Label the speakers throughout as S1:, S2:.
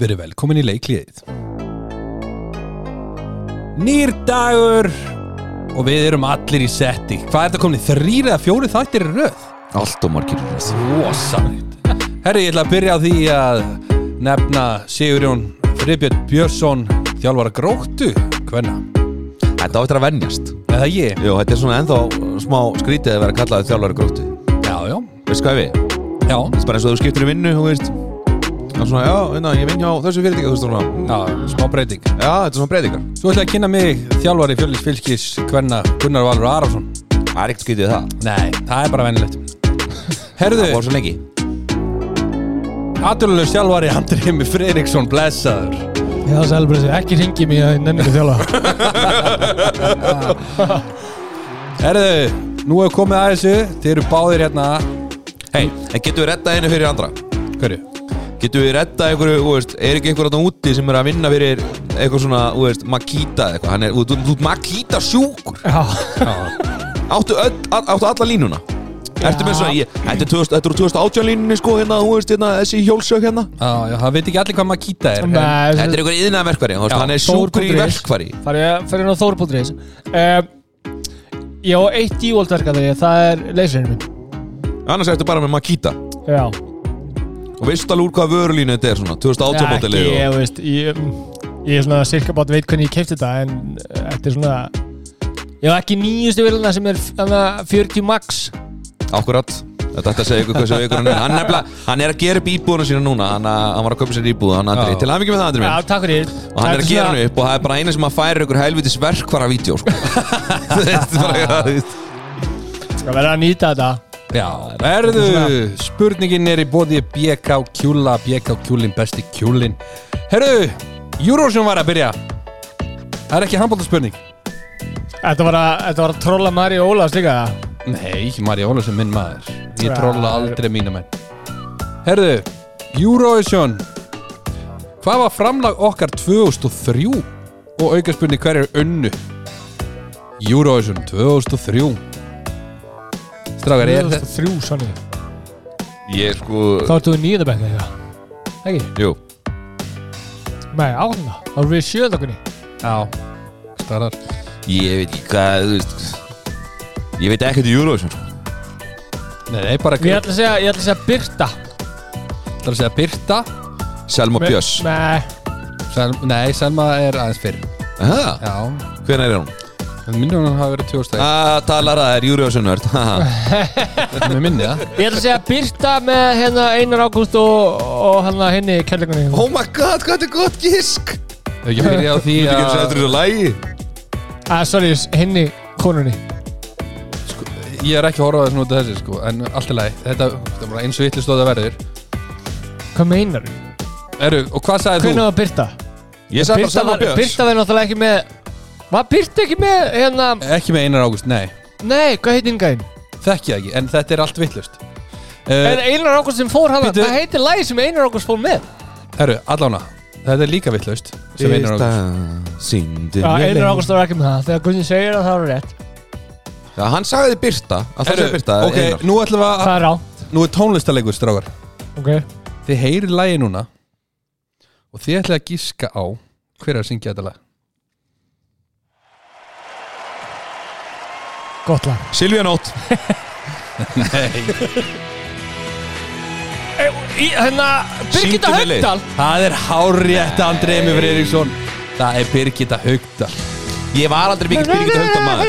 S1: Verið velkomin í leikliðið. Nýr dagur og við erum allir í setti. Hvað er þetta komin í þrýr eða fjóri þættir í röð?
S2: Allt og margir í þessu.
S1: Rosalegt. Herri, ég ætla að byrja á því að nefna Sigurjón Friðbjörn Björnsson, þjálfara gróttu, hvenna?
S2: Þetta á eftir að venjast
S1: Eða ég?
S2: Jú, þetta er svona ennþá uh, smá skrítið að vera kallaðið þjálfari gróttu
S1: Já, já,
S2: Veist hvað við? Þetta
S1: já.
S2: er bara eins og þú skiptir í vinnu, þú veist Það er svona, já, unna, ég vinn hjá þessu fyrirtæki, þú veist svona mm,
S1: Já, smá breyting.
S2: Já, þetta er svona breytingar
S1: Svo ætla ég að kynna mig þjálfari fjölis fylgis hvenna Gunnar Valur Arason.
S2: Það er ekkert skrítið við það
S1: Nei, það er bara venilegt. Herðu,
S2: Það var svo lengi
S1: Aturlunum sjálfari Andrimi Freiríksson blessaður
S3: Já, Sælbresi, ekki ringi mér að ég nenni ekki að þjála
S1: Herðu, nú hefur komið að þessu Þið eru báðir hérna
S2: Hei, en getum við reddað einu fyrir andra?
S1: Hverju?
S2: Getum við reddað einhverju, þú veist, er ekki einhver þarna úti sem er að vinna fyrir eitthvað svona, þú veist, Makita eða eitthvað Hann er, þú- þú þú- Makita sjúkur
S3: Já,
S2: Áttu, öll, all, áttu alla línuna Ertu með svona, ég, þetta er 2000 þetta eru 2018 línunni sko hérna, þú veist, hérna, þessi hjólsök hérna
S1: Já, já, það veit ekki allir hvað Makita er en-
S3: með
S2: Þetta er einhver yðnaða verkvari,
S1: Já,
S2: hann er sjúkur í verkvari
S3: Fær ég fyrir nú Þór.is um, Ég á eitt dívóltverka þegar ég, það er leysirinn minn
S2: Annars ertu bara með Makita
S3: Já,
S2: Og veist alveg úr hvað vörulínu þetta er svona 2018
S3: ekki,
S2: mótilið og...
S3: ég veist Ég, ég er svona sirka bát veit hvernig ég kefti þetta En eh, þetta er svona Ég á ekki nýjustu viluna sem er þarna 40 max
S2: Akkurat Þetta ætti að segja ykkur hversu veikur hann er Hann, nefnilega, hann er að gera upp íbúðuna sína núna Hann, að- hann var að köpa sér íbúð hann Andri
S1: Já.
S2: Til aðmyggjum með það Andri
S3: Já,
S2: minn
S3: takk fyrir
S2: Og hann er að gera hann upp og það er bara eina sem að færa ykkur helvitis verkvara vídeo sko. Þú veist, bara, þú veist.
S3: Skal vera að nýta þetta
S1: Já, herðu Spurningin er í bóði BK Kjúla BK Kjúlin, besti Kjúlin Herðu, Eurovision var að byrja Það er ekki handbóltaspurning
S3: Þetta var að, þetta var að trolla Mari Ólafs líka
S1: Nei, Marja Ólafsson minn maður Ég
S3: Já.
S1: trolla aldrei mína menn Herðu, Eurovision Hvað var framlag okkar 2003? Og aukaspunni hver er önnu? Eurovision 2003 Strákar, er þetta?
S3: Þrjú, sannig
S2: Ég sko
S3: Þá ertu í nýjöndabæk eitthvað Ekki?
S2: Jú
S3: Nei, áttunda Þá erum við í sjöðakunni
S1: Já Starar
S2: Ég veit ekki hvað þú veist, Ég veit ekkert í Eurovision sko.
S1: Nei, nei, bara
S3: Ég
S1: greitt
S3: ætla að segja, ég ætla að segja Birta
S1: Það er að segja Birta
S2: Selma Björs
S3: Nei,
S1: Sel, Nei, Selma er aðeins fyrir
S2: Aha,
S1: Já
S2: Hvenær er hún?
S1: En minnum hún hafa verið 2000
S2: Ah, talar að það er Eurovision nörd Haha
S1: Með minni það
S3: ég ætla að segja Birta með hérna Einar Ágúst og, og hérna henni kærleikunni
S2: Oh my god, hvað þetta er gott gísk
S1: Ef Ég byrja á því
S2: Ég getur
S1: að
S2: sættur þessu lægi
S3: Ah, sorry, henni konunni
S1: Ég er ekki að horfa á þessu út af þessu sko En allt í lagi Þetta, þetta er bara eins og vittlust og það verður
S3: Hvað meinar þú?
S1: Eru, og hvað sagði
S3: Hvernig var Birta?
S2: Ég sagði bara
S3: Birta
S2: Selma
S3: var,
S2: Björns
S3: Birta var náttúrulega ekki með Var Birta ekki með hérna
S1: þú? Ekki með Einar Ágúst, nei
S3: Nei, hvað heitir hingaðin?
S1: Þekki það ekki, en þetta er allt vittlust
S3: En
S1: uh,
S3: Einar Ágúst sem fór hann
S1: Bíddu.
S3: Hvað heitir lagi sem Einar Ágúst fór með?
S1: Herru, allána Þetta er líka vittlust sem Einar Ágúst
S2: Sýndi
S3: Já, Einar Ágúst var ekki með það Þegar Gunni segir að það var rétt
S2: Já, hann sagði Birta Að það
S1: Herru,
S2: sé Birta
S1: ok,
S2: Einar.
S1: nú ætlum við
S3: Það
S1: að
S3: er á
S1: Nú er tónlistalegur, strákar
S3: okay.
S1: Þið heyri lagi núna Og þið ætlum að gíska á Hver er að syngja þetta lag
S3: Gott lag
S2: Silvía Nótt
S3: Í, hérna, Birgitta
S2: Syngdu með leið.
S3: Haugdal
S1: Það er hárétt Andrei Emil Friðriksson Það er Birgitta Haugdal
S2: Ég var aldrei mikill Birgitta Haugdal maður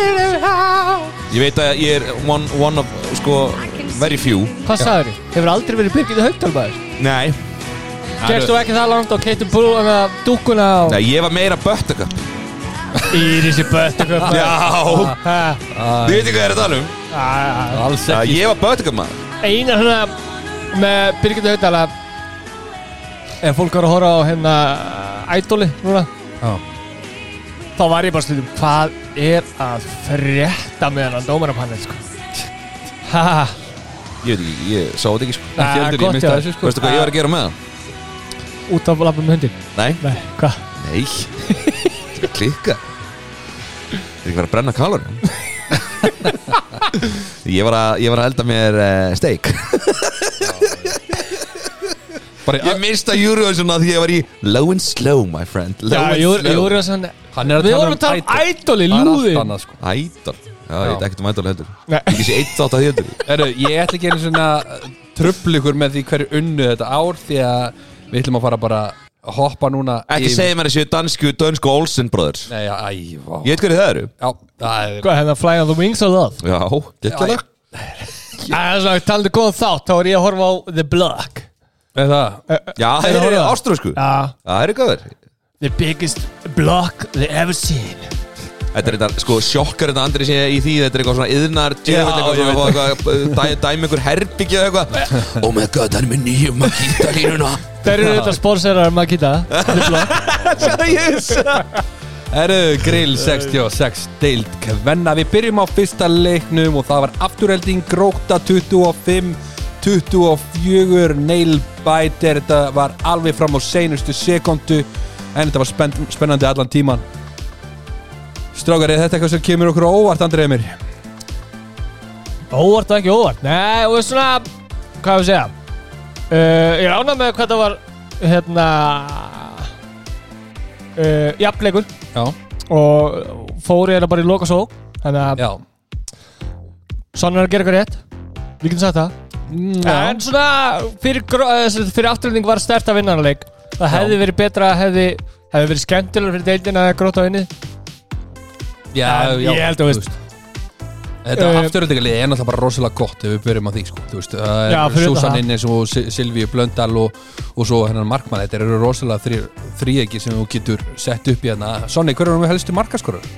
S2: Ég veit að ég er one, one of Sko, very few
S3: Hvað sagður þið? Hefur aldrei verið Birgitta Haugdal maður?
S2: Nei
S3: Gerst þú ekki það langt og keitum búana, dúkuna og
S2: Nei, ég var meira Böttaka
S3: Írisi Bötteköp
S2: Já Þið veit ekki hvað ég er að tala um
S1: Alls
S2: Já,
S1: ekki
S2: Ég var Böttaka maður
S3: Einar hérna með Birgitta Haugdal að ef fólk var að horfa á hérna ædoli núna
S1: Já.
S3: þá var ég bara slutum hvað er að frétta með hann dómarapanel sko Ha, ha, ha.
S2: Ég veit ekki, ég sá þetta ekki sko
S1: Ekki heldur,
S3: Ah,
S1: ég
S3: gott
S1: misti
S3: hjá
S1: þessu sko
S2: Veistu hvað ég var að gera með það?
S3: út af lappum hundin
S2: Nei
S3: Nei, hvað?
S2: Nei Þetta er klikka Þetta er ekki verið að brenna kalor eh, ég, var að, ég var að elda mér uh, steik
S1: Bara,
S2: Ég mista Eurovision að því ég var í Low and slow, my friend Low
S3: Já,
S2: and
S3: Jóri-
S2: slow
S3: Jóri var svona-
S1: Hann er að
S3: Við
S1: tala
S3: vorum
S1: um
S3: að tala um
S1: Idol.
S3: ædoli,
S1: Það er allt
S3: lúði
S1: annað, sko.
S2: Ædol Já, ég veit ekkert um ædol heldur
S3: Nei.
S2: Ekki sé eitt þátt að því heldur
S1: Heru, Ég ætla ekki einu svona tröfl ykkur með því hverju unnu þetta ár því að við ætlum að fara bara að hoppa núna
S2: Ekki
S1: yfir-
S2: segja mér að séu dansku, dönsku Olsen brothers
S1: Nei, æ, vá
S2: Ég veit hverju það eru
S1: Já, það er
S3: Hvað, hérna Fly on the Wings of Love
S2: Já, gekkjala
S3: Það er svona, talandi um góðan þátt, þá er ég að horfa á The Block
S1: Er það
S2: Já, þeir
S3: horfðu
S2: eru
S3: það?
S2: ástrúsku
S3: Já,
S2: Það eru góður
S3: the biggest block they ever seen
S2: Þetta er þetta, sko, sjokkar þetta andri sé í því Þetta er eitthvað svona yðnar djöfull,
S1: Já,
S2: eitthvað
S1: ég
S2: svona, eitthvað, dæ, Dæmi ykkur herbyggja eitthvað Oh my god, það er með nýjum að kýta línuna
S3: Þeir eru þetta sponsorar Makita
S2: Yes
S1: Eru grill 66 deild kvenna Við byrjum á fyrsta leiknum og það var afturhelding grókta 25 24 nailbiter Þetta var alveg fram á seinustu sekundu en þetta var spenn, spennandi allan tíman Strákar, er þetta eitthvað sem kemur okkur á óvart, Andrið Emir?
S3: Óvart og ekki óvart Nei, og svona, hvað við segja uh, Ég rána með hvað það var hérna uh, jafnleikur
S1: Já,
S3: og fóru hérna bara í loka sók þannig að
S1: já
S3: svona er að gera eitthvað rétt Við getum sagt það
S1: Mm,
S3: En svona, fyrir, gró- eh, sem sagt, fyrir afturlending var stert að vinna hann leik Það hefði verið betra, hefði, hefði verið skemmtilega fyrir deildina að gróta vinni
S1: já,
S3: En
S1: já
S3: Ég held að veist
S1: Þetta
S3: Eh,
S1: uh, afturöldingalið er náttúrulega bara rosalega gott ef við byrjum á því sko, þú veist það
S3: Já,
S1: er
S3: fyrir utan
S1: Susan
S3: það.
S1: Innes og Sil- Silvíu Blöndal og, og svo hennan Markmann, þetta eru rosalega þrý, þrýegi sem þú getur sett upp í hérna Sonni, hver erum við helstu markaskorur?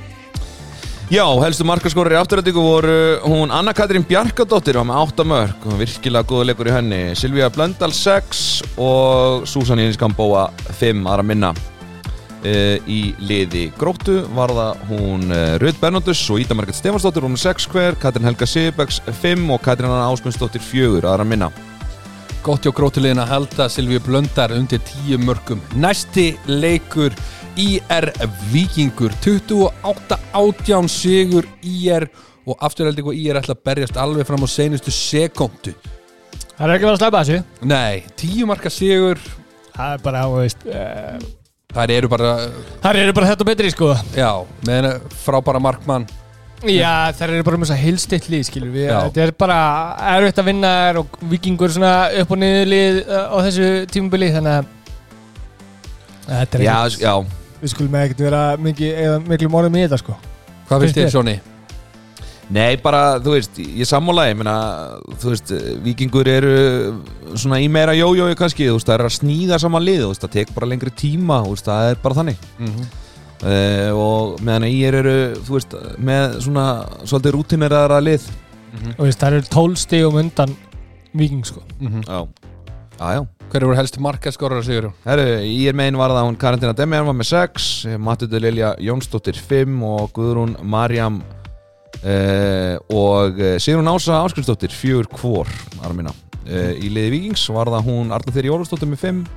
S2: Já, helstu markaskorur í afturrættingu voru hún Anna Katrín Bjarkadóttir var með 8 mörg, virkilega góða leikur í henni Silvíða Blöndal 6 og Súsan Ínskambóa 5 aðra minna e, í liði gróttu var það hún e, Röð Bernóttus og Ída Margrét Stefansdóttir hún er 6 hver, Katrín Helga Sigurbæks 5 og Katrín Anna Ásmundsdóttir 4 aðra minna
S1: Gott hjá grótuliðin að halda Silvíu Blöndar undir 10 mörgum Næsti leikur IR Vikingur 28-18 sigur IR og afturöldingu IR ætla að berjast alveg fram á seinustu sekóndu
S3: Það er ekki verið að slæpa þessu
S1: Nei, 10 marka sigur
S3: Það er bara, þú veist uh,
S1: þær eru bara
S3: Það eru bara þetta og betri, sko
S1: Já, með henni frábæra markmann
S3: Já, það eru bara með þess að hilstilli, skilur við
S1: Já.
S3: Þetta er bara erfitt að vinna þær og vikingur svona upp og niður lið eh, á þessu tímubili Þannig að Þetta er
S2: Já, sko,
S3: ekki,
S2: já,
S3: við skulum ekkert vera mikið, eða miklu morðum í þetta, sko
S1: Hvað finnst
S3: Finnst
S1: þér,
S3: þér?
S1: Sóni?
S2: Nei, bara, þú veist, ég sammála ég meina, þú veist, vikingur eru svona í meira jójói kannski, þú veist, það er að sníða saman lið, þú veist, það tek bara lengri tíma, þú veist, það er bara þannig uh, og meðan að ég eru, þú veist, með svona svolítið rútineraðara lið
S3: Og veist, það eru tólstegum undan viking, sko
S2: Já, já, já
S1: Hver eru helst markaskorrar, Sigur?
S2: Herru, í er megin var það hún Karantina Demian var með 6 Matudu Lilja Jónsdóttir 5 og Guðrún Marjam uh, og eh, Sigrún Ása Áskristóttir 4 kvor armina uh, í liði Víkings var það hún Arna Þeirri Jólustóttir með 5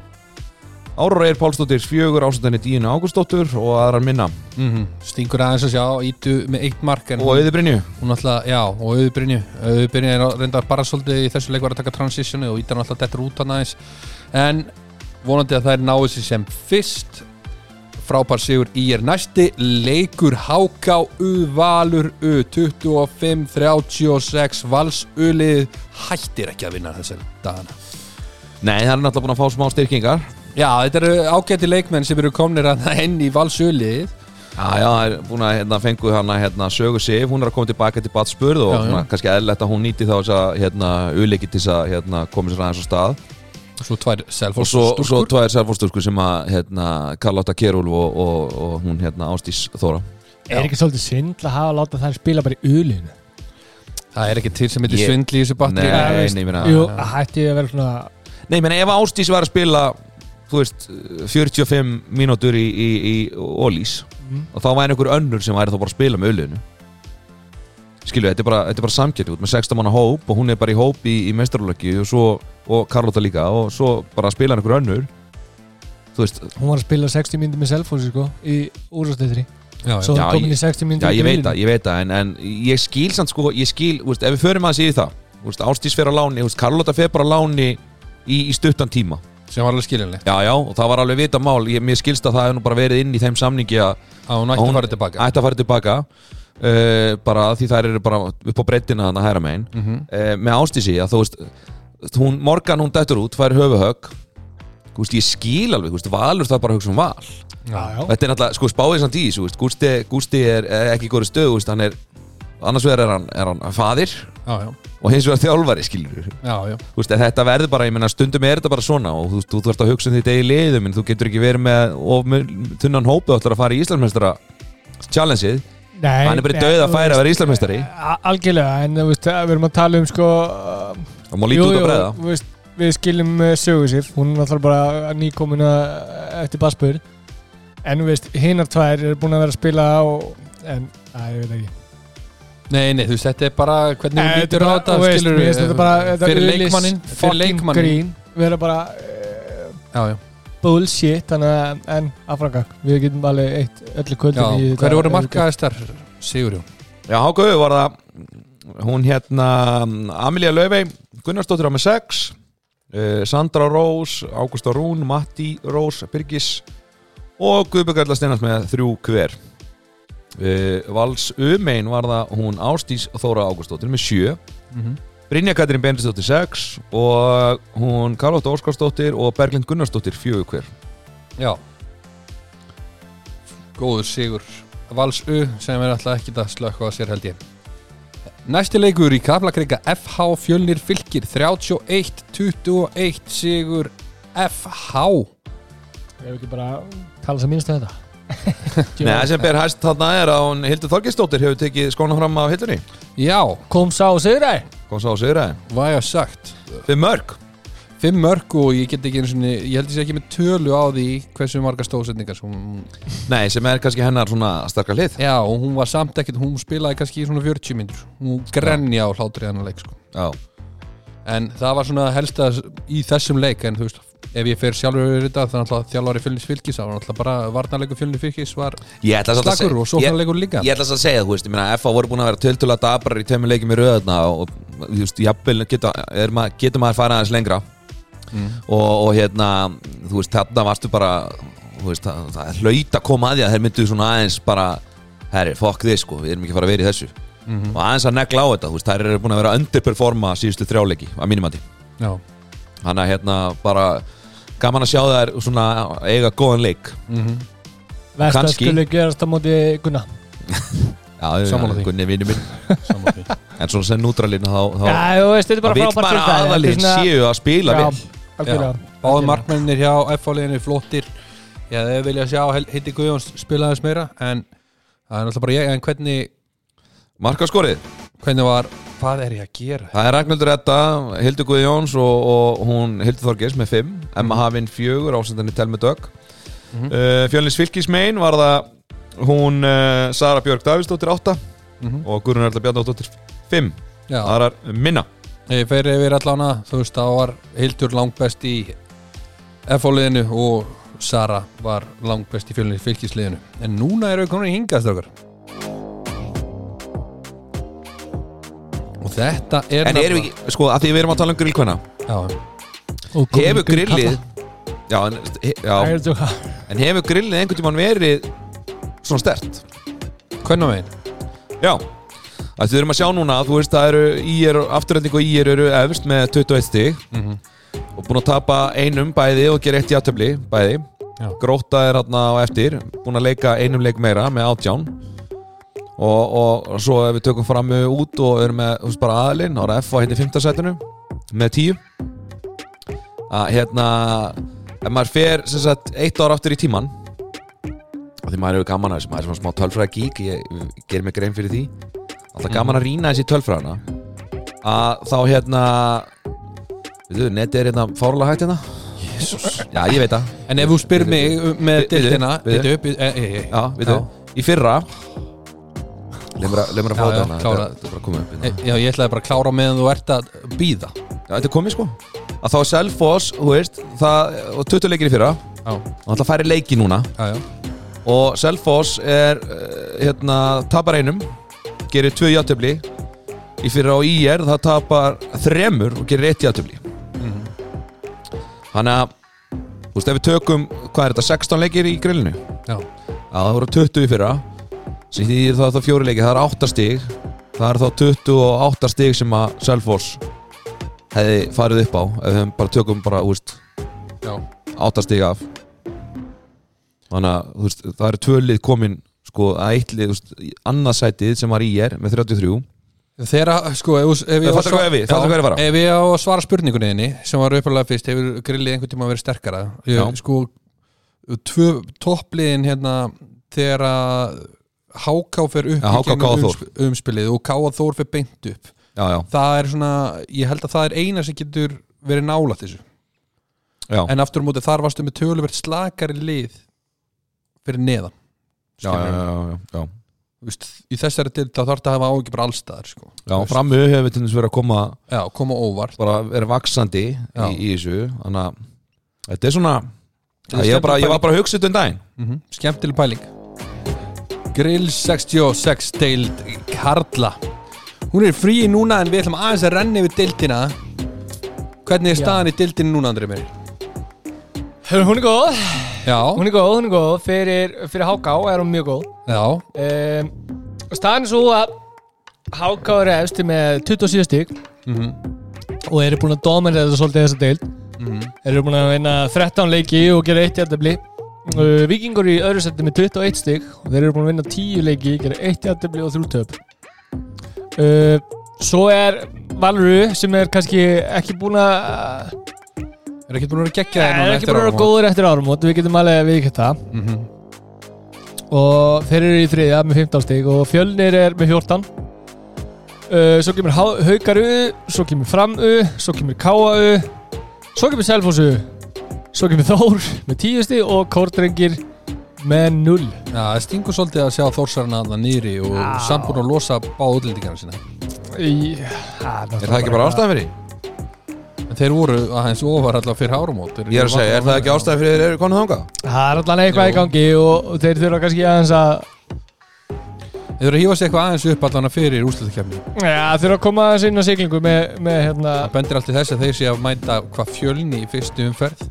S2: Áróra Eir Pálsdóttir 4 ásatenni Dínu Ágústóttir og aðrar minna
S1: Mm Stingur aðeins að sjá, ítu með eitt mark en
S2: og Auði Brynju
S1: hún alltaf, já, og auðbrinju auðbrinju er að- reyndar bara svolítið í þessu leik var að taka transitionu og ítan alltaf dettur út hann aðeins en vonandi að það er náðu sér sem fyrst frábær sigur í er næsti leikur Háká U Valur U 25 36 Vals U lið hættir ekki að vinna þessi dagana
S2: Nei, það er náttúrulega búin að fá smá styrkingar
S1: Já, þetta eru ágæti leikmenn sem eru komnir að það inn í valsölið
S2: Já, já, það er búin að hérna, fengu hana hérna, sögu Sif, hún er að koma tilbaka til Batspurð og
S1: Já, já.
S2: Svona, kannski eðlætt að hún nýti þá þess að hérna, uleiki til þess að hérna, koma sér aðeins á stað
S1: og svo tvær
S2: og
S1: selfos
S2: svo, svo tvær sérfórsturkur sem að hérna, Karlotta Kerúlf og, og, og hún hérna, Ástís Þóra
S3: Er ekki svolítið synd að hafa að láta þær spila bara í ulinu?
S1: Það er ekki til sem heitir
S2: Ég-
S1: svindli í þessu batteri
S2: Nei,
S3: Já, veist,
S2: nei, meina-
S3: Jú, hætti ég að vera svona
S2: Nei, menn ef Ástís var að spila þú veist, 45 mínútur í, í, í Ólís og þá væri einhver önnur sem væri þá bara að spila með uliðinu Skilju, þetta er bara, þetta er bara samkjætti út með 16 manna hóp og hún er bara í hóp í, í mestarlöki og svo, og Karlota líka og svo bara að spila einhver önnur Þú veist,
S3: Hún var að spila 60 myndir með Selfossi sko Í úrstættri
S1: Já, já.
S3: Svo
S2: Já,
S3: hún kom
S2: ég-
S3: inn í
S2: já
S3: 60 myndir
S2: ég veit það, ég veit það en, en ég skil samt sko, ég skil, þú veist, ef við förum að þessi í það þú veist, Ástís fer á láni, þú veist, Karlota fer bara á láni í, í stuttan tíma
S1: sem var alveg skiljanlegt
S2: Já, já, og það var alveg vita mál ég, Mér skilst að það hefur nú bara verið inn í þeim samningi að
S1: að hún ætti að fara tilbaka
S2: ætti að fara tilbaka uh, bara því þær eru bara upp á breyttina þannig að hæra megin mm
S1: Mhm.
S2: með ástísi að þú veist hún, Morgan hún dættur út, fær höfuhögg þú veist, ég skil alveg, þú veist, valur það bara að hugsa um val
S3: já,
S2: þetta er náttúrulega, sko, spáðið samt í þessu, þú veist, Gústi, Gústi er, er ekki í góður stöð, þú veist, hann er annars vegar er hann, er hann faðir
S1: já, já,
S2: og hins vegar þjálfari, skilur
S1: já, já,
S2: þú veist, en þetta verður bara, ég menna stundum er þetta bara svona og þú, þú, þú þarfst að hugsa um þitt eigi liðum en þú getur ekki verið með of mun- þunnan hópu þú ætlar að fara í Íslandsmeistara challengeið,
S3: Nei,
S2: hann er bara
S3: nei,
S2: döið
S3: þú
S2: að færa að
S3: veist, eh,
S2: vera Íslandsmeistari
S3: a- Algjörlega, en þú veist, við erum að tala um sko
S2: það má líta út að bregða
S3: þú veist, Við skiljum eh, sögu sér Hún er alltaf bara nýkomuna eftir basspur En þú veist, hinar tvær eru búin að vera að spila og, En, að, ég veit ekki
S1: nei, nei, þú veist, þetta er bara hvernig
S3: Nei,
S1: hún lítur á
S3: Eh, bara-
S1: þetta
S3: þú veist,
S1: skilur
S3: mér finnst þetta bara, þetta
S1: fyrir
S3: auglýs
S1: leikmannin fyrir
S3: fucking
S1: leikmannin
S3: grín, vera bara uh,
S1: já, já,
S3: bullshit þannig að, en afranga við getum alveg eitt öllu
S1: já,
S3: kvöldin í þetta
S1: hverju voru markaðistar Sigurjón,
S2: já, Hákaðu var það hún hérna, Amelía Laufey Gunnarsdóttir á með 6 uh, Sandra Rós, Ágústa Rún Matti Rós, Birgis og Guðbjörg Erla Steinars með þrjú hver uh, Vals Umein var það hún Ástís Þóra Ágústóttir með 7
S1: Mhm.
S2: Brynja Katrín Bendistóttir 6 og hún Karlótt Óskarsdóttir og Berglind Gunnarsdóttir 4 hver
S1: já góður Sigur Valsu sem er alltaf ekki að slökka að sér held ég Næsti leikur í Kaflakrika FH Fjölnir Fylkir 31-21 Sigur FH
S3: við hefum ekki bara tala sem minnst um þetta
S2: Nei, það sem ber hæst þarna er að hún Hildur Þorgesdóttir hefur tekið skóna fram af hillunni
S1: Já,
S3: kom sá sigra
S2: kom sá að segja það
S1: hvað ég að sagt
S2: Fyrir mörg
S1: Fimm mörg og ég get ekki einu sinni ég held ég sé ekki með tölu á því hversu marga stóðsendingar sem hún
S2: Nei, sem er kannski hennar svona starka hlið
S1: Já, og hún var samt ekkert, hún spilaði kannski í svona 40 myndur hún grenja á hlátri hennar leik sko.
S2: Já
S1: en það var svona helsta í þessum leik en þú veist, ef ég fer sjálfur yfir þetta þannig að þjálfari fjölnis fylgis það var náttúrulega bara varnarleikur fjölnis fylgis var
S2: Ég ætla samt að
S1: slagur og
S2: ég,
S1: sóknarleikur líka
S2: ég ætla samt að segja, þú veist, ég meina F.A. voru búin að vera töltula dabrar í tveimur leikjum í röðna og, þú veist, jafnvel geta, er maður- getur maður fara aðeins lengra og, og hérna, þú veist, þarna varstu bara þú veist, það, það hlaut að koma að því að þeir myndu svona aðeins bara herri, fokk þið sko, við erum ekki að fara að vera í þessu og aðeins að negla á þetta, þú veist, þær eru búin að vera að underperforma síðustu þrjáleiki, að mínumandi
S1: Já,
S2: þannig að hérna bara gaman að sjá þær svona eiga góðan leik
S1: Mhm.
S3: versta
S2: Kannski.
S3: skulle gerast á móti Gunna
S2: Já,
S1: Sammála því.
S2: Gunni vinnu minn
S1: saman því
S2: en svona sem nútralinn þá, þá
S3: já, þú veist, þetta er
S2: það
S3: bara
S2: vil
S3: frábært
S2: bara
S3: tilfæri.
S2: aðalinn
S3: Þetta er
S2: séu að spila
S3: svona-
S2: vel
S3: já, algjörlega.
S1: Báði markmennir hjá F-fáliðinni flottir Já, þau vilja sjá Hel- Hildi Guðjóns spila aðeins meira en það er náttúrulega bara ég en hvernig,
S2: Markaskorið,
S1: hvernig var hvað er ég að gera?
S2: það er Ragnhildur Edda Hildur Guðjóns og, og hún Hildur Þorgis með 5, Emma Hafinn 4 ásendinni Telmi Dögg mm -hmm. uh, Fjölnins Fylkismein var það hún uh, Sara Björg Davíðsdóttir 8
S1: Mhm.
S2: og Guðrun Erla Bjarnóttir 5,
S1: Já,
S2: aðrar minna
S1: Þegar ég fer yfir allana, þú veist, þá var Hildur langbest í F-fóliðinu og Sara var langbest í fjölunni fylgisliðinu. En núna erum við komin í hingastrókar. Og þetta er...
S2: En erum við ekki, sko, að því við erum að tala um grillkvæna
S1: Já,
S3: Og kom-
S2: Hefur
S3: kom-
S2: grillið já, en, he,
S3: Það
S2: já,
S3: er þetta-
S2: en hefur grillið einhvern tímann verið svona stert?
S1: hvernig megin?
S2: Já að Því við erum að sjá núna, þú veist, það eru IR, afturhending og IR eru efst með 21 stig og búin að tapa einum bæði og gera eitt játtöfli bæði
S1: Já.
S2: Gróta er hérna á eftir búin að leika einum leik meira með átján og, og, og svo ef við tökum fram út og erum með þú veist, bara aðalinn, ára F og hérna í 5. setinu með 10 að hérna ef maður fer sem sagt eitt ár aftur í tíman og því maður hefur gaman að þessu maður er svona smá tölfræða gík ég ég geri mig grein fyrir því alltaf gaman að rýna þessi tölfræðana að þá hérna veitu, neti er hérna fárlega hægt hérna
S1: Jesus.
S2: já, ég veit það
S1: En ef þú spyr mig með
S2: Við- við-
S1: dildina...
S2: við-
S1: Við upp... e- e- e-
S2: já, veitu, í fyrra lemur að, lemur að
S1: Já,
S2: fá
S1: já,
S2: þetta hérna
S1: klára.
S2: þetta er bara komið upp hérna.
S1: e- Já, ég ætlaði bara að klára meðan þú ert að býða.
S2: já, þetta er komið sko að þá er Selfoss, þú veist það, og 20 leikir í fyrra og
S1: Já,
S2: alltaf færi leiki núna
S1: já, já.
S2: og Selfoss er eh, hérna, tapar einum gerir tvö játtöfli í fyrra á IR það tapar þremur og gerir eitt játtöfli þannig að Þú veist, ef við tökum, hvað er þetta, 16 leikir í grillinu?
S1: Já.
S2: Já, það voru 20 í fyrra sem því það er þá fjóri leiki, það er 8 stig það er þá 28 stig sem að Selfoss hefði farið upp á ef við höfum bara tökum bara, þú veist,
S1: Já.
S2: 8 stig af þannig að þú veist, það eru tvö lið komin sko, að eitt lið, þú veist, í annað sætið sem var í er með 33
S1: Þeirra, sko, ef, ef
S2: Nei,
S1: ég á að
S2: fattar hvað ég við, fattar hvað ég er að fara.
S1: Já, ef ég á að svara spurningunni þinni sem var uppalega fyrst, hefur grillið einhvern tíma verið sterkara ég,
S2: Já.
S1: sko, tvö, toppliðin hérna þegar að HK fer upp
S2: Já,
S1: í
S2: HK
S1: gegnum
S2: Káa Þór.
S1: umsp- umspilið og K og Þór fer beint upp
S2: já, já,
S1: það er svona, ég held að það er eina sem getur verið nála þessu
S2: já,
S1: en aftur á móti þar varstu með töluvert slakari lið fyrir neðan
S2: já, já, já, já, já.
S1: Þú Veist, í þessari til þá þarf að hafa áhengi bara allstaðar sko.
S2: já frammi hefur við til þess verið að koma
S1: já, koma óvart
S2: bara verið vaksandi í,
S1: Já.
S2: í þessu þannig að þetta er svona
S1: Þetta er
S2: ég var, bara, ég var
S1: skemmtileg
S2: bara að hugsa þetta um daginn
S1: Mhm, Skemmtileg pæling Grill 66 deild Karla Hún er frí núna en við ætlum aðeins að renna yfir deildina Hvernig er
S3: Já.
S1: staðan í deildinu núna, Andri mér?
S3: Hún er góð,
S1: Já,
S3: hún er góð, hún er góð Fyrir, fyrir Háká er hún mjög góð
S1: já,
S3: um, Staðan er svo að Háká eru efsti með 27 stík
S1: mhm,
S3: og eru búin að dominera þetta svolítið þessa deild
S1: mhm,
S3: eru búin að vinna 13 leiki og gera eitt jættabli uh, Vikingur í öðru seti með 21 stík og þeir eru búin að vinna 10 leiki gera eitt jættabli og þrjú töp uh, Svo er Valru sem er kannski ekki búin að
S1: Er ekki búin að vera geggja það
S3: Það er ekki bara að vera góður eftir áramót Við getum alveg að við geta
S2: Mhm.
S3: Og þeir eru í þriðja með 15 stík Og fjölnir er með 14 uh, Svo kemur Há- Haukar U Svo kemur Fram U Svo kemur Káa U Svo kemur Selfoss U Svo kemur Þór með 10 stík Og Kórdrengir með 0
S1: Já, það stingur svolítið að sjá Þórsarna að nýri og
S3: Já.
S1: sambúin að losa báð útlendingarna sína
S3: Í,
S2: er það ekki bara ástæðan fyrir? því?
S1: En þeir voru aðeins ofar allavega fyrir áramót Þeir eru
S2: ég er að segja, er það ekki
S1: vanlega-
S2: ástæðan fyrir þeir eru konu þangað?
S3: Það er allan eitthvað
S1: Jú.
S3: í gangi og, og þeir þurfa kannski aðeins að
S1: Þeir eru að hífa sig eitthvað aðeins upp allavega fyrir úrslutakefni
S3: Já, þurfa að koma aðeins inn á siglingu með, með hérna
S1: Það bendir allt í þess að þeir sé að mæta hvað fjölni í fyrstu umferð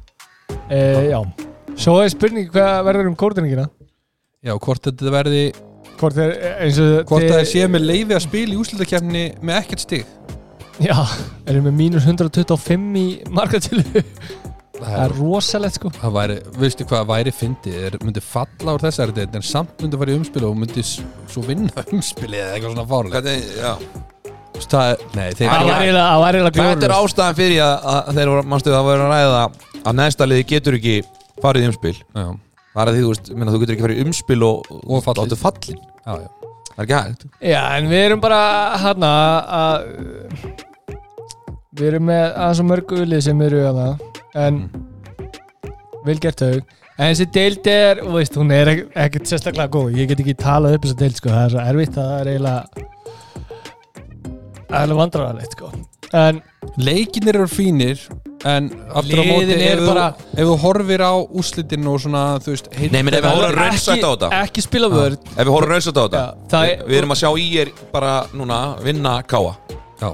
S3: E, já, svo er spurning hvað verður um kórdrengina
S1: Já, hvort þetta verði
S3: Hvort er eins og
S1: Hvort
S3: þið-
S1: það sé með leifi að spila í úslutakefni með ekkert stig
S3: Já, erum við mínus 125 í margatölu Það er
S1: Það,
S3: rosalegt sko
S1: það væri, veistu hvað væri fyndið Þeir myndi falla úr þessari deild En samt myndi fara í umspil og myndi s- svo vinna umspilið Eða eitthvað svona fárlega
S2: Hvernig, já.
S1: það, Nei, þeir
S3: Það var eiginlega- það var eiginlega
S2: Hvað er
S3: glóður
S2: ástæðan fyrir að, að þeir voru, manstu, það voru að ræða að neðsta liði getur ekki farið í umspil
S1: Já,
S2: Það er að því, þú veist, minna, þú getur ekki farið í umspil og,
S1: Og fallið.
S2: Láttu fallin,
S1: já, já
S2: það er ekki hægt
S3: Já, en við erum bara hana að Við erum með aðeins og mörg ulið sem eru hana En
S2: Mm.
S3: vel gert þau En þessi deild er, þú veist, hún er ekk- ekkert sérstaklega góð Ég get ekki talað upp þessa deild sko Það er svo erfitt, það er eiginlega Það er alveg vandræðalegt sko En
S1: Leikinir eru fínir En aftur á móti
S3: Liðin
S1: ef,
S3: eru
S1: þú-
S3: bara-
S1: ef þú horfir á úslitin og svona Þú veist, heilt
S2: Nei, menn, ef við horfum raunsætt á
S3: ekki,
S2: þetta
S3: ekki spila vörð
S2: Ef við horfum raunsætt á þetta
S3: Já, það er-
S2: Við- Við erum að sjá í er bara núna vinna káa
S1: Já,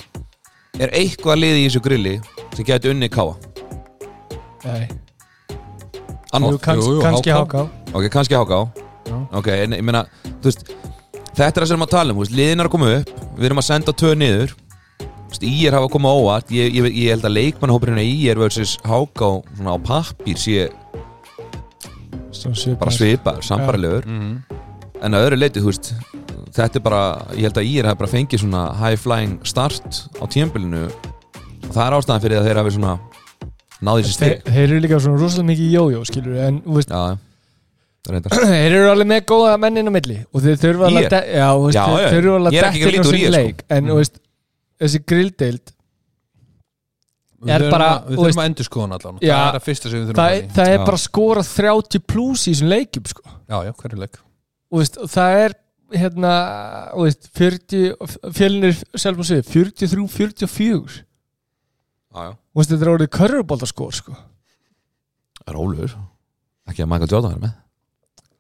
S2: Er eitthvað liði í þessu grilli sem getur unni káa?
S3: Nei, jú,
S2: Annað,
S3: kanns,
S1: jú, jú,
S3: kannski
S1: HK.
S3: háká
S2: ok, kannski háká
S1: Já.
S2: Ok, en ég meina, þú veist Þetta er það sem við erum að tala um, þú veist, liðin er að koma upp Við erum að senda tvö niður Þú veist, Í er hafa komið á óvart ég, ég, ég held að leikmannhópurinn í er versus háká svona á pappír sé bara svipaður, sambarlegur
S3: Mhm.
S2: en að öðru leiti, þú veist þetta er bara, ég held að Ír hafi bara fengið svona high flying start á tímbilinu og það er ástæðan fyrir að þeir hafi svona náði sér
S3: Þeir,
S2: stig
S3: þeir eru líka svona rosalega mikið í jójó skilur en þú veist,
S2: já, það reyndar
S3: þeir eru alveg með góða menn inn á milli og þeir þurfa alveg
S2: Ég?
S3: að de- já, þú veist,
S2: Já, já,
S3: þeir þurfa alveg
S2: ég
S3: að
S2: er ekki
S3: dekka inn á
S2: lítur í
S3: sinn
S2: þér, sko.
S3: leik en þú veist, þessi grilldeild
S1: Við
S3: Er
S1: þurfum
S3: bara,
S1: að- Við
S3: þú veist-
S1: þurfum að endur skoðan allan
S3: Já.
S1: Það er að fyrsta sem við þurfum að
S3: það,
S1: fara í.
S3: það er
S2: Já.
S3: bara skorað 30 pluss í þessum leikjum sko.
S1: Já, já, hverju leik
S3: og veist, og það er hérna, þú veist, 40 fjölinir, selvom sér, 43 44,
S2: já, já,
S3: Þú veist, þetta er orðið körfuboltaskor sko.
S2: rólur ekki að Michael Jordan er með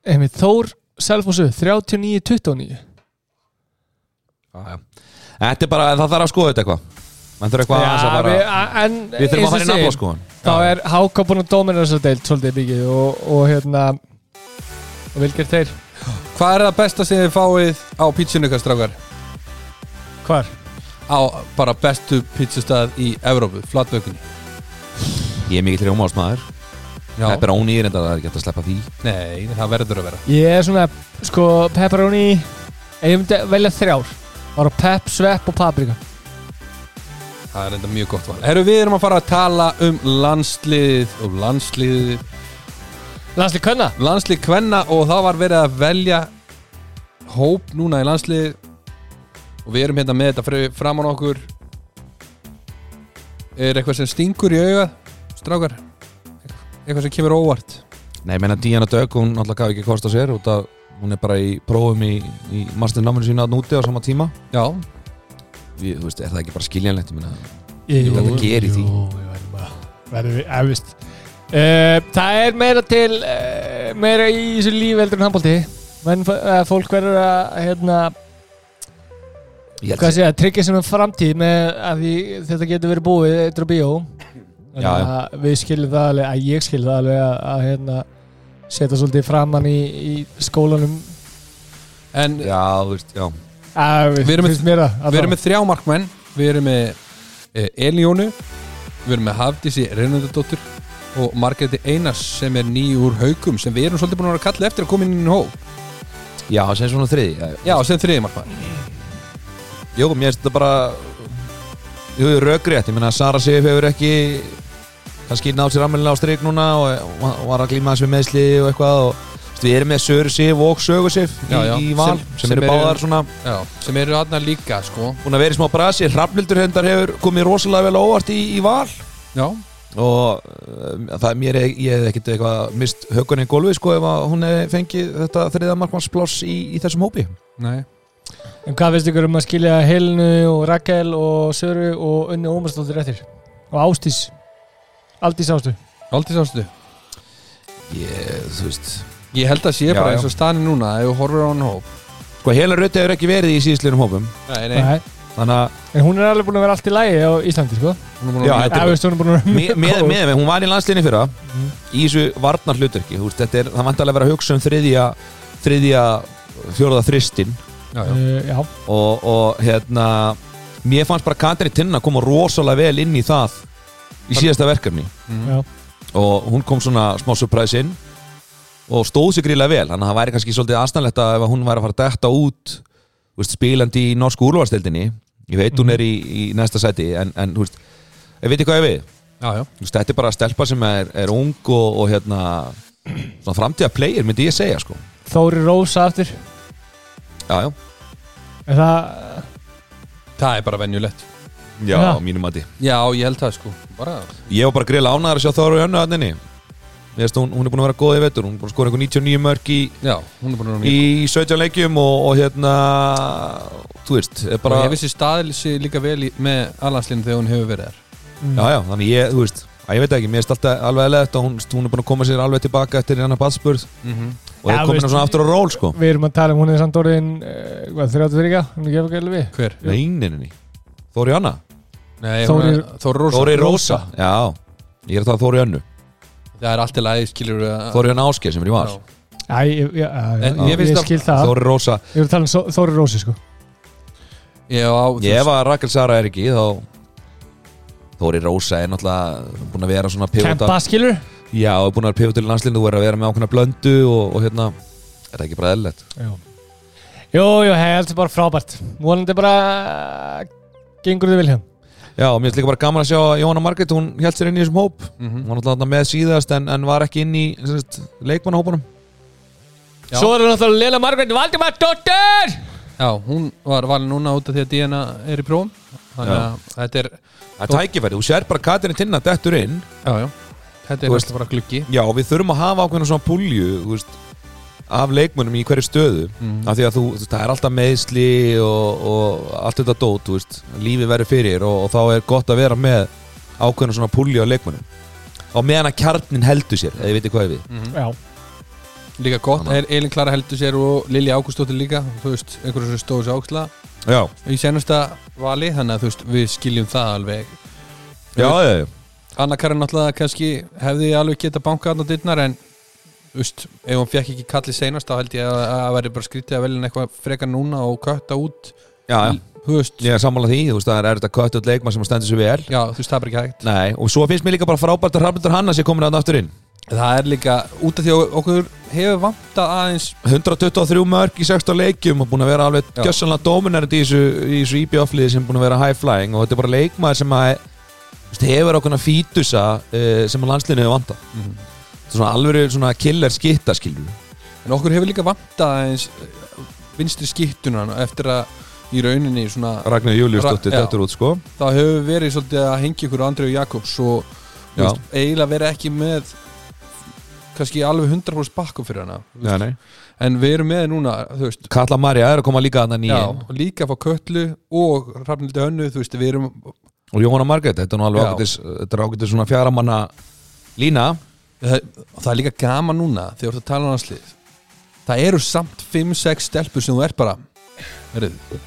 S3: Einmitt, Þór, selvom sér, 39 29
S2: já, já. þetta er bara, það þarf að skoða þetta eitthvað menn þurfa eitthvað aðeins að
S3: Já,
S2: fara
S3: við, a- en
S2: við þurfum að
S3: eins og
S2: fara í
S3: segir,
S2: nafla skoðan
S3: þá er Háka búin að dómina þessa deild svolítið mikið og, og hérna og vilgjert þeir
S1: Hvað er það besta sem þið fáið á pítsunni ykkar strákar?
S3: Hvar?
S1: Á bara bestu pítsustæð í Evrópu, flatbökunni
S2: Ég er mikill rjómásmaður Pepperoni er enda það er ekki hægt að sleppa því
S1: Nei, það verður að vera
S3: Ég er svona, sko, pepperoni ef ég myndi velja þrjár var á pep, svepp og paprika
S1: Það er enda mjög gott val Herru, við erum að fara að tala um landsliðið og landsliðið
S3: Lanslið Könna
S1: landslið kvenna og það var verið að velja hóp núna í landslið og við erum hérna með þetta fyrir fram á okkur er eitthvað sem stingur í auga strákar eitthvað sem kemur óvart
S2: Nei, ég meina Díana Dögg, hún náttúrulega gaf ekki kost á sér út af, hún er bara í prófum í, í masternáminu sína að núti á sama tíma
S1: já,
S2: Við, Þú veist, er það ekki bara skiljanlegt, ég meina
S3: Ég
S2: veit að það gerir því.
S3: Jú, við verðum að verðum við, efist uh, Það er meira til uh, meira í þessu lífi heldur en handbólti menn, uh, fólk verður að hérna,
S2: Ég held
S3: hvað sé að tryggja sem framtíð með að því þetta getur verið búið eittur og bíó Þannig
S2: Já, já.
S3: að við skiljum það alveg að ég skiljum það alveg að, að hérna, setja svolítið framann í, í skólanum
S1: en
S2: Já, þú veist, já
S3: að,
S1: Við erum með-
S3: finnst mér það
S1: við erum með þrjá markmenn við erum með eh, Elíónu við erum með Hafdísi Reynandardóttur og Margreti Einars sem er ný úr haukum sem við erum svolítið búin að vera að kalla eftir að koma inn í hóp
S2: Já, sem svona þriði Já,
S1: já, sem þriði markmann
S2: Jú, mér finnst þetta bara Jú, rökrétt, ég meina Sara Sif hefur ekki kannski nátt sér ammælilega á strik núna og, og var að glíma þessu meðsli og eitthvað og þú veist, við erum með Söru Sif og Sögu Sif í,
S1: Já, já,
S2: í val sem,
S1: sem- sem
S2: eru
S1: eru-
S2: báðar svona
S1: já, sem eru aðna líka sko
S2: búin að vera í smá brasi Hrafnildur hendar hefur komið rosalega vel á óvart í, í val
S1: já,
S2: og um, það er mér ég hef ekkert eitthvað mist hökunni í gólfi sko ef að hún hef fengið þetta þriða markmannsbláss í, í þessum hópi
S1: nei
S3: En hvað finnst ykkur um að skilja Helnu og Rakel og Söru og Unni Ómarsdóttir eftir? Og Ástís Aldís Ástu
S1: Aldrei sástu
S2: ég, þú veist
S1: Ég held að sé
S2: Já,
S1: bara
S2: já.
S1: eins og staðin er núna ef þú horfir á hann hóp
S2: sko Helen Rutt hefur ekki verið í síðisleginum hópum
S1: Nei,
S3: Nei.
S2: þannig að
S3: En hún er alveg búin að vera allt í lægi á Íslandi sko
S1: hún er búin
S2: Já,
S1: að
S2: þetta
S3: Eða
S2: er
S3: veist hún er búin að vera
S2: með, með,
S3: góð.
S2: með, hún var í landslinni fyrra í þessu varnar hlutverki þú veist, þetta er, það vant alveg að vera að hugsa um þriðja þriðja, fjóraða þristin
S1: já, já.
S3: Eh, Já,
S2: og, og hérna mér fannst bara Katrin Tinna koma rosalega vel inn í það í síðasta verkefni
S1: Mhm.
S3: já
S2: og hún kom svona smá surprise inn og stóð sér gríðlega vel þannig að það væri kannski svolítið aðstæðanlegt að ef hún væri að fara að detta út þú veist, spilandi í norsku úrvarstildinni ég veit hún er í, í næsta sæti en, en þú veist, ég veit hvað ég við
S1: já, já.
S2: Þú veist, þetta er bara að stelpa sem er, er ung og, og hérna svona framtíða player myndi ég segja sko
S3: Þóri Rósa aftur
S2: já, já,
S3: Er það
S1: Það er bara venjulegt
S2: já, á
S3: Já.
S2: mínum mati
S1: Já, ég held það sko bara,
S2: ég var bara greiðlega ánæður að sjá Þóru Önnu að henni hún, hún er búin að vera góð í vetur hún er búin að skora einhver 99 mörg í,
S1: Já, hún er búin að
S2: í 17 leikjum og, og hérna þú veist,
S1: bara
S2: er bara
S1: Og hefur sér staðil sér líka vel í, með alhanslinn þegar hún hefur verið þar
S2: já, já, þannig ég, þú veist að ég veit ekki, mér er alltaf alveg eða þetta hún, hún er búin að koma sér alveg tilbaka eftir hennar badspurð
S1: Mhm.
S2: og
S3: Já,
S2: er komin
S3: veist-
S2: svona aftur á ról sko
S3: Við erum að tala um hún er samt orðin uh, Hvað, 33 ekki? Hún er ekki alveg alveg
S1: Hver?
S2: neyninni, Þóri Önna
S1: Nei, Þóri, Þóri Rósa
S3: Þórir-
S2: Þóri Rósa, já, ég er um það Þóri Önnu
S1: Það er allt í lagi, skilur við að-
S2: Þóri Önna Áskei sem er í val
S1: Já.
S3: Æ, ég, já, já,
S1: En
S3: já,
S1: ég
S3: ég,
S1: finnst
S3: ég
S1: að-
S3: skil það
S2: Þóri Rósa,
S3: Ég er að tala um Só- Þóri Rósi sko
S1: Já, á, þú
S2: ég
S1: veist,
S2: ef að Rakel Sara er ekki þá Þóri Rósa er náttúrulega búin að vera svona
S3: Kempa
S2: pivota
S3: skilur
S2: Já, er búin að vera pivota í landslinu, þú er að vera með ákveðna blöndu og, og hérna, er það ekki bara eðlilegt
S3: Jú, jú, jú hei, þetta er bara frábært Vonandi bara Gengur þið hérna. Vilhelm
S2: Já, og mér finnst líka bara gaman að sjá að Jóhanna Margrét, hún held sér inn í þessum hóp
S1: Mhm.
S2: Hún var náttúrulega þarna með síðast en, en var ekki inn í sem sagt, leikmannahópunum
S1: Já.
S3: Svo er það náttúrulega Lela Margrét Valdimar Dóttir
S1: já, hún var valin núna út af því að DNA er í prófum Þannig
S2: Já.
S1: að þetta er
S2: Það er tækifæri, þú sér bara Katrin Tinna dettur inn
S1: Já, já Þetta er
S2: Þú veist-
S1: veist, bara gluggi
S2: Já, og við þurfum að hafa ákveðna svona púlju þú veist, af leikmönnum í hverju stöðu
S1: Mhm.
S2: af því að þú, þú veist, það er alltaf meðsli og, og allt þetta dót þú veist, lífi verður fyrir og, og þá er gott að vera með ákveðna svona púlju af leikmönnum á meðan að kjarnin heldur sér eða ég veit hvað ég við
S3: Já,
S1: Mhm. Líka gott,
S2: Þannig.
S1: er Elin Klara heldur sér og Lilja Ágústóttir líka Þú veist, einhverjum sem stóðu sér áksla
S2: Já,
S1: í senasta vali þannig að þú veist við skiljum það alveg
S2: já, já, já.
S1: Anna Karin náttúrulega kannski hefði alveg geta bankað hann á dyrnar en Ust, ef hún fekk ekki kallið seinast þá held ég að það væri bara skrítið að velja henni eitthvað frekar núna og kötta út
S2: já, já,
S1: Þú veist,
S2: ég er sammála því, þú veist, það er erfitt að köttu út leikmann sem stendur sér vel
S1: já, þú veist, það er bara ekki hægt
S2: Nei, og svo finnst mér líka bara frábært að Hrafnildur Hanna sé komin að aftur inn
S1: Það er líka, út af því að okkur hefur vantað aðeins
S2: 123 mörg í 16 leikjum og búin að vera alveg
S1: Já.
S2: gjössanlega dominant í þessu, í þessu IBF-liði sem er búin að vera high flying og þetta er bara leikmaður sem að þú veist, hefur okkurna fítusa uh, sem að landslinu hefur vantað
S1: Mhm.
S2: Þetta er svona alvöru svona killer skitta skilur
S1: En okkur hefur líka vantað aðeins eh, vinstri skittunan eftir að í rauninni svona,
S2: Ragnar Júliusdóttir
S1: Ra- já.
S2: dættur út sko
S1: þá hefur verið svolítið að hengja ykkur á Andreu Jakobs og þú
S2: Já.
S1: veist, eiginlega verið ekki með kannski alveg 100% bakkum fyrir hana þú veist.
S2: Nei, nei.
S1: en við erum með núna þú veist,
S2: Katla Marja er að koma líka annan í
S1: já, og líka að fá köllu og rafnildi hönnu, þú veist, við erum
S2: og Jóhanna Margrét, þetta er nú alveg
S1: Já.
S2: ágætis þetta er ágætis svona fjara manna lína
S1: það, það er líka gaman núna þegar þú ert að tala um hanslið það eru samt 5-6 stelpur sem þú ert bara heyrðu,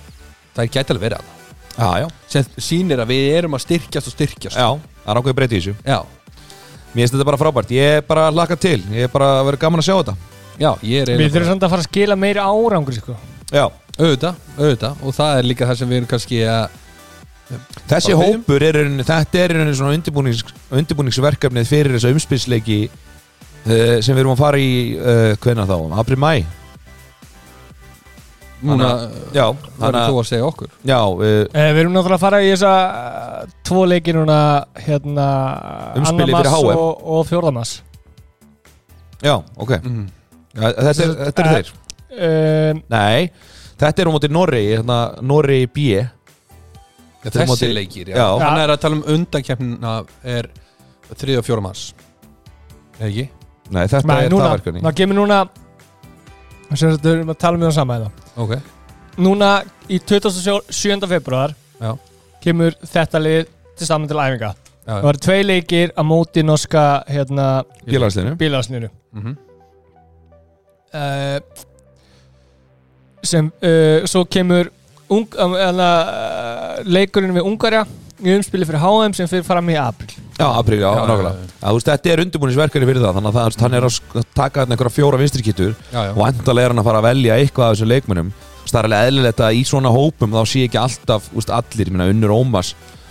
S1: það gæti alveg verið að
S2: Já, já,
S1: sem sýnir að við erum að styrkjast og styrkjast
S2: já, það er ákveðið breytið í þessu
S1: já,
S2: Mér finnst þetta bara frábært, ég er bara að laka til Ég er bara að vera gaman að sjá þetta
S1: já, ég er
S3: Við
S1: eiginlega
S3: þurfum samt að fara að skila meiri árangur sko.
S2: Já,
S1: auðvitað, auðvitað og það er líka það sem við erum kannski að
S2: þessi
S1: Bara byrjum.
S2: hópur er rauninni, þetta er rauninni svona undirbúnings, undirbúningsverkefnið fyrir þessu umspilsleiki uh, sem við erum að fara í uh, hvenna þá, april mæ
S1: núna
S2: Já, hana,
S1: verður þú að segja okkur
S2: já uh,
S3: Eh, Við erum náttúrulega að fara í þessa eh, tvo leiki núna hérna,
S2: Umspilið fyrir
S3: annar mars
S2: HM.
S3: og, og fjórðamass
S2: já, ok ja,
S1: mm.
S2: Þetta er, þetta er
S3: Eh.
S2: þeir
S3: um,
S2: Nei, þetta er á móti Norri hérna, Norri B
S1: Já,
S2: Þeir
S1: þessi
S2: móti-
S1: leikir, já,
S2: Já.
S1: hann er að tala um undankeppnina er 3 og 4 mars Eða ekki?
S2: Nei, þetta
S3: Nei,
S2: er
S3: núna,
S2: það verkefni
S3: það kemur núna sem sagt, við erum að tala um það sama hérna.
S1: ok,
S3: Núna í 27. februar
S1: já,
S3: kemur þetta lið til saman til
S1: já,
S3: æfinga Það var tvei leikir að móti norska hérna,
S2: Bílarslinu
S3: bílagasninu
S1: Mhm.
S3: uh, sem uh, svo kemur ung, um, uh, leikurinn við Ungarja í umspili fyrir HM sem fyrir fram í april
S2: Já, april, já,
S1: Já, já, já,
S2: nákvæmlega
S1: já.
S2: Já, þú veist, Þetta er undirbúningsverkefni fyrir það þannig að það, hann er að sk- taka þarna einhverja fjóra vinstrikittur
S1: já, já.
S2: og endalega er hann að fara að velja eitthvað af þessum leikmönnum það er alveg eðlilegt að í svona hópum þá sé ekki alltaf úst, allir, ég minna Unnur Ómas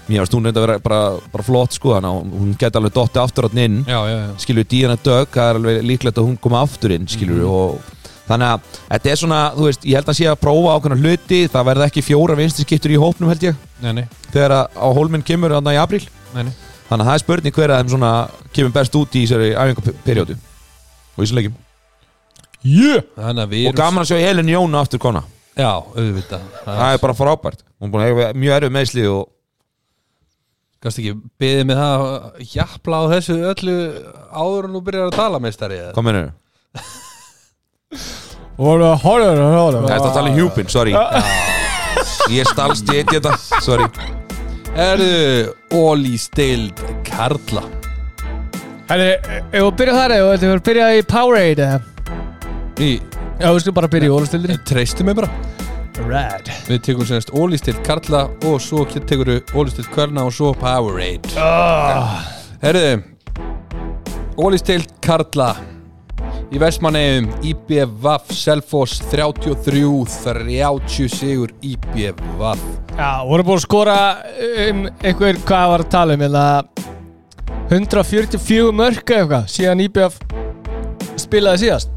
S2: mér varst hún reyndi að vera bara, bara flott sko þannig að hún geti alveg dotti aftur áttin inn
S1: já, já, já.
S2: skilur Díana Dögg, það er alveg líklegt að hún koma aftur inn skilur
S1: Mhm.
S2: og þannig að þetta er svona, þú veist, ég held að sé að prófa ákveðna hluti, það verða ekki fjóra vinstriskiptur í hópnum held ég,
S1: Nei, nei,
S2: þegar að á hólminn kemur þannig í apríl,
S1: nei, nei.
S2: þannig að það er spurning hver að þeim svona kemur best út í þessari æfingaperjódu og í þessum leikjum
S3: yeah.
S1: Þannig að við
S2: og gaman að sjá Helen Jónu aftur kona
S1: Já, auðvitað
S2: það er bara frábært hún er búin að eiga mjög erfið meðsli og
S1: Kannst ekki beðið með það að Japla á þessu öllu áður en þú byrjar að tala meistari eða?
S2: hvað mennur þau?
S3: Hóra, hóra,
S2: Það er
S3: hóra
S2: að tala um hjúpin, sorry Ég stalst ég eitt þetta, sorry
S1: Erðu Óli Steild Karla
S3: Herri, ef við byrja þar eða við byrja í Powerade eða
S1: Í,
S3: Já, við skulum bara byrja í ólastildri
S1: treystu mig bara
S3: Rad
S1: Við tekum sérst Óli Steild Karla og svo tekur við Óli Steild Kvörna og svo Powerade
S3: oh.
S1: Herðu Óli Steild Karla Í Vestmanneum IBVaf Selfoss 33-30 sigur IBVaf
S3: Já, voru búin að skora um einhver, hvað var að tala um hérna, 144 mörk eða eitthvað, síðan IBF spilaði síðast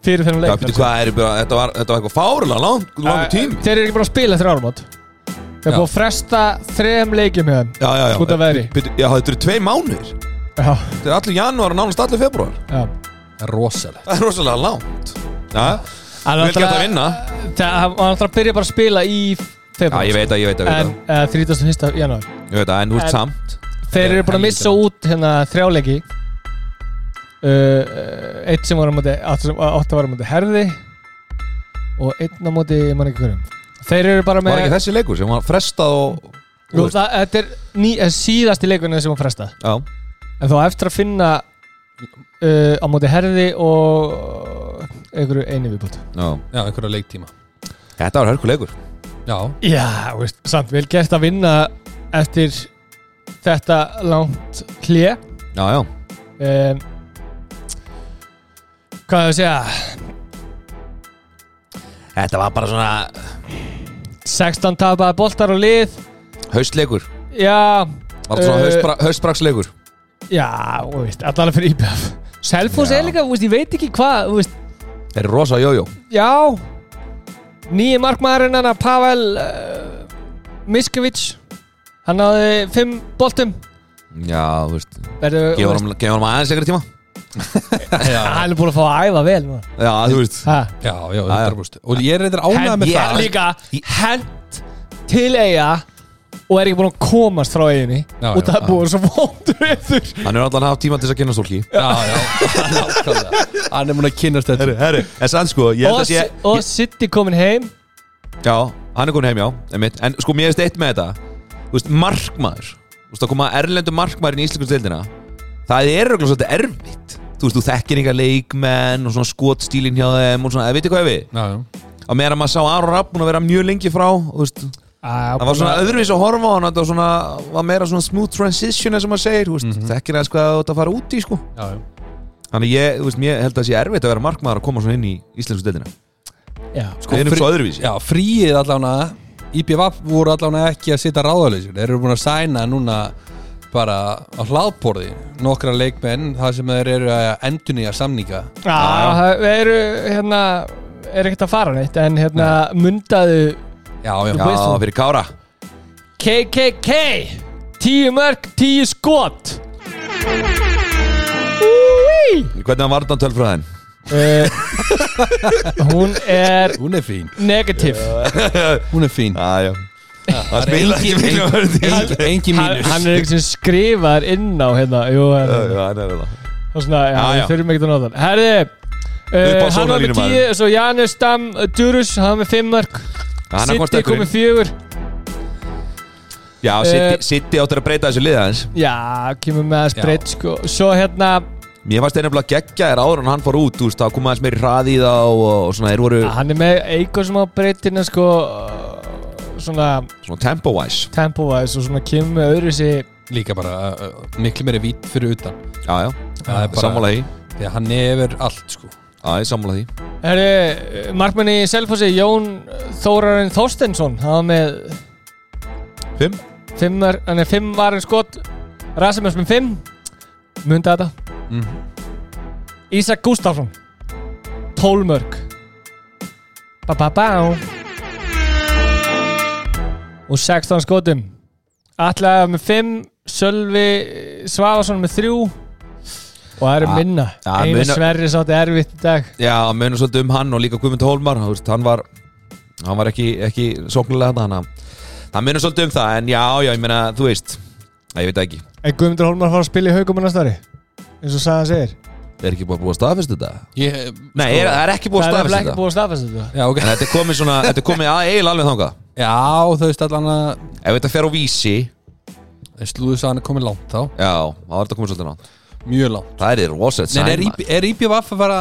S3: fyrir
S2: Já,
S3: þennan leik
S2: býttu hvað er bara, þetta var, þetta var eitthvað fárlega lang, langu tím
S3: Þeir eru ekki búin að spila eftir áramót Þeir
S1: Já.
S3: eru búin að fresta þrem leikjum með þeim
S2: Já, já, já
S3: Út af veðri.
S2: Býttu- Já, þetta eru tvei mánuðir
S3: Já,
S2: Þetta er allir janúar og nánast allir februar
S3: já
S1: Rosalegt
S2: Það er rosalega langt Já,
S3: Hann
S2: vel gett að vinna
S3: Það hann var alltaf að byrja bara að spila í
S2: Já,
S3: februar
S2: ég veit að, ég veit að,
S3: En uh, 31. janúar
S2: ég veit að En þú
S3: En-
S2: ert samt
S3: Þeir
S1: Þetta er
S3: eru búin að
S1: helvítið
S3: missa út hérna þrjáleiki uh, uh, Eitt sem var á móti átt sem- átta var á móti herði og einn á móti ég man ekki hverjum Þeir eru bara
S2: Var
S3: með
S2: ekki þessi leikur sem var frestað og
S3: Jú, það, Þetta er ný, eh, síðasti leikunni sem var frestað
S2: Já,
S3: En þá á eftir að finna uh, á móti herði og einhverju einu viðbútt
S2: já
S1: Já, einhverja leiktíma
S2: Þetta var hörkuleikur
S1: Já,
S3: Já, veist, samt vel gert að vinna eftir þetta langt hlje
S2: Já, já
S3: um, Hvað hefur að segja
S2: Þetta var bara svona
S3: 16 tapaði boltar og lið
S2: haustleikur
S3: Já
S2: Var svona
S3: eh,
S2: haustbra, haustbraksleikur
S3: Já, þú veist, allan fyrir IBF Selfoss
S2: Já.
S3: er líka, þú veist, ég veit ekki hvað þú veist,
S2: Þeir eru rosa jójó
S3: Já Nýji markmaðurinn hann að Pavel uh, Miskovic Hann náði fimm boltum
S2: Já, þú veist
S3: Verður,
S2: Gefur honum- gefur honum aðeins ekkert tíma um-
S1: já,
S3: Hann er búin að fá að æfa vel núna.
S2: Já, þú veist
S3: Ha.
S1: já, já, 100% og ég er reyndar ánægð
S3: Hent,
S1: með
S3: ég
S1: það
S3: er líka hent til eiga og er ekki búin að komast frá eiginni
S1: Já,
S3: og
S1: já,
S3: það er
S1: já.
S3: búin svo vondur yfir
S2: Hann er allan að hafa tíma til þess að kynna stólki
S1: já, já, nákvæmlega hann er múin að kynast þetta
S2: herri En sann sko, ég
S3: og,
S2: ég-
S3: og City komin heim
S2: Já, hann er komin heim, já, einmitt En sko, mér veist eitt með þetta Þú veist, markmaður Þú veist, að koma erlendu markmaður í Íslandsdeildina Það er eitthvað svolítið erfitt Þú veist, þú þekkir eitthvað leikmenn og svona skotstílin hjá þeim og svona, eða veitir hvað ég við
S1: já, já,
S2: Á meðan að maður sá Aron Rapp búin að vera mjög lengi frá þú veist, Það var svona öðruvís að horfa á hann Þetta var svona, var meira svona smooth transition eins og maður segir, þú veist,
S1: Mhm.
S2: þekkir aðeins hvað þú ert að fara út í, sko
S1: já, já.
S2: Þannig ég, þú veist, ég held að það sé erfitt að vera markmaður að koma svona inn í íslensku deildina
S3: Já.
S2: Sko, Við erum
S1: frí-
S2: svo öðruvísi
S1: já, fríið allavega IPVAP voru allavega ekki að sitja ráðalysir þeir eru búin að sæna núna bara á hlaðborði nokkra leikmenn þar sem þeir eru að endunýja samninga
S3: Já, það eru hérna er ekkert að fara neitt en hérna mundaðu
S1: já, já,
S2: Já,
S1: já,
S2: fyrir Kára
S3: KKK 10 mörg, 10 skot Úi
S2: Hvernig var varðan tölfræðin?
S3: uh, Hún er
S1: hún er fín
S3: negativ
S1: hún er fín
S2: Ah, Já, já Það spila ekki
S1: engin-
S2: miklu vörði
S1: engin, engin
S3: hann,
S1: mínus
S3: hann er ekki sem skrifar inn á hérna Jú, hann,
S2: Þetta
S3: og svona, já,
S2: Já, já.
S3: við þurfum ekkert að nota hann Herði
S2: Upp á
S3: Uh, hann var með
S2: sólarlínu,
S3: 10,
S2: maður.
S3: svo Janus Dam uh, Durus, hann var með 5 mörg
S2: Hann er hvort
S3: City
S2: stekkurinn.
S3: komið 4
S2: Já,
S3: Eh,
S2: City- City áttur að breyta þessu lið aðeins
S3: Já, kemur með að
S1: Já.
S3: spreitt sko Svo hérna,
S2: Mér fannst þeir nefnilega geggja þér áður en hann fór út Þú veist, það kom aðeins meiri hraði í þá og, og svona, þeir
S1: Ah.
S2: voru
S3: hann er með eitthvað sem á breytinu sko Svona
S2: svona tempo-wise
S3: tempo-wise og svona kemur með öðru sér
S1: líka bara uh, uh, miklu meiri vít fyrir utan
S2: Já, já,
S1: það er bara
S2: sammála því
S1: því að hann hefur allt sko
S2: Já, ég sammála því
S3: Herri, uh, markmanni í Selfossi Jón Þórarinn Þorstensson hann var með
S2: Fimm?
S3: fimm, mörk- hann er fimm varin skot Rasimus með fimm Munda þetta
S1: Mhm.
S3: Ísak Gustafsson Tólmörk ba ba ba og 16 skotum Alla með fimm Sölvi Svavarsson með þrjú og það er
S2: Ah,
S3: minna
S2: ah,
S3: Einar
S2: munar-
S3: Sverri sátti erfitt í dag
S2: Já, munum svolítið um hann og líka Guðmund Hólmar Þú veist, hann var Hann var ekki, ekki sóknulega hann Þannig að Það munum svolítið um það En já, já, ég meina, þú veist Æ, Ég veit það ekki
S3: Er Guðmundur Hólmar að fara að spila í haugum hann stari? eins og sagðan segir
S2: Er ekki búið að búa staðfest þetta?
S1: ég,
S2: Nei, er, það er ekki búið að
S3: Það er
S2: staðfest
S3: nefnilega ekki
S2: þetta
S3: búið að staðfæsta þetta
S1: já, okay.
S2: En þetta er komið svona, þetta er komið að eiginlega alveg þangað
S1: já, þú veist allan að
S2: Ef þetta fer á vísi,
S1: slúðis að hann er komið langt þá
S2: já, þá er þetta komið svolítið nátt
S1: mjög langt
S2: Það er þér roset
S1: Nei, er, IB, er IBVF að vera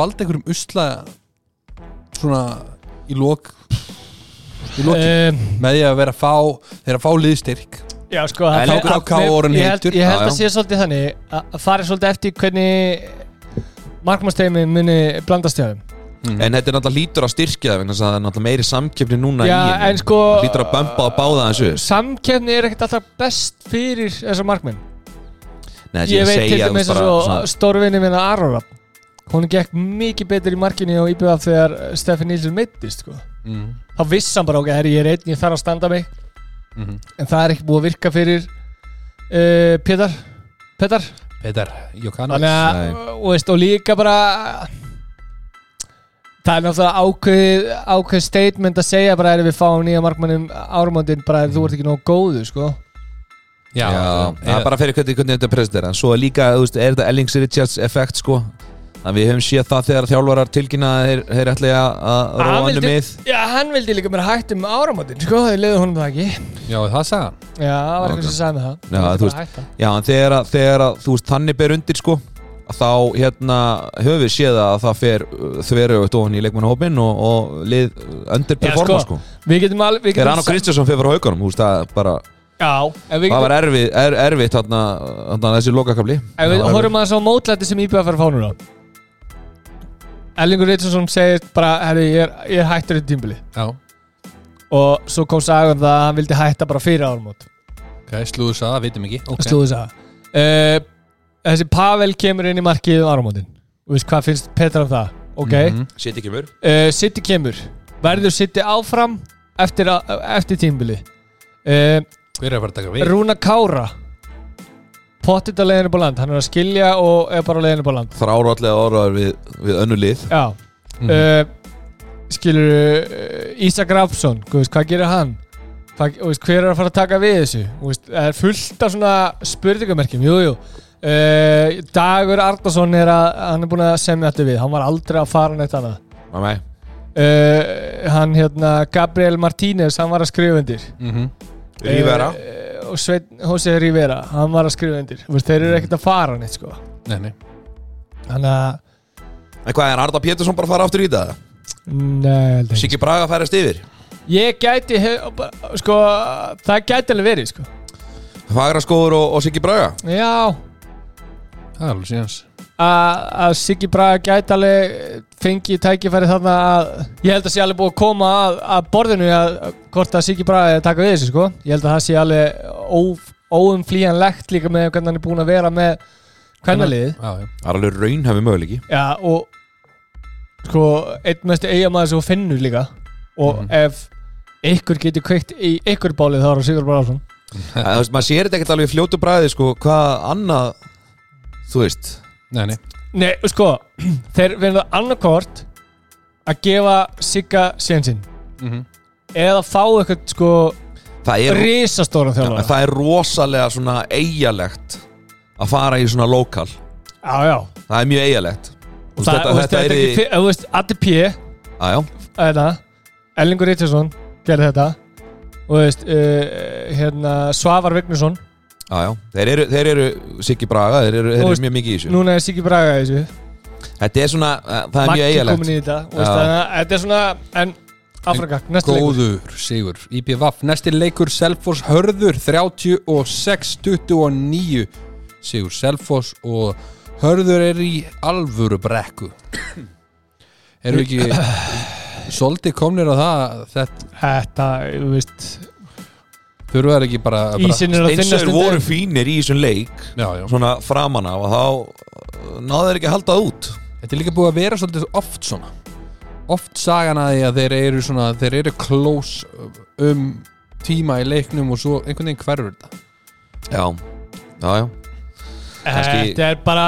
S1: valda einhverjum usla svona í lok í loki
S3: um,
S1: með því að vera að fá þeir að fá liðstyrk
S3: Já sko
S2: En
S3: það-
S2: leikur
S3: það-
S1: HK orðinn
S3: Ég held,
S1: heitur.
S3: ég held
S2: Já,
S3: að sé svolítið þannig að að fara svolítið eftir hvernig markmannsteimi muni blandast hjá þeim
S2: En þetta er náttúrulega lítur að styrkja það vegna þess að það er náttúrulega meiri samkeppni núna
S3: Já,
S2: í henni.
S3: en sko-
S2: Það Lítur að bömpa og báða þessu
S3: Samkeppni er ekkert alltaf best fyrir þessar markmenn
S2: Nei, þess
S3: Ég
S2: að
S3: veit til
S2: segja, þú
S3: dæmis
S2: veist,
S3: eins
S2: bara
S3: og
S2: svona-
S3: stórvinni minna Arora Hún gekk mikið betur í markinni og íbjöðað þegar Steffi Nílsson meittist sko.
S1: mm.
S3: þá vissi hann bara ok, herri, ég er einn, ég þarf að standa mig
S1: Mhm.
S3: en það er ekki búið að virka fyrir uh, Pétar Pétar
S1: Petar Jokanovic
S3: Þannig að,
S2: Nei.
S3: og, veist, og líka bara það er náttúrulega ákveð ákveð statement að segja bara er við fáum nýja markmannum árumóndin bara er þú ert ekki nóg góðu sko
S1: já,
S2: Já, það er
S1: bara
S2: bara fyrir hvernig, hvernig þetta er presentir En svo er líka, þú veist, er þetta Ellings Richards effekt, sko Þannig við höfum séð það þegar þjálfarar tilkynna að þeir, þeir ætli að- að róa
S3: Hann
S2: annu
S3: vildi-
S2: mið
S3: Já, hann vildi líka mér hætt um árumóndin sko, það leiði honum það ekki
S1: já, það sagði hann
S3: Já, það var
S2: Ok.
S3: eitthvað sem sagði með það
S2: Já,
S3: Hann vildi
S2: þú
S3: bara hætta.
S2: Já, en þegar, að- þegar að, þú veist, þannig ber undir sko að þá hérna höfum við séð að það fer þverjögt ofan í leikmannahópin og, og lið
S3: Já,
S2: underperforma sko,
S3: Við getum alveg við
S2: Þegar
S3: getum
S2: Anna
S3: sa-
S2: Kristjánsson fyrir frá haugunum, þú veist, það er bara
S3: Já, ef við,
S2: Það
S3: getum,
S2: var erfið, er, erfitt þarna, þarna þessi lokakafli
S3: ef
S2: Það
S3: við
S2: var
S3: horfum að þess á mótlæti sem IBF er að fá núna Erlingur Richardson segir bara, herri, ég er, ég er hættur í tímbili
S1: Já,
S3: og svo kom sagan það að hann vildi hætta bara fyrir ármót
S1: ok, slúður það, vitum ekki
S3: okay.
S1: okay.
S3: slúðu það uh, þessi Pavel kemur inn í markið um ármótin og veist hvað finnst Petra um það ok, mm
S1: Mhm.
S2: erfitt. Shit ekki mör
S3: City kemur verður City áfram eftir, á- eftir tímbili uh,
S1: Hver er að fara að taka við?
S3: Rúna Kára pottit að leiðinu búið land hann er að skilja og er bara að leiðinu búið land
S2: Þrár allega orðar við, við önnu lið
S3: já
S1: Mhm.
S3: uh, skilur uh, Ísak Rafsson, þú veist, hvað gerir hann hvað, þú veist, hver er að fara að taka við þessu Þú veist, það er fullt af svona spurningamerkjum, jú, jú uh, Dagur Arnason er að hann er búin að semja þetta við, hann var aldrei að fara neitt annað
S2: Nei, nei.
S3: uh, hann hérna Gabriel Martínez, hann var að skrifa undir
S1: Mm -hmm.
S2: Rivera
S3: Eh, og Sveinn Hosei Rivera, hann var að skrifa undir Þú veist, þeir eru ekkert að fara neitt sko
S1: Nei, nei
S3: hann
S2: Eh,
S3: að,
S2: En hvað er Arda Pétursson bara að fara aftur í þetta?
S3: mm, nei, held ekki
S2: Siggi Braga færast yfir
S3: ég gæti, hef, sko það gæti alveg verið sko
S2: Fagra skóður og, og Siggi Braga
S3: já,
S1: Það er alveg síðans
S3: að að Siggi Braga gæti alveg fengi tækifæri þarna að ég held að sé alveg búið að koma að, að borðinu að hvort að Siggi Braga er að taka við þessu sko ég held að það sé alveg ó, óumflýjanlegt líka með hvernig hann er búin að vera með kvennaliðið
S1: Já, já
S2: Það er alveg raunhafi möguleiki
S3: já og sko einn mestu eigamæður sem hún finnur líka og
S1: Mhm.
S3: ef ykkur getur kveikt í ykkur bálið þá er það Sigur Braga
S2: En þú veist, maður sér þetta ekkert alveg í fljótu bræði sko, hvað annað þú veist
S1: Nei, nei
S3: Nei, sko, þeir verða annarkort að gefa Sigga sénsinn
S1: mm
S3: eða fá eitthvað sko
S2: það er,
S3: risastóran þjálfara
S2: það er rosalega svona eigalegt að fara í svona lokal
S3: já, já
S2: það er mjög eigalegt
S3: og það, þú veist, þetta er ekki fi- þú veist, Addi P
S2: aðjá,
S3: þetta, Ellingur Richardson gerði þetta og þú veist, uh, hérna Svavar Vignesson,
S2: aðjá þeir eru, þeir eru Siggi Braga, þeir eru, þeir
S3: Þú
S2: eru
S3: veist,
S2: mjög mikið í þessu
S3: núna er Siggi Braga í þessu
S2: þetta er svona, eh, það er mjög
S3: Maggi
S2: eigalegt
S3: komin í þetta þú veist,
S2: Já.
S3: þannig að þetta er svona, en Afrika, næsta leikur
S1: Góður sigur IPVAF Næsti leikur Selfoss Hörður 36-29 Sigur Selfoss og Hörður er í alvöru brekku Erum við ekki Soldi komnir á það Þetta
S3: þetta, þú veist,
S1: þurfa þær ekki bara, bara
S3: ísinn er að þinna
S2: Steinsauður voru fínir í þessum leik
S1: Já, já
S2: svona framan af og þá eh, náðu þeir ekki að halda það út
S1: Þetta er líka búið að vera svolítið oft svona Oft sagan að því að þeir eru svona Þeir eru close um tíma í leiknum og svo einhvern veginn hverfur þetta
S2: já, aðjá kannski-
S3: þetta er bara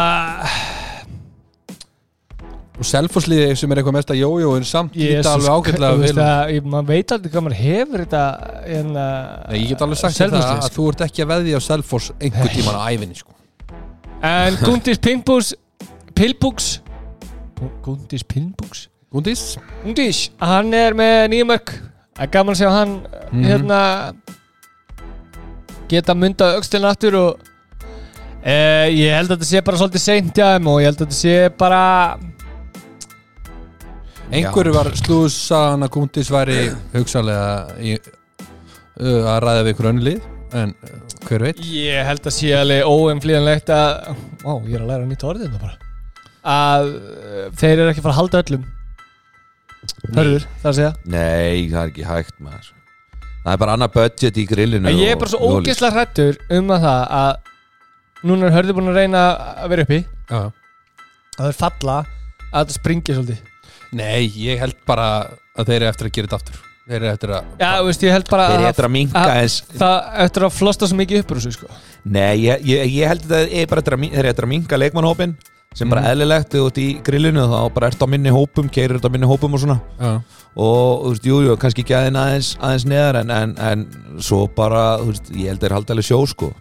S1: og selfosliði sem er eitthvað mest að jójó en samt líta alveg ágætlega
S3: vel
S1: vel
S3: maður veit aldrei hvað maður hefur þetta hérna, en,
S1: Nei, ég get alveg sagt þetta að þú ert ekki að veðja á selfos einhver tíman á ævinni sko.
S3: En Gundis Pimpus Pilbúks Gundis Pilbúks
S1: Gundís,
S3: Gundis, hann er með nýjumörk Það er gaman að sjá hann
S1: Mhm.
S3: hérna geta myndað aukstilin aftur og e, ég held að þetta sé bara svolítið seint hjá þeim og ég held að þetta sé bara
S1: einhverju var slúðsagan að Gundís væri hugsalega í, uh, að ræða við einhver önnu lið en uh, hver veit
S3: ég held að sé alveg óumflýjanlegt að ó, ég er að læra nýtt orðið þetta bara að e, þeir eru ekki að fara að halda öllum Hörður, það að segja
S2: Nei, það er ekki hægt maður Það er bara annað budget í grillinu
S3: En ég er bara svo
S2: og-
S3: ógeðslega hrættur um að það að núna er hörðu búin að reyna að vera uppi
S1: Já.
S3: að það er falla að þetta springi svolítið
S1: Nei, ég held bara að þeir eru eftir að gera þetta aftur þeir eru eftir að
S3: Já, þú veist, ég held bara
S2: Þeir eru
S3: að
S2: eftir að minka
S3: að-
S2: eins
S3: það eftir að flosta svo mikið upp úr þessu sko
S2: Nei, ég, ég, ég held að það er bara eftir að, min- þeir eru eftir að minka leikmannhópin sem
S3: Mm.
S2: bara eðlilegt þegar þú ert í grillinu þá bara ert á minni hópum, keirir þetta á minni hópum og svona
S1: Já.
S2: og þú veist, jú, jú, kannski gæðin aðeins, aðeins neðar en, en, en svo bara, þú veist, ég held að þeir halda alveg sjó sko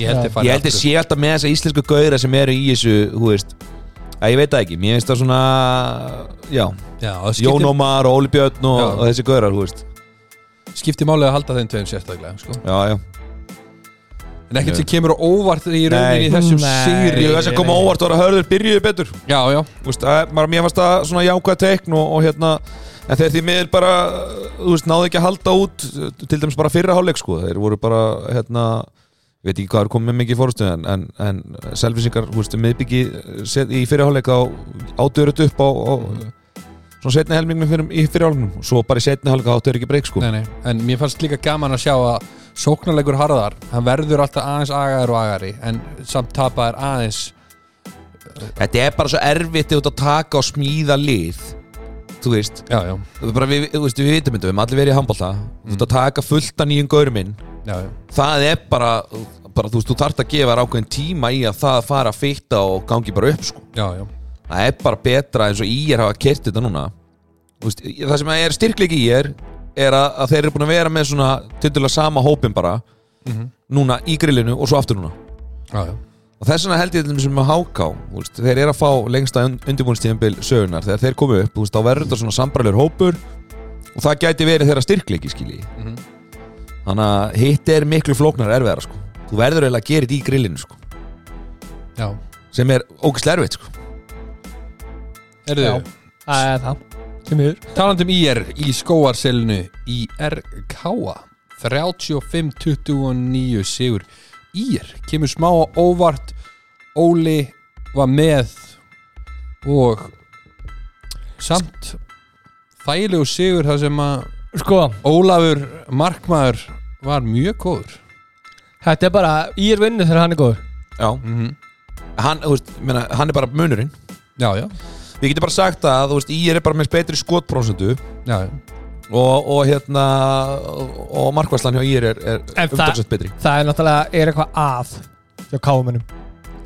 S1: ég held
S3: Já.
S1: þeir fari
S2: Ég held að
S1: aftur.
S2: sé alltaf með þessa íslensku gauðra sem eru í þessu, þú veist að ég veit það ekki, mér finnst það svona já,
S1: Já, það
S2: Jón
S1: skiptir,
S2: Ómar og Óli Björn og,
S1: Já.
S2: og þessi gauðrar, þú veist
S1: skiptir málið að halda þeim tveim sérstaklega sko.
S2: Já, já,
S1: en ekkert sem kemur á óvart í rauninni í
S2: Nei.
S1: þessum
S3: Nei.
S1: sigri
S2: Ég veist að koma á óvart var að hörður byrjuðu betur
S1: já, já,
S2: Þú veist, að, maður, Mér fannst það svona jákvæð teikn og, og hérna En þeir því miður bara, þú veist, náðu ekki að halda út uh, Til dæmis bara fyrra hálfleik sko Þeir voru bara, hérna Ég veit ekki hvað er komið með mikið fórustu En, en, en selvisingar, þú veist, miðbyggi uh, set- Í fyrra hálfleik á átörut upp á, á Svona setni helming með fyrir, í fyrra hálfleiknum Og Svo bara í setni hálfleik átörut ekki breyk sko
S1: nei, nei. en mér fannst líka gaman að sjá að sóknarleikur harðar, hann verður alltaf aðeins agaður og agari, en samt tapaður aðeins
S2: Þetta er bara svo erfitt ef þú ert að taka og smíða lið Þú veist,
S1: já, já,
S2: Það er bara, við, þú veist, við vitum þetta, við hefum allir verið í handbólta Þú ert að taka fullt að nýjum gaurum inn
S1: já, já.
S2: Það er bara, bara þú veist, þú þarft að gefa þér ákveðin tíma í að það fara að fitta og gangi bara upp sko.
S1: Já, já,
S2: Það er bara betra eins og í er hafa kert þetta núna Þú veist, ég- Það sem er styrkleik í er er að, að þeir eru búin að vera með svona tildulega sama hópin bara
S1: Mhm.
S2: núna í grillinu og svo aftur núna
S1: já, já.
S2: og þess vegna held ég þetta sem með háká veist, þeir eru að fá lengsta undirbúinstíðanbil sögunar þegar þeir komu upp, þú veist, þá verður þetta svona sambarlegur hópur og það gæti verið þeirra styrkleiki skilji
S1: Mhm.
S2: þannig að hitt er miklu flóknar og erfiðara sko. þú verður eiginlega að gera þetta í grillinu sko.
S1: já.
S2: sem er ógislega erfitt sko.
S1: Erðu,
S3: Já. Það er það Sem yfir
S1: talandi um IR í skóarselinu IRK 35-29 sigur IR kemur smá á óvart Óli var með og samt þægilegu sigur þar sem að
S3: Sko,
S1: Ólafur Markmaður var mjög góður
S3: þetta er bara Ég er vinnu þegar hann er góður
S2: Já, hann, þú veist, ég meina, hann er bara munurinn
S1: Já, já,
S2: við getum bara sagt að þú veist, í er bara með betri skotprósentu
S1: já, já.
S2: og, og hérna og- og markvæslan hjá í er er
S3: En það-
S2: umtalsett betri
S3: Það er náttúrulega, er eitthvað að Hjá káumunum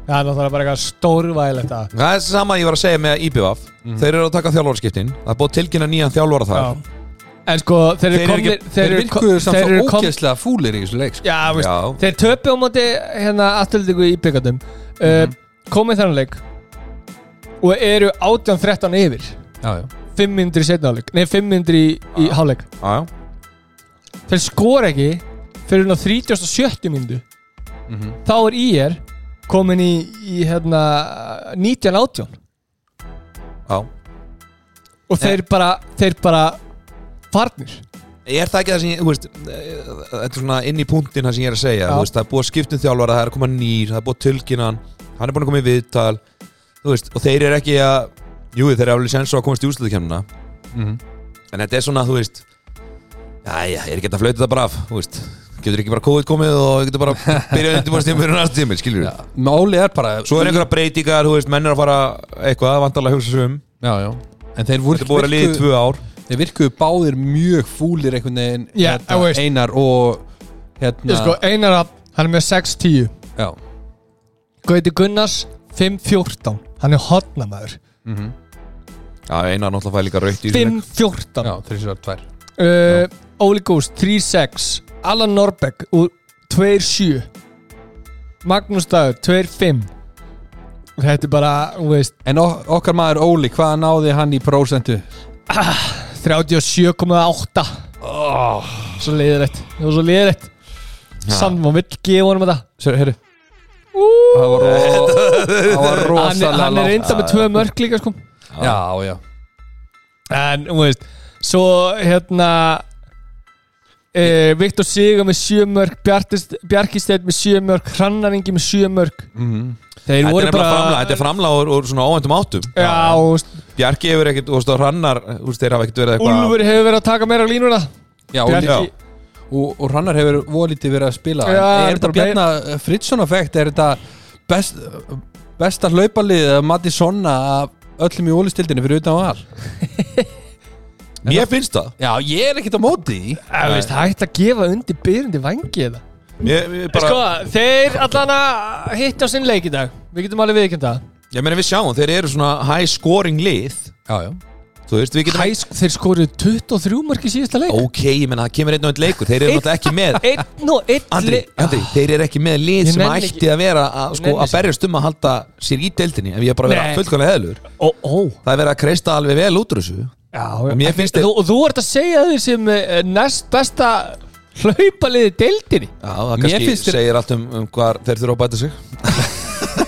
S3: Það er náttúrulega bara eitthvað stórvægilegt að
S2: Það er sama að ég var að segja með IBVF Þeir eru að taka þjálfaraskiptin Það er búið að tilkynna nýjan þjálfara þar
S3: Mhm. Já. En sko, þeir
S2: Þeir
S3: eru
S2: eru
S3: komnir
S2: ekki-
S1: Þeir virkuðu samt
S3: þeir
S1: svo
S3: eru kom-
S1: ógeðslega fúlir í þessu leik sko.
S3: Já, veist,
S2: Já.
S3: þeir töpu á móti hérna afturlíku í byggandum uh, komið þannig leik og eru 18-13 yfir
S1: Já, já,
S3: 500 í setna hálfleik, nei 500 í, í hálfleik
S2: Já, já.
S3: þeir skora ekki fyrir á 37. myndu þá er IR komin í, í hérna 19-18
S2: Já.
S3: og þeir bara, þeir bara farnir
S2: Er það ekki það sem ég, þú veist eh, Þetta er svona inn í punktin það sem ég er að segja
S3: Já.
S2: þú veist, Það er búið að skipta um þjálfara, það er að koma nýr Það er búið að tilkynna hann, hann er búin að koma í viðtal Þú veist, og þeir eru ekki að Jú, þeir eru alveg sens á að komast í úrslutakemna
S1: Mhm.
S2: En þetta er svona, þú veist Jæja, ég er ekki hægt að flauta það bara af Þú veist, getur ekki bara COVID komið og getur bara byrjað undirbúinnstíma fyrir næsta tíma, skilur
S1: já. Óli er bara
S2: Svo er einhverja breytingar, þú veist, menn er að fara eitthvað, vantarlega að hugsa sig um
S1: Já, já En þeir voru
S2: Þetta er búið að liða í tvö ár
S1: Þeir virkuðu báðir mjög fúlir einhvern veginn Hérna,
S3: Já, þú veist.
S1: Einar og hérna
S3: sko, Einar Rapp, hann er með 6-10
S1: Já,
S3: Gauti Gunnars 5-14 hann er hotnamaður
S2: Já, einar náttúrulega fæði líka raukt í þessum leik.
S3: 5-14
S1: já, þrísar tvær
S3: uh, Óli Gúst 3-6 Alan Norbeck úr 2-7 Magnús Dagur 2-5 Þetta er bara, þú veist
S1: En ok- okkar maður Óli, hvað náði hann í prósentu?
S3: 37,8
S1: Oh.
S3: Svo leiðrætt Það var svo leiðrætt Samt maður vill gefa honum þetta
S1: Sér, heyrðu Það var, ro það var
S3: Hann, er-
S1: rosalega
S3: hann er
S1: lágt.
S3: reynda með tvö mörk líka sko
S1: Já, já
S3: En, þú veist Svo, hérna uh, Viktor Sigur með 7 mörk Bjarkisteinn með 7 mörk Hrannaringi með 7 mörk Þeir
S2: Mhm. Þetta er
S3: voru
S2: bara framlega,
S3: bara
S2: þetta er framlega úr, úr svona óvæntum áttum
S3: Já, þú veist
S2: Bjarki hefur ekkert, þú veist, og Hrannar, þú veist, þeir hafa ekkert verið eitthvað
S3: Úlfur hefur verið að taka meira á línuna
S1: Já, og,
S3: Bjarki-
S1: líka, og, og Hrannar hefur volítið verið að spila
S3: Já,
S1: En Er
S3: þetta
S1: þetta
S3: er
S1: Bjarna Fritzson-effekt? Er þetta best, besta hlaupalið Matti Sonna af öllum í ólistildinu fyrir utan á all?
S2: Mér finnst það
S1: Já, ég er ekkert á móti því.
S3: Það veist, hægt að gefa undir byrjandi vangi eða
S2: Mér, mér bara,
S3: Sko, þeir allan að hitti á sinn leik í dag Við getum alveg viðkjönda
S2: Ég meina við sjáum, þeir eru svona high scoring lið
S1: Já, já
S2: Þú veist, við getum
S3: Hæsk, þeir skoruðu 23 mörg í síðasta leik
S2: Ok, ég meina, það kemur einn og einn leikur Þeir eru
S3: Einn-
S2: náttúrulega ekki með
S3: Einn og einn
S2: Andri,
S3: leik-
S2: Andri, þeir eru ekki með lið
S3: Ég
S2: sem
S3: nenni
S2: ætti að vera að, sko,
S3: Nenni
S2: að berjast um að halda sér í deildinni ef ég er bara að vera
S3: Nei.
S2: fullkvæmlega heðlur
S3: Ó, ó
S2: Það er verið að kreista alveg vel út úr þessu
S3: Já,
S2: mér finnst
S3: þeir
S2: þeir-
S3: Og þú ert að segja þeir sem eh, næst besta hlaupaliði deildinni
S2: Já, það
S1: Mér
S2: kannski
S1: finnst þér-
S2: segir allt um, um hvað þeir þurfa að bæta sig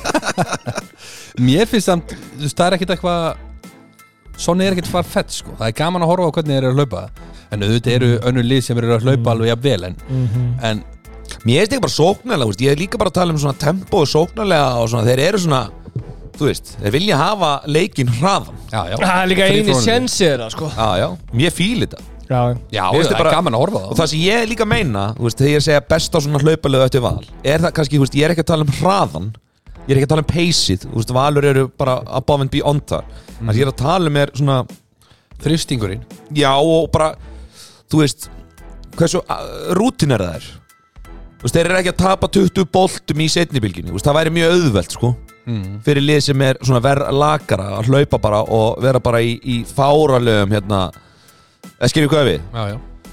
S1: Mér finnst samt, þú veist, það er ekkit eitthvað Sonni er ekkit farfett sko Það er gaman að horfa á hvernig þeir eru að hlaupa En auðvitað eru önnur lið sem eru að hlaupa alveg jafn vel en, en
S2: Mér finnst ekki bara sóknarlega, úst. ég er líka bara að tala um svona tempo og sóknarlega og svona, þeir eru svona þú veist, þeir vilja hafa leikinn hraðan
S1: já, já,
S3: Það er líka
S1: Free
S3: eini
S1: throw-inu.
S3: sjensi þeirra sko
S2: Já, já, ég fíl þetta
S3: Já,
S1: Já,
S2: Mér finnst
S1: það
S2: þið bara-
S1: er gaman að horfa á
S2: og
S1: það
S2: það sem ég líka meina, þú veist, þegar ég segja best á svona hlaupalegu eftir val er það kannski, þú veist, ég er ekki að tala um hraðan ég er ekki að tala um pace-ið, þú veist, valur eru bara above and beyond þar mm. ég er að tala um er svona,
S1: Þristingurinn
S2: já og bara þú veist, hversu uh, rútin er það er þú veist, þeir eru ekki að tapa 20 boltum í setni bylginni, þú veist, það væri mjög auðvelt sko,
S3: Mhm.
S2: fyrir lið sem er svona verð lakara að hlaupa bara og vera bara í, í fáralegum hérna, eða skiljum hvað við
S1: Já, já,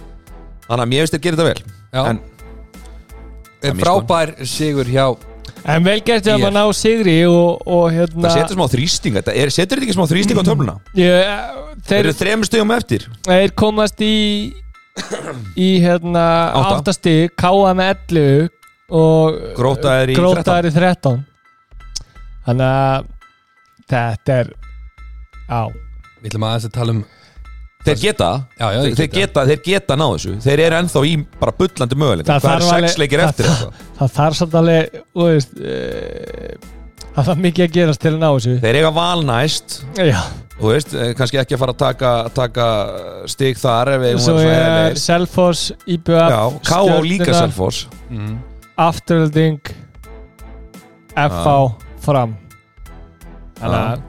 S2: þannig að mér finnst þeir gera þetta vel
S1: já.
S2: En-
S1: En
S2: mér
S1: Frábær sigur hjá
S3: en vel gert ég að
S1: Ég-
S3: maður ná sigri og, og hérna
S2: Það setur smá þrýsting, þetta er, setur þetta ekki smá þrýsting á töfluna?
S3: ég, eh,
S2: Þeir
S3: Mm. þeir,
S2: eru þremur stegum eftir
S3: þeir komast í í hérna
S2: Átta.
S3: áttasti, káa með 11 og
S2: Gróta er í
S3: gróta
S2: 13
S3: er í 13 þannig að þetta er á
S1: Við ætlum aðeins að tala um
S2: Þeir geta,
S1: Já, já,
S2: þeir,
S1: þeir
S2: þeir geta, þeir geta náðu þessu Þeir eru ennþá í bara bullandi möguleika
S3: Það
S2: Hvað eru
S3: þarf
S2: sex
S3: alveg-
S2: leikir
S3: það-
S2: eftir þetta?
S3: það þarf samt alveg þú veist, eh, það þarf mikið að gerast til að ná þessu
S2: Þeir eiga valnæst
S3: Já,
S2: Þú veist, eh, kannski ekki að fara að taka, taka stig þar ef við
S3: svo
S2: vorum svona
S3: er
S2: heiðarlegir.
S3: Selfoss,
S2: Já,
S3: IBF
S2: K.O. líka
S3: Stjörnuna,
S2: Selfoss
S1: mm,
S3: Afturölding FH fram Þannig að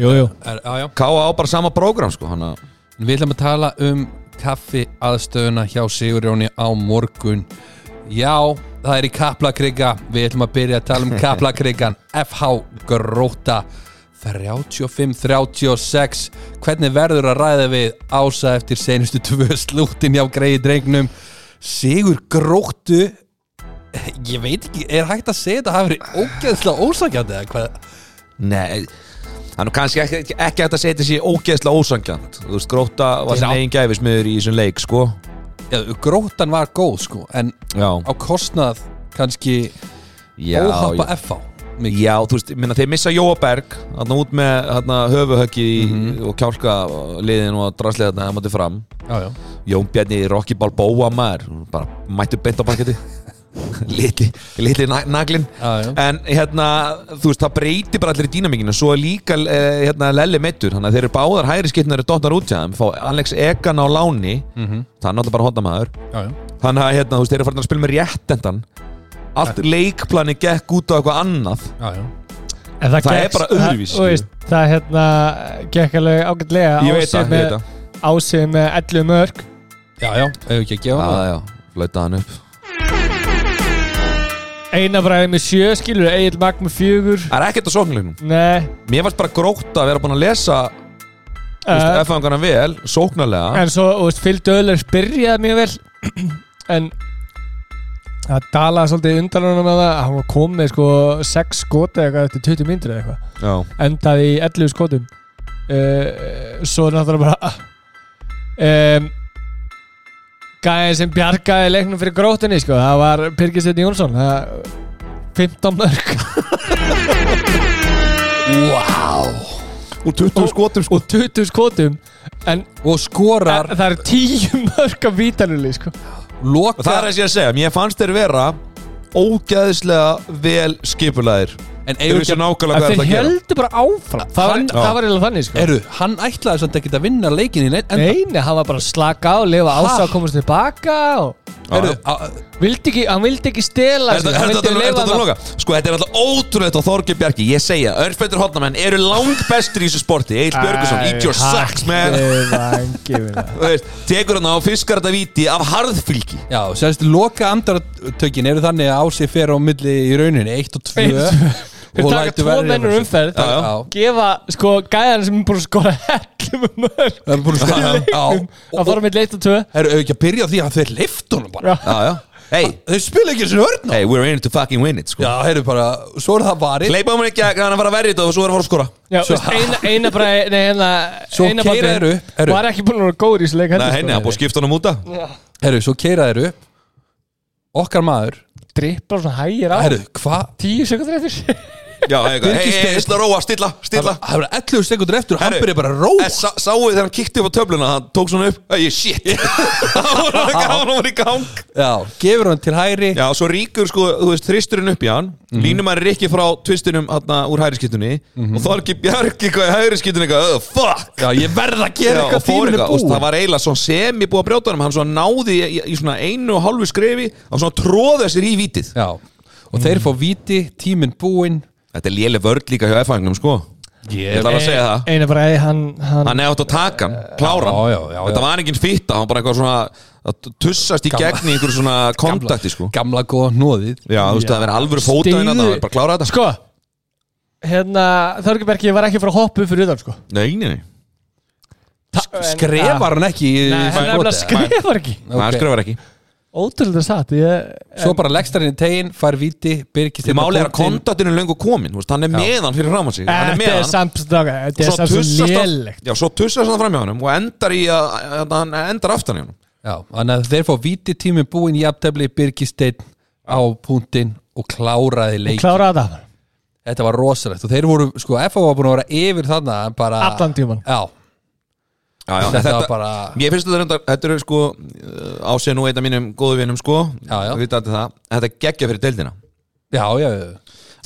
S3: Jú, jú
S1: er, Já, já
S2: K.O. á bara sama prógram sko hana.
S1: Við ætlum að tala um kaffi aðstöðuna hjá Sigurjóni á morgun Já, það er í Kaplakrygga Við ætlum að byrja að tala um Kaplakryggan FH Gróta 35-36 Hvernig verður að ræða við ása eftir seinustu tvö slúttin hjá greiði drengnum Sigur Gróttu Ég veit ekki, er hægt að segja þetta hafi verið ógeðslega ósakjandi eða hvað?
S2: Nei Það er nú kannski ekki, ekki- ekki hægt að setja sér ógeðslega ósangjönd Þú veist, Gróta var
S1: Já.
S2: sinni eigin gæfismiður í þessum leik sko
S1: Já, grótan var góð sko en
S2: Já,
S1: á kostnað kannski
S2: já,
S1: óhappa
S2: já.
S1: FH mikið.
S2: já þú veist, ég minna, þeir missa Jóa Berg Þannig út með þarna, höfuhöggi
S1: Mhm.
S2: og kjálka liðin og draslega þarna Það mátti fram
S1: Já, já.
S2: Jón Bjarni Rocky Balboa maður bara mættu beint á parketti litli, litli na- naglinn
S1: Já, já.
S2: en hérna, þú veist, það breyti bara allir í dýnamíkinu, svo er líka eh, hérna, Lelli meittur, þannig að þeir eru báðar hægri skipnari dotnar út hjá þeim, fá Alex Egan á láni, það er náttúrulega bara hotnamaður
S1: Já, já.
S2: þannig að hérna, þú veist, þeir eru farin að spila með réttendan allt leikplani gekk út á eitthvað annað
S1: Já, já.
S3: En
S2: Það
S3: það,
S2: er
S3: gekk-
S2: bara öðruvísi,
S3: Það, þú veist, það hérna Gekk alveg ágætlega
S2: ég veit það, ég veit það
S3: Ásið með 11 mörg
S1: Já, já, ef ekki að gefa
S2: Já,
S1: það
S2: já, flautaði hann upp
S3: Einabræði með 7 skilur Egil Magg með 4
S2: Það er ekkert á sóknleiknum
S3: Nei
S2: Mér varst bara grótt að vera búin að lesa uh.
S3: uh,
S2: F-fangana vel, sóknarlega
S3: En svo, þú veist, fylgdu öðlega Byrjaði mjög vel En Það dalaði svolítið undan honum að það Hann var komið sko 6 skot eða eitthvað Eftir 20 myndir eða eitthvað
S2: Já
S3: endaði í 11 skotum uh, svo er náttúrulega bara um, gæðin sem bjargaði leiknum fyrir gróttinni sko, það var Pyrkisetni Jónsson það, 15 mörg
S1: Wow
S2: Úr 20 skotum
S3: og 20 skotum en
S1: Og skorar,
S3: það, það er 10 mörg af vítanuli sko.
S2: Og það er
S1: lokar
S2: þess ég að segja, mér fannst þeir vera ógæðislega vel skipulæðir
S1: En
S2: Þeir
S1: eigum
S2: vissu
S1: ekki að
S2: nákvæmlega
S3: en
S2: hvað
S3: þeir
S2: það gera
S3: heldur bara áfram það var,
S1: Hann-
S3: það var eiginlega þannig sko.
S1: Eru, hann ætlaði samt ekki að vinna leikin í neitt enda.
S3: Nei, nei, hann var bara að slaka á, lifa ása
S1: Ha?
S3: og komast tilbaka og
S1: Eru,
S2: Já.
S1: á-
S3: vildi ekki, hann vildi ekki stela
S2: Er
S3: sér,
S2: þetta-
S3: hann
S2: er
S3: vildi
S2: þetta er
S3: leyfa
S2: þetta að loka? Sko, þetta er alltaf ótrúlegt á Þorgeir Bjarki Ég segja, örfættur hotnamenn eru langt bestir í þessu sporti Egil Björgusson, eat your socks, man
S3: man
S2: Þú veist, Tekur hann á og fiskar þetta viti af harðfylgi
S1: Já, sérst, loka andartökin eru þannig að ási fer á milli í rauninni 1 og 2
S3: Þeir taka tvo mennur um umferð
S1: Já, já.
S3: Gefa sko gæðan sem er búin að skora hellum um mörg
S1: Það er búin að skora Já,
S3: Að
S1: og
S3: fara með leitt og tvö
S1: eru ekki að byrja á því að þeir lift honum bara
S3: Já.
S2: Já, já Hey,
S1: Þeir spila ekki þessu hörna
S2: hey, we're in it to fucking win it, sko
S1: Já, heyrðu bara, svo er það varið
S2: Leipa mér ekki að hann að fara að verja þetta og svo er að fara að skora
S3: Já,
S1: Svo-
S3: veist, eina, eina bara Nei, eina
S1: Svo
S3: eina
S1: keyra
S3: bandið
S1: þeir upp, eru-
S3: Var ekki búin að vera góður í þessu leik sko.
S2: Nei, henni, hann búið að skipta hann um úta
S1: Herru, svo keira þeir upp okkar maður
S3: Drippla svona hægir á
S1: Herru, hvað?
S3: Tíu sekundur eftir
S2: Já, hei, hei, hei, hei, stilla róa, stilla,
S1: Það
S2: stilla
S1: það verður 11 sekundur eftir og hann
S2: Herru,
S1: byrja bara að róa
S2: Eh, sá- Sáu þið þegar hann kíkti upp á töfluna Hann tók svona upp, ei, shit Hann var í gang
S1: Já, gefur hann til hægri
S2: Já, svo ríkur sko, þú veist, þristurinn upp í hann mm -hmm. Línum hann rikki frá tvistunum Hanna úr hægriskittunni Og þá er ekki bjargi hvað í hægriskittunni Eitthvað, oh, fuck
S1: Já, ég verð að gera
S2: Já, og
S1: eitthvað
S2: fór
S1: tíminn er
S2: eitthvað, og það
S1: búin
S2: var eiginlega svona semi búið að brjóta hann hann svona náði í, í svona einu og hálfu skrefi hann svona tróða sér í vítið
S1: Já, og þeir
S2: Mm.
S1: fá viti, tíminn búinn
S2: Þetta er léleg vörd líka hjá F-hangnum sko Ég ætla alveg að segja það
S3: Einar bara, ei, hann, hann
S2: Hann hefði átt að taka hann, klára
S1: Já, já, já,
S2: Þetta
S1: já.
S2: var enginn fitta, hann bara eitthvað svona að tussast í gegn í einhver svona kontakti sko
S1: Gamla góða hnóðið
S2: Já, þú veist, það verið alvöru fóta
S3: Styðu-
S2: innan það var bara að klára þetta
S3: Sko Hérna, Þörgjubergi, ég var ekki að fara að hoppa upp fyrir utan, sko
S2: Nei, nei, nei,
S3: Ta- Sko, en-
S1: Skrefar hann ekki í-
S3: Nei,
S1: í
S3: hann
S1: skotið?
S3: nefnilega skrifar ekki
S1: Ok.
S2: það skrifar ekki
S3: Ótrúlega satt, ég
S1: Svo bara leggst hann inn í tegin, fær viti, byrkist
S2: Þið máli er að kontaktinu er löngu komin þú veist, Hann er með hann fyrir ráman sig Hann er
S3: Þetta
S2: með
S3: er
S2: hann
S3: samt, strákar, þetta er
S2: Svo
S3: samt svo
S2: tussast hann-
S3: lélegt
S2: Já, svo tussast hann fram hjá hann og endar í að, að hann endar aftan hjá hann
S1: Já, þannig að þeir fá viti tíminn búinn í aftefli Birgisteinn á punktinn og kláraði leik
S3: Klára þetta
S1: Þetta var rosalegt og þeir voru, sko, FH var búin að vera yfir þarna en bara
S3: Allan tímann.
S1: Já,
S2: já, já,
S1: þetta, var bara
S2: Ég finnst þetta reyndar, þetta eru sko uh, á sig nú einn af mínum góðu vinum sko
S1: Já, já.
S2: Við vita allir það, þetta er geggja fyrir deildina
S1: Já, já, já,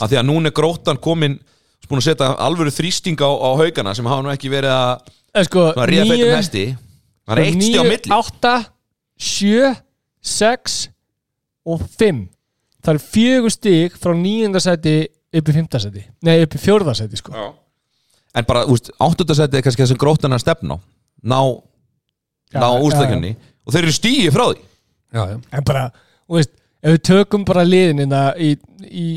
S2: af því að núna er gróttan komin búin að setja alvöru þrýsting á, á haugana sem hafa nú ekki verið að
S3: En sko,
S2: svona ríða feitum hesti það er eitt stíð á milli
S3: 8, 7, 6 og 5 Það er fjögur stík frá nýjunda seti upp í fymta seti Nei, upp í fjórða seti sko
S2: en bara, úst, áttundasætti er kannski það sem gróttan er að stefna á. ná,
S3: Já,
S2: ná
S3: já,
S2: úrstakjunni og þeir eru stíði frá því
S1: já, já.
S3: En bara, þú veist, ef við tökum bara liðinina í, í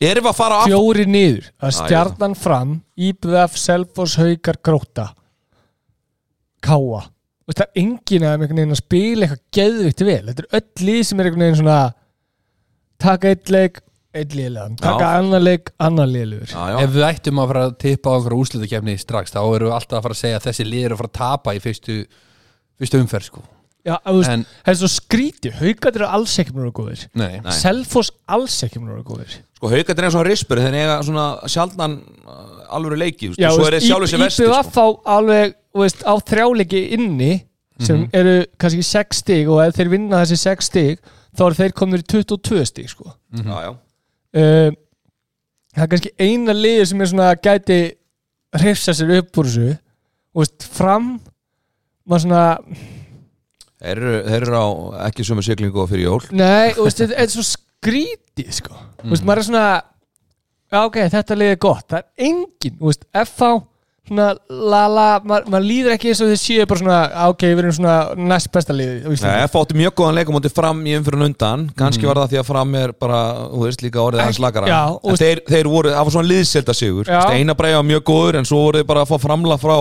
S2: erum við að fara aftur
S3: fjóri niður að
S2: Já,
S3: stjarnan fram IBF, Selfoss, Haukar, Gróta Káa Þú veist, það er enginn að einhvern veginn að spila eitthvað geðvikt vel þetta er öll lið sem er einhvern veginn svona taka eitt leik, eitt liðlegan taka
S2: Já.
S3: annar leik, annar liðlegur
S2: Já, já.
S1: Ef við ættum að fara að tippa á einhverja úrslitakefni strax þá erum við alltaf að fara að segja að þessi lið eru að fara að tapa í fyrstu, fyrstu umferð sko.
S3: Já, þú veist,
S1: en
S3: það er svo skríti Haukat eru alls ekki mjög góðir
S1: nei,
S2: Nei.
S3: Selfoss alls ekki mjög góðir
S2: sko haugandir er svona rispur þeir eiga svona sjaldnan uh, alvöru leiki úst,
S3: Já,
S2: og
S3: þú
S2: svo er þeir sjálfur sem vesti
S3: IBF
S2: sko.
S3: á alveg, þú veist, á þrjáleiki inni sem eru kannski 6 stig og ef þeir vinna þessi 6 stig þá eru þeir komnir í 22 stig sko.
S2: já, já.
S3: uh, Það er kannski eina liður sem er svona gæti hrifsa sér upp úr þessu og veist, fram maður svona,
S2: Þeir, eru, þeir eru á ekki sömu siglingu og fyrir jól
S3: Nei, þú veist, þetta þetta er svo skrítið sko. Þú veist, maður er svona Já, ok, þetta liðið er gott Það er engin, þú veist, FH svona, la, la, maður, maður líður ekki eins og þið séu bara svona, "Ah, ok, við erum svona næst besta liðið á Íslandi."
S2: Nei, F átti mjög góðan leikum átti fram í umfyrir undan kannski var það því að fram er bara, þú veist, líka orðið hans lagara
S3: Mm. já,
S2: en
S3: og veist-
S2: þeir, þeir voru, það var svona liðselda sigur
S3: Já.
S2: Einabræði var mjög góður en svo voru þeir bara að fá framla frá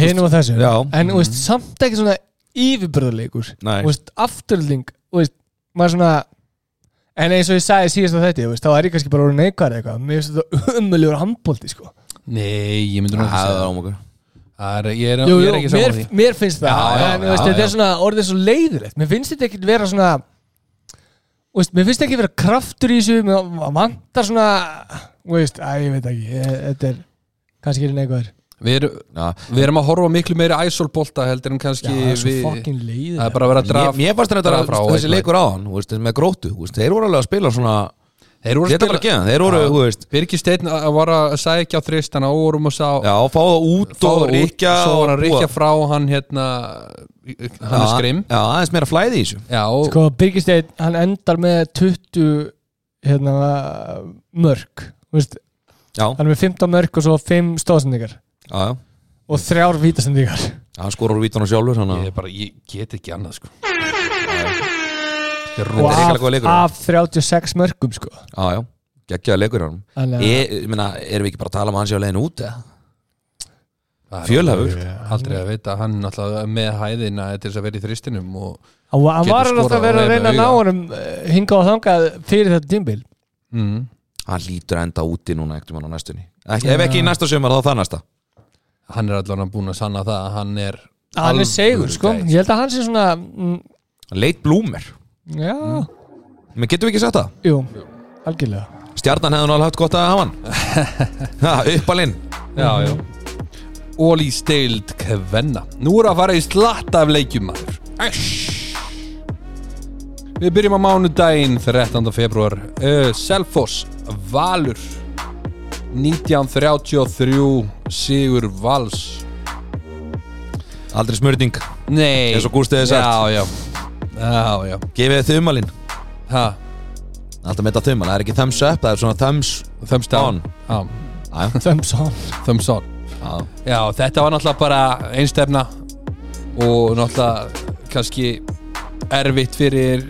S3: hinum og þessu
S2: Já. Mm.
S3: en þú veist, samt ekki svona yfirbörðarleikur
S2: Nei.
S3: Þú veist, afturling þú veist, maður svona en eins og ég sagði síðast á þetta þú veist, þá er ég kannski bara orðin neikvæður eitthvað mér finnst þetta umöluður handbólti sko.
S1: nei, ég myndur nú ekki
S2: Það
S1: segja
S2: var
S1: það.
S2: ámokar
S1: það er, ég, er,
S3: jú,
S1: ég
S3: jú,
S1: er ekki
S3: mér,
S1: saman því
S3: mér finnst það
S1: Já, já, já,
S3: en, já, veist, þetta
S1: já.
S3: er svona orðið svo leiðilegt mér finnst þetta ekki vera svona þú veist, mér finnst ekki vera kraftur í þessu mér vantar svona þú veist, að, ég veit ekki ég, þetta er kannski er neikvæður já,
S1: við, erum- við erum að horfa miklu meiri æsolbolta heldur en kannski
S3: það er svo
S1: við,
S3: fokkin
S1: það er
S3: leiðilegt
S1: bara að vera að
S2: Mér,
S1: draf
S2: mér fannst þetta
S1: draga frá
S2: að þessi
S1: eitthvað.
S2: leikur á hann veist, með gróttu, þú veist, þeir voru alveg að spila svona
S1: þeir voru að
S2: Þetta
S1: spila-
S2: var að geða, þeir voru,
S1: Já.
S2: þú veist
S1: Birgir Steinn að- að var að segja ekki á þristana og vorum að sá
S2: Já, fá það út
S1: fá
S2: og
S1: út,
S2: ríkja
S1: svo var hann
S2: og búa.
S1: ríkja frá hann hérna hann er skrim
S2: Já, aðeins meira flæði í þessu
S1: já, og-
S3: sko, Birgisteinn, hann endar með 20 hérna, mörk Þú veist,
S2: Já,
S3: hann er með 15 mörk og svo 5 stóðsendingar
S2: já, já
S3: og 3 vítastendingar
S2: Hann skorur vítan og sjálfur, hann
S1: ég, er bara, ég get ekki annað sko Þetta er
S3: og
S1: rosa-
S2: hrikalega
S3: af,
S2: góður leikur.
S3: af 36 mörkum sko.
S2: Já, já, geggjaði leikur hann
S3: Þannig að-
S2: Ég, ég meina, erum við ekki bara að tala um að hann sé á leiðin út eða?
S1: Það er
S2: Fjölhæfur
S1: aldrei að vita hann náttúrulega með hæðina til þess að vera í þristinum og
S3: Hann var- hann
S1: Getur
S3: var
S1: skorað
S3: alltaf að vera
S1: á
S3: að
S1: einu
S3: reyna að ná
S1: auga.
S3: honum hinga og þangað fyrir þetta tímbil
S1: mm,
S2: Hann lítur að enda úti núna ekkert mann á næstunni Ekki, Ef ekki í næsta sömur þá það næsta
S1: hann er allavega búin að sanna það að hann er
S3: Hann
S1: alvöru
S3: er segur sko,
S1: gæi.
S3: ég held að hann sé svona mm,
S2: Hann leit blúmer
S3: Já,
S1: Mm.
S2: Men getum við ekki sagt það?
S3: jú, algjörlega
S2: Stjarnan hefði nú alveg haft gott að hafa hann ha, Uppalinn
S1: Já, já Óli steild kvenna Nú er að fara í slatta af leikjum maður Æsj. Við byrjum á mánudaginn 13. februar uh, Selfoss Valur 1933 Sigur Vals
S2: Aldrei smörning
S1: Nei
S2: Eins og Gústi hefði sagt.
S1: Já, já Já, já
S2: Gefið þið umalinn
S1: ha,
S2: Alltaf með þetta þumal Það er ekki thumbs up Það er svona thumbs
S1: Thumbs down
S2: On.
S1: Já,
S2: Æja
S3: Thumbs on
S1: Thumbs on Já, þetta var náttúrulega bara einstefna og náttúrulega kannski erfitt fyrir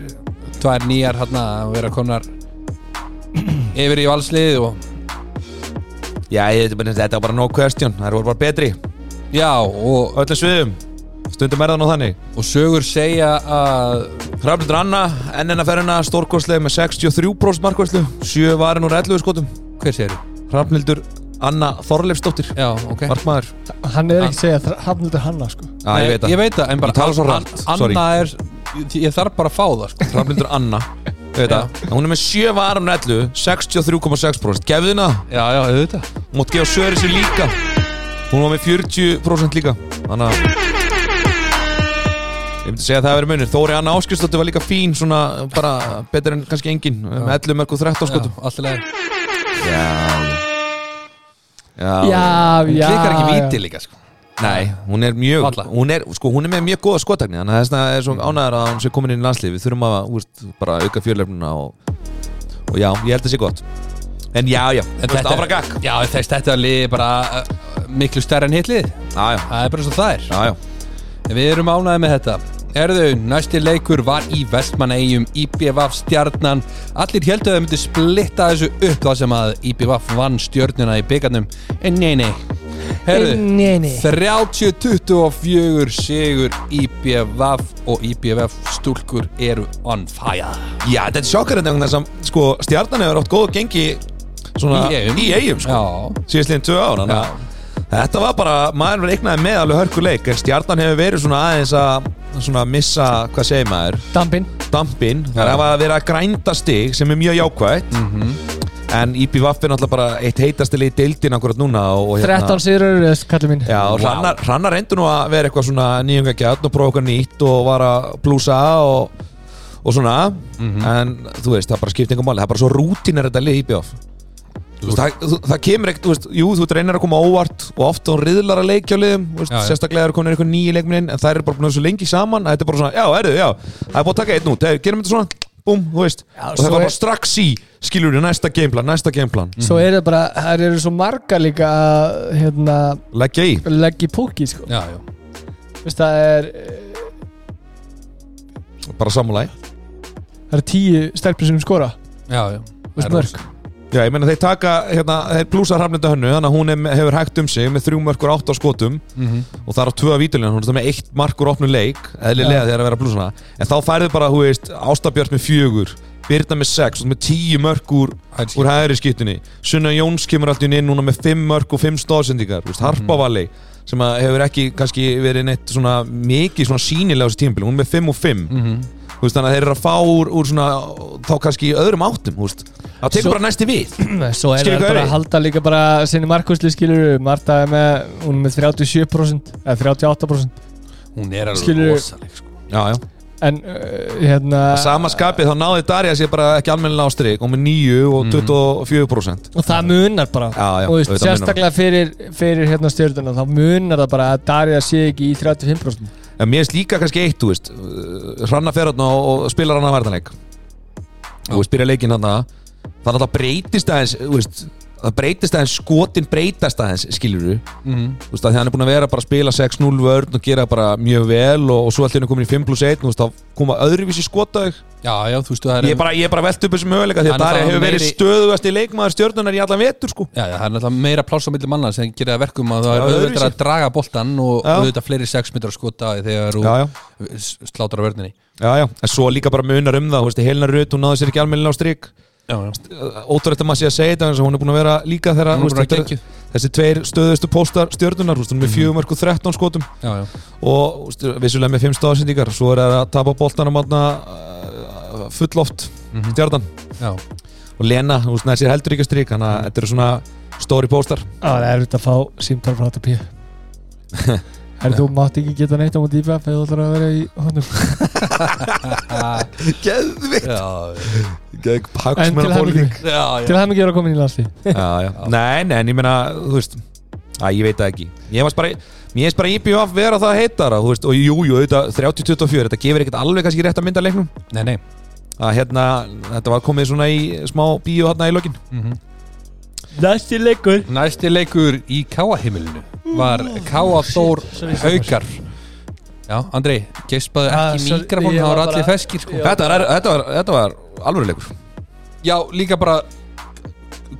S1: tvær nýjar hann að vera konar yfir í valslið og
S2: Já, ég- þetta er bara- þetta er bara no question Það voru bara betri
S1: já, og,
S2: Öllum sviðum Stundum er það nú þannig
S1: og sögur segja að
S2: Hrafnildur Anna Ennina ferðina Stórkostlega með 63% markvæslu 7 varin úr 11 skotum
S1: hver segir
S2: Hrafnildur Anna Þorleifsdóttir
S1: Já, ok
S2: Markmaður
S3: Hann er ekki að segja þra- Hrafnildur Hanna sko
S2: Já, ég veit
S1: Ég
S2: það
S1: veit það, en bara
S2: Ég tala svo hratt, sorry.
S1: Anna er, ég- ég þarf bara að fá það sko.
S2: Hrafnildur Anna Ég veit
S1: Já.
S2: það Hún er með um 7 varin úr 11 63,6% Gefðu henni það
S1: Já, já, auðvitað
S2: Mátt gefa Söri sér líka Hún var með 40% líka Þannig að Ég myndi segja að það hefur munir Þóri Anna Áskistóttir var líka fín Svona bara betur en kannski engin Með 11 mörg og 13
S1: Já,
S2: skotum
S1: allt í lagi.
S2: Já
S3: Já,
S1: Hún
S3: já
S1: klikkar ekki víti líka sko.
S2: Nei, hún er mjög
S1: Varla.
S2: hún er, sko, hún er með mjög góða skotakni Þannig að þess vegna
S1: Mm.
S2: er svona ánæður að hún sé komin inn í landslið Við þurfum að úrst, bara auka fjörlefnuna og, og já, ég held að sé gott En já, já,
S1: En
S2: þetta áfra gakk
S1: Já, þess þetta liði bara uh, miklu stærra en hitlið
S2: Já, já,
S1: Það er bara svo það er
S2: já, já
S1: Við erum ánæði með þetta. Erðu, næsti leikur var í Vestmannegjum, IBVF stjarnan. Allir heldur að þau myndi splitta þessu upp það sem að IBVF vann stjörnuna í byggarnum. En nei, nei. Herðu,
S3: Nei, nei.
S1: 30-24 sigur IBVF og IBVF stúlkur eru on fire.
S2: Já, þetta er sjokkarinn vegna þess að sko, stjarnan hefur átt góð og gengi svona,
S1: Í Eyjum.
S2: í eigum sko,
S1: Já,
S2: síðastliðin tvö ár þannig að Þetta var bara, maður verið eignaði með alveg hörkuleik en stjarnan hefur verið svona aðeins að svona missa, hvað segir maður
S3: Dampin
S2: dampin, það er að vera að grænda stig sem er mjög jákvætt en IPVF er náttúrulega bara eitt heitastili í deildin akkurat núna og, hérna- og
S3: 13 sýrur, kallið mín
S2: Já, wow. Rannar, Rannar reyndi nú að vera eitthvað svona nýjungagjarn og prófa eitthvað nýtt og var að blúsa og, og svona
S1: Mhm.
S2: en þú veist, það bara skipti einhver máli það er bara svo rútin er þetta lið í bjóf veist, það, þú- það kemur ekkert, þú veist, jú, þú reynir að koma óvart og ofta hún riðlar að leikja á liðum þú veist,
S1: Já, já.
S2: sérstaklega eru komin eitthvað nýji leikminn en það er bara búin að vera svo lengi saman að þetta er bara svona, já, erðu, já, það er búin að taka einn út hey, gerum þetta svona, búm, þú veist
S3: Já,
S2: og
S3: svo
S2: það var
S3: er-
S2: bara strax í, skilur við, næsta gameplan, næsta gameplan
S1: Mm. Mhm.
S3: Svo eru bara, það eru svo marga líka að, hérna,
S2: leggja í,
S3: leggja í púki sko.
S1: já, já.
S3: Vist, það er eh,
S2: bara samúlæg
S3: það eru tíu stelpur sem skora
S1: já, já.
S3: Vist,
S1: Það er
S3: mörg.
S1: rosa.
S2: Já, ég meina þeir taka, hérna, þeir blúsa hramlindu hönnu þannig að hún er, með- hefur hægt um sig með þrjú mörkur átt á skotum
S1: Mhm.
S2: og það er á tvö að vítulina, hún er með eitt markur opnu leik, eðlilega þegar að vera að blúsa hana en þá færðu bara, hú veist, Ástabjörn með fjögur Birna með sex og með tíu mörkur
S1: Það er
S2: úr
S1: skil.
S2: hægri skiptunni Sunna Jóns kemur alltaf inn núna með fimm mörk og fimm stóðsendingar, þú veist, Harpavalli sem að hefur ekki kannski verið neitt svona mikið svona sínilega á þessu tímabili hún er með fimm og fimm þú veist, þannig að þeir eru að fá úr, úr svona þá kannski í öðrum áttum, þú veist það tekur
S3: Svo-
S2: bara næsti við
S3: Svo er
S2: Skilur
S3: það
S2: hvað
S3: bara
S2: er í?
S3: að halda líka bara sinni markvæslu skilur Marta er með, hún er með 37% eða 38%
S1: Hún er alveg
S3: Skilurðu-
S1: rosaleg, sko.
S2: já, já.
S3: en uh, hérna
S2: Að sama skapið þá náði Darja sér bara ekki almennilega á strik og með 9 og 24%
S3: og það munar bara
S2: Já, já,
S3: og veist,
S2: auðvitað
S3: sérstaklega fyrir, fyrir hérna stjórnuna þá munar það bara að Darja sé ekki í 35%
S2: en mér finnst líka kannski eitt, þú veist uh, hranna fer hann og, og spilar hann að verðanleik þú veist, byrja leikinn hann að þannig að það breytist aðeins þú veist, það breytist aðeins, skotin breytast aðeins skilur þú,
S1: Mhm.
S2: þú veist, að því hann er búin að vera bara að spila 6-0 vörn og gera bara mjög vel og, og svo allt henni komin í 5 plus 1 þú veist, þá koma öðruvísi skotaug
S1: Já, já, þú veist, það er...
S2: ég er bara, ég er bara velt upp þessum möguleika því
S1: Hann
S2: að
S1: er
S2: Darja
S1: þá
S2: hefur verið
S1: meiri-
S2: stöðugast í leikmaður stjörnunar í allan vetur sko
S1: Já, já, það er náttúrulega meira pláss á milli manna sem gerir það verkum að það
S2: Já,
S1: er auðvitað
S2: öðruvísi.
S1: að draga boltan og
S2: Já.
S1: auðvitað fleiri 6 metrar skota þegar þú
S2: Já, já.
S1: s- slátar á vörninni
S2: Já, já, en svo líka bara munar um það, þú veist, Helena Rut, hún náði sér ekki almennilega á strik
S1: Já, já,
S2: Ótrúlegt að maður sé að segja þetta, eins og hún er búin að vera líka þegar,
S1: Hún er
S2: þú
S1: búin að
S2: þetta- þessi tveir stöðustu póstar stjörnunar, þú veist, hún er með fjögum mörg og 13 skotum
S1: já, já.
S2: og þú veist, vissulega með fimm stóðsendingar, svo er það að tapa boltanum aðna full oft
S1: Mhm.
S2: stjarnan
S1: Já,
S2: og Lena, þú veist, þessi er heldur ekki að strík þannig að þetta eru svona stóri póstar
S3: Það er erfitt að fá símtal frá ATP Er þú mátt ekki geta neitt á múti í BF eða þú ætlar að vera í honum
S2: Geðvikt
S1: já,
S3: En til
S2: Hagsmenn og um
S3: hæmmingi
S2: pólitík
S1: já, já.
S3: Til hæmmingi er að koma inn í landsli
S2: Já, já. Nei, nei, en ég meina, þú veist Æ, ég veit það ekki Ég varst bara, mér finnst bara IPVF vera það heitara þú veist, og jú, jú, auðvitað 30-24 þetta gefur ekkert alveg kannski rétt að mynda leiknum
S1: Nei, nei
S2: að hérna, þetta var komið svona í smá bíó hérna í lokin
S3: Næsti leikur Mm. Oh,
S1: Næsti leikur í Káahimilinu var Káadór
S3: sorry, sorry.
S1: Haukar Já, Andrei, geispaðu
S3: Ah,
S1: ekki
S3: sorry,
S1: mikrofón
S3: ég
S1: það
S3: var
S1: var
S3: bara-
S1: allir feskir sko.
S3: Já.
S2: þetta, var- þetta var, þetta var alvöru leikur
S1: Já, líka bara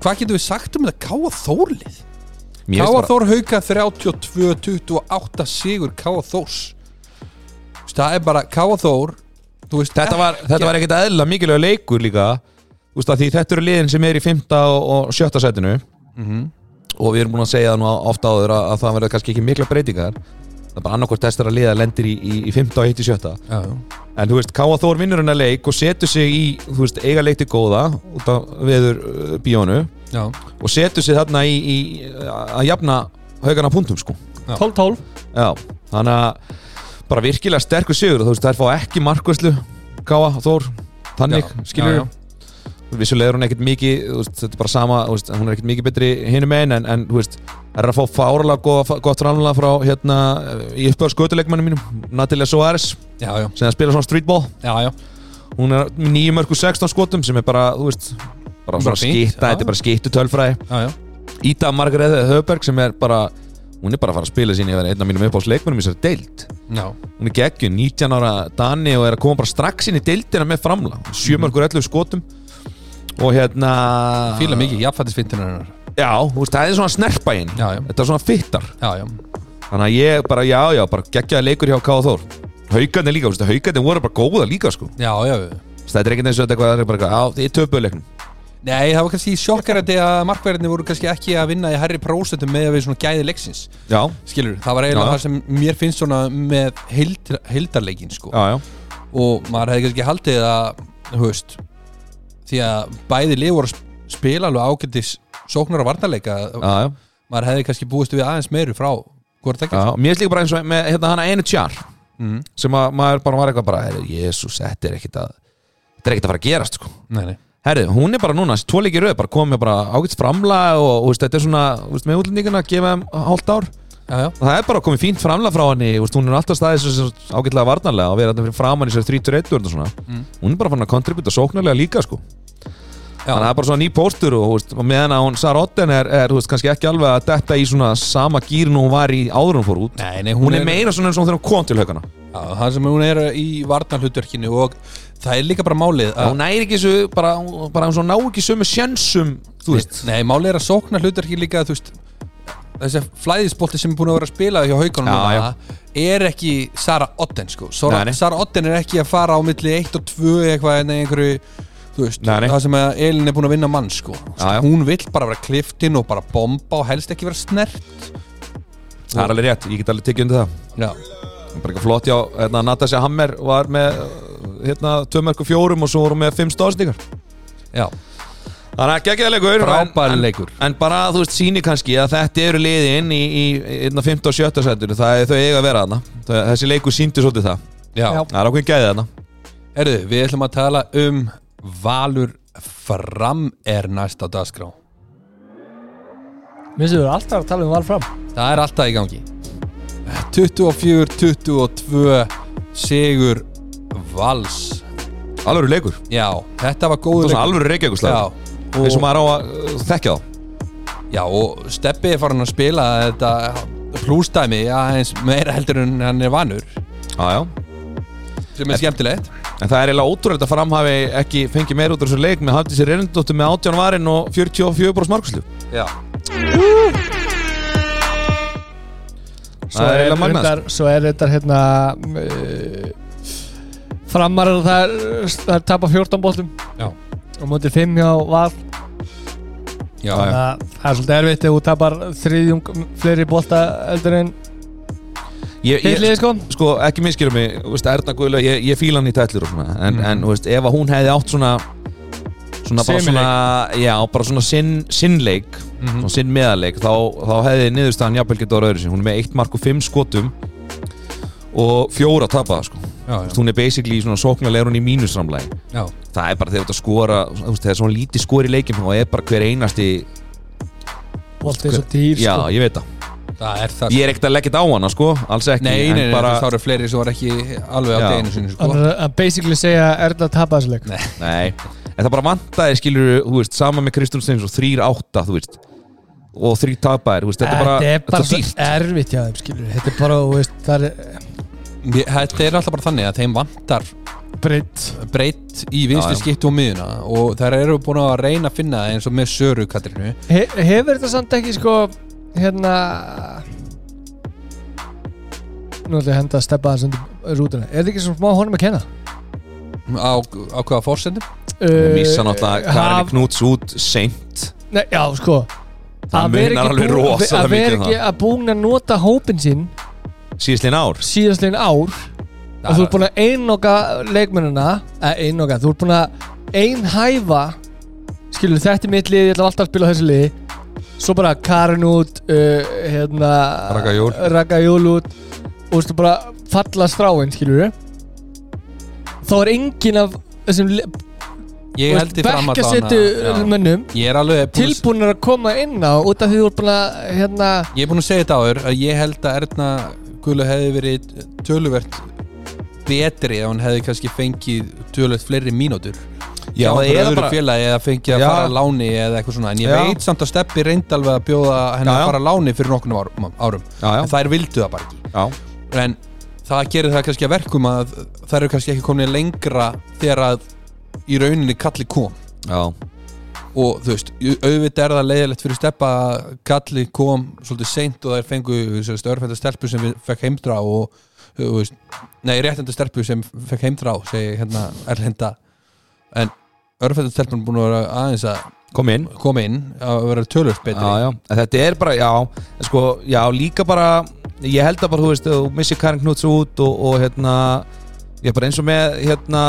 S1: Hvað getum við sagt um þetta Káaþórlið?
S2: Mér finnst bara-
S1: Káaþór Hauka 32-28 sigur Káaþórs Þú veist, Það er bara Káaþór þú veist,
S2: Þetta var, þetta var ekkert eðla mikilvæg leikur líka Þú veist að því þetta eru liðin sem er í 5. og, og 7. setinu og við erum búin að segja það nú ofta áður að, að það verður kannski ekki mikla breytingar það er bara annarkvort þessara liða lendir í, í, í 5. og 1. í 7.
S1: Já,
S2: En þú veist, Káa Þór vinnur hennar leik og setur sig í, þú veist, eiga leik til góða út af veður uh, bíónu
S1: já,
S2: og setur sig þarna í, í uh, að jafna haugana punktum sko
S3: 12-12
S2: Já, þannig að bara virkilega sterkur sigur þú veist, þær fá ekki markvæslu Káa, Þór, þannig,
S1: Já,
S2: skilur
S1: já,
S2: vissulega er hún ekkert mikið þú veist, þetta er bara sama, þú veist, hún er ekkert mikið betri hinum einn, en, en þú veist, er að fá fárlega gott, gott framlega frá hérna í uppöðu skötuleikmannum mínum Natalia Soares,
S1: já, já,
S2: sem það spila svona streetball
S1: já, já.
S2: hún er með 9 mörg og 16 skotum sem er bara, þú veist bara
S1: Bara fínt,
S2: svona skýtta,
S1: já.
S2: þetta er bara skýttu tölfræði
S1: já, já.
S2: Íta Margreth Höberg sem er bara hún er bara að fara að spila sín yfir einn af mínum uppáðsleikmannum í sér deild
S1: já.
S2: hún er geggjun, 19 ára Dani og er að koma bara strax inn í deildina með framla
S1: Mhm.
S2: sjömörkur 11 skotum og hérna
S1: Fýla mikið, jafnfættisfintunar hennar
S2: já, þú veist, það er svona snerpæin
S1: Já, já.
S2: þetta er svona fittar
S1: Já, já,
S2: þannig að ég bara, já, já, bara geggjaði leikur hjá Káða Þór haugarnir líka, þú veist, haugarnir voru bara góða líka sko,
S1: já, já
S2: Þú veist, þetta er ekkert eins og þetta eitthvað, það er bara, eitthvað, já, þið töpuðu leiknum
S1: Nei, það var kannski sjokkarandi að markverðinni voru kannski ekki að vinna í herri prósentum með að við svona gæði leiksins
S2: já,
S1: Skilur, það var eiginlega
S2: Já.
S1: það sem mér finnst svona með heild, heildarleikin sko
S2: já, já,
S1: Og maður hefði kannski haldið að, þú veist Því að bæði lið voru að sp- spila alveg ágætis sóknar og varnarleika
S2: já, já,
S1: Maður hefði kannski búist við aðeins meiru frá hvort
S2: já.
S1: ekki
S2: mér finnst líka bara eins og með hérna hana einu tjár
S1: mm.
S2: sem að maður bara var eitthvað bara, jésús, þetta er ekkert að þetta er ekkert að fara að gerast sko
S1: Nei, nei,
S2: Herri, hún er bara núna, þessi tvoleiki röð, bara komið bara ágætt framlega og, og veist, þetta er svona veist, með útlendinguna að gefa þeim hálft ár
S1: já, já,
S2: og það er bara komið fínt framlega frá henni veist, hún er alltaf staðið sem ágætlega varnarlega og við erum alltaf fyrir framann í sér 31 og svona hún er bara fann að kontributa sóknarlega líka sko.
S1: já,
S2: þannig að það er bara svona ný póstur og, veist, og meðan að hún Sarotten er, er þú veist, kannski ekki alveg að detta í svona sama gýrn og hún var í áður en hún fór út
S1: Nei, nei,
S2: hún, er meira svona eins og hún þegar hún kom til haugana
S1: Já, það sem hún er í varnarhlutverkinu og það er líka bara málið að
S2: hún næri ekki þessu, bara, bara hún svo ná ekki sömu sjensum, þú veist
S1: Nei, máli er að sókna hlutverki líka þú veist, þessi flæðisbolti sem er búin að vera að spila hjá haugunum
S2: Já,
S1: er ekki Sara Otten sko. Sara,
S2: Nei, nei.
S1: Sara Otten er ekki að fara á milli 1 og 2 eitthvað en einhverju þú veist,
S2: Nei, nei.
S1: það sem að Elin er búin að vinna mann sko.
S2: Já, já.
S1: hún vill bara vera kliftin og bara bomba og helst ekki vera snert
S2: það er alveg rétt, ég get alveg tekið undir það
S1: Já,
S2: bara eitthvað flott já, hérna, Natasha Hammer var með hérna, tvömerku fjórum og svo voru með fimm stóðstíkar
S1: já,
S2: þannig að geggjaði leikur
S1: Frábær
S2: en-
S1: leikur.
S2: en, en bara þú veist síni kannski að þetta eru liðin í, í, í hérna, 15 og 17 setjur það er þau eiga að vera þarna Þau- þessi leikur síndi svolítið það
S1: já.
S3: Já.
S2: það er ákveðin gæði þarna
S1: Herðu, við ætlum að tala um Valur Fram er næst á dagskrá
S3: Mér finnst þú alltaf að tala um val fram
S1: Það er alltaf í gangi 24-22 Sigur Vals
S2: alveg leikur,
S1: Já, þetta var
S2: það
S1: góður
S2: er svona
S1: leikur.
S2: alveg reykjaguslega
S1: Já,
S2: eins og
S1: og,
S2: maður á að uh, þekkja þá
S1: já, og Steppi er farin að spila þetta plústæmi aðeins meira heldur en hann er vanur
S2: já, já.
S1: sem er skemmtilegt
S2: en það er eiginlega ótrúlega að framhafi ekki fengið meir út af þessu leik með hafði sér reynindóttu með 18 varin og 44 brós markuslu
S1: Já,
S3: Svo
S2: Það er
S3: er
S2: eiginlega magnað, sko.
S3: reyndar- Svo er þetta hérna uh, Framar og það er, það er tapa 14 boltum
S1: já,
S3: og mótið 5 hjá val
S1: já,
S2: Já,
S1: já,
S3: Það það er svolítið erfitt ef þú tapar þriðjung fleiri bolta eldur en
S2: Ég,
S3: Hitt liðið
S2: ég,
S3: sko
S2: sko, ekki minnskilum mig, þú veist, Erna Guðla, ég, ég fíla hann í tætlur og svona, en,
S1: Mhm.
S2: en þú veist, ef að hún hefði átt svona, svona bara
S3: Semileik.
S2: svona, já, bara svona sinn, sinnleik,
S1: Mhm.
S2: svona sinn meðaleik, þá, þá hefði niðurstaðan jafnvel getur ára öðru sinni, hún er með 1 mark og 5 skotum og fjóra tapaða, sko, Þú
S1: Já,
S2: veist, hún er basically í svona sóknarlega er hún í mínusramlægi,
S1: já, já,
S2: það er bara þegar þetta skora, þú veist, þegar svona lítið skori í leikin, þá er bara hver einasti,
S3: Voltið er svo dýr
S2: já,
S3: sko
S2: ég veit það,
S1: það er það
S2: ég er ekkert að leggja þetta á hana, sko, alls ekki,
S1: Nei,
S2: en
S1: nei, nei,
S2: bara,
S1: bara... það eru fleiri sem var ekki alveg á
S2: Já.
S1: deginu sinni sko.
S3: Þannig að basically segja Erna tapa þessu leik
S1: Nei.
S2: Nei, en það bara vantaði skilur þú veist, sama með Kristján Steins og þrýr átta þú veist, og þrýr tapaðir þú veist, þetta er bara,
S3: Þetta er bara
S2: þetta
S3: svo
S2: er dýrt
S3: erfitt hjá þeim skilur Þetta er bara, þú veist, það er
S1: Ég- Þetta er alltaf bara þannig að þeim vantar
S3: breytt
S1: breytt í vinstri
S2: Já, já.
S1: skiptu og miðuna og þær eru búin að reyna að finna það eins og með Söru Katrinu
S3: He, Hefur þetta samt ekki sko hérna Nú ætlum ég að henda að steppa hans undir rútuna Er þetta ekki svona smá honum að kenna?
S1: á, á hvaða fórsendum
S2: Ég missa náttúrulega Karin
S3: haf-
S2: Knúts út seint
S3: Uh, Nei, já, sko
S2: Það
S3: Að
S2: munar
S3: vera ekki
S2: alveg
S3: búin-
S2: rosalega
S3: Að vera
S2: mikið um
S3: ekki að búin að nota hópin sín
S2: síðastliðin ár
S3: síðastlegin ár og þú ert búin að einnoka leikmennina eða einnoka, þú ert búin að einhæfa skilur þetta er mitt lið, ég ætla alltaf að spila á þessu liði svo bara Karin út uh, hérna,
S2: Ragga Jól.
S3: Ragga Jól út og þú veist, bara falla stráin skilur þá er engin af þessum li-
S1: ég held því fram að
S3: verkasetu
S1: það
S3: mönnum
S1: ég er alveg búin að,
S3: tilbúinir að koma inn á út af því þú ert búin að hérna,
S1: ég er búin að segja þetta áður að ég held að Erna Gullu hefði verið töluvert betri ef hún hefði kannski fengið töluvert fleiri mínútur Hjá
S2: Já, það
S1: einhverju
S2: er
S1: öðru
S2: bara-
S1: félagi eða fengið að
S2: Já.
S1: fara að láni eða eitthvað svona en ég
S2: Já.
S1: veit samt að Steppi reyndi alveg að bjóða henni
S2: Já, já.
S1: að fara að láni fyrir nokkurnum árum, árum.
S2: Já, já,
S1: en þær vildu það bara ekki
S2: já,
S1: en það gerir það kannski að verkum að það eru kannski ekki komin lengra þegar að í rauninni kalli kom
S2: já,
S1: og þú veist, au- auðvitað er það leiðilegt fyrir steppa að kalli kom svolítið seint og þær fengu örfænda stelpu sem við fekk heimdra og þú veist, nei, réttenda stelpu sem fekk heimdra á, segi hérna erlenda, en örfænda stelpun búin að vera aðeins að
S2: kom inn
S1: koma inn að vera tölvöld betri
S2: Já, já, en þetta er bara, já, en sko, já, líka bara Ég held að bara, þú veist, þú missir Karin Knúts út og, og hérna, ég er bara eins og með, hérna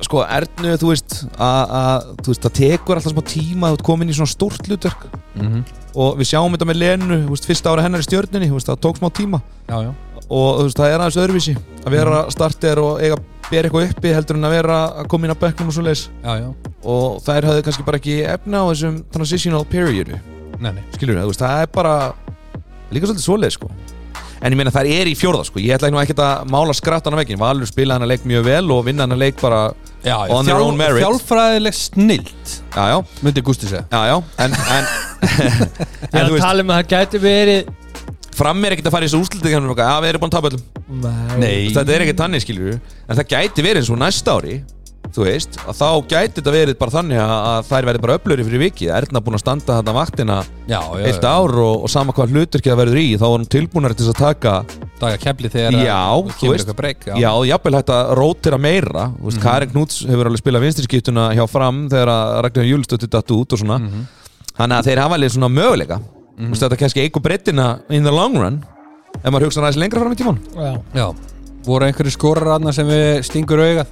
S2: Sko, Ernu, þú veist, að, að, þú veist, það tekur alltaf smá tíma að þú ert komin í svona stórt hlutverk
S1: Mhm.
S2: og við sjáum þetta með Lenu þú veist, fyrsta ára hennar í stjörninni, þú veist, það tók smá tíma
S1: já, já.
S2: og þú veist, það er aðeins öðruvísi að vera
S1: Mhm.
S2: starter og eiga bera eitthvað uppi heldur en að vera að koma inn á bekknum og svo leis
S1: já, já.
S2: og þær höfðu kannski bara ekki efna á þessum transitional periodu
S1: Nei, nei.
S2: skilur þú veist, það er bara líka svolítið svoleið sko en ég meina þær er í fjórða sko, ég ætla ekki nú ekkert að mála skrattan af veginn, Valur spila hana leik mjög vel og vinna hana leik bara,
S1: Já, já.
S2: On their own merit.
S1: þjálfræðileg snilt
S2: já já,
S1: myndi Gústi segja
S2: já já en, en,
S3: ég er
S2: en þú
S3: að
S2: veist,
S3: tala um að það gæti verið
S2: fram er ekkert að fara í þessu úslitið já, við erum búin að tapa öllum
S1: Nei.
S2: Þú veist, þetta er ekki þannig skilur en það gæti verið eins og næsta ári þú veist, að þá gæti þetta verið bara þannig að, að þær verið bara öflöri fyrir vikið Erna búin að standa þarna vaktina
S1: Já, já,
S2: eitt ár og, og sama hvað hlutur ekki það verður í þá er hún tilbúnar til þess að taka
S1: daga kemli þegar að-
S2: Já,
S1: og
S2: þú
S1: kemur
S2: veist.
S1: eitthvað breyk
S2: já, Mhm. já jafnvel hægt að rótira meira þú veist, Karin Knúts hefur alveg spilað vinstinskiptuna hjá fram þegar að Ragnar Júlstötti datt út og svona þannig að þeir hafa alveg svona möguleika þú veist, þetta kannski eigur breyttina in the long run ef maður hugsa næst lengra fram í tímann
S3: já.
S1: já. voru einhverju skorar aðna sem við stingur augað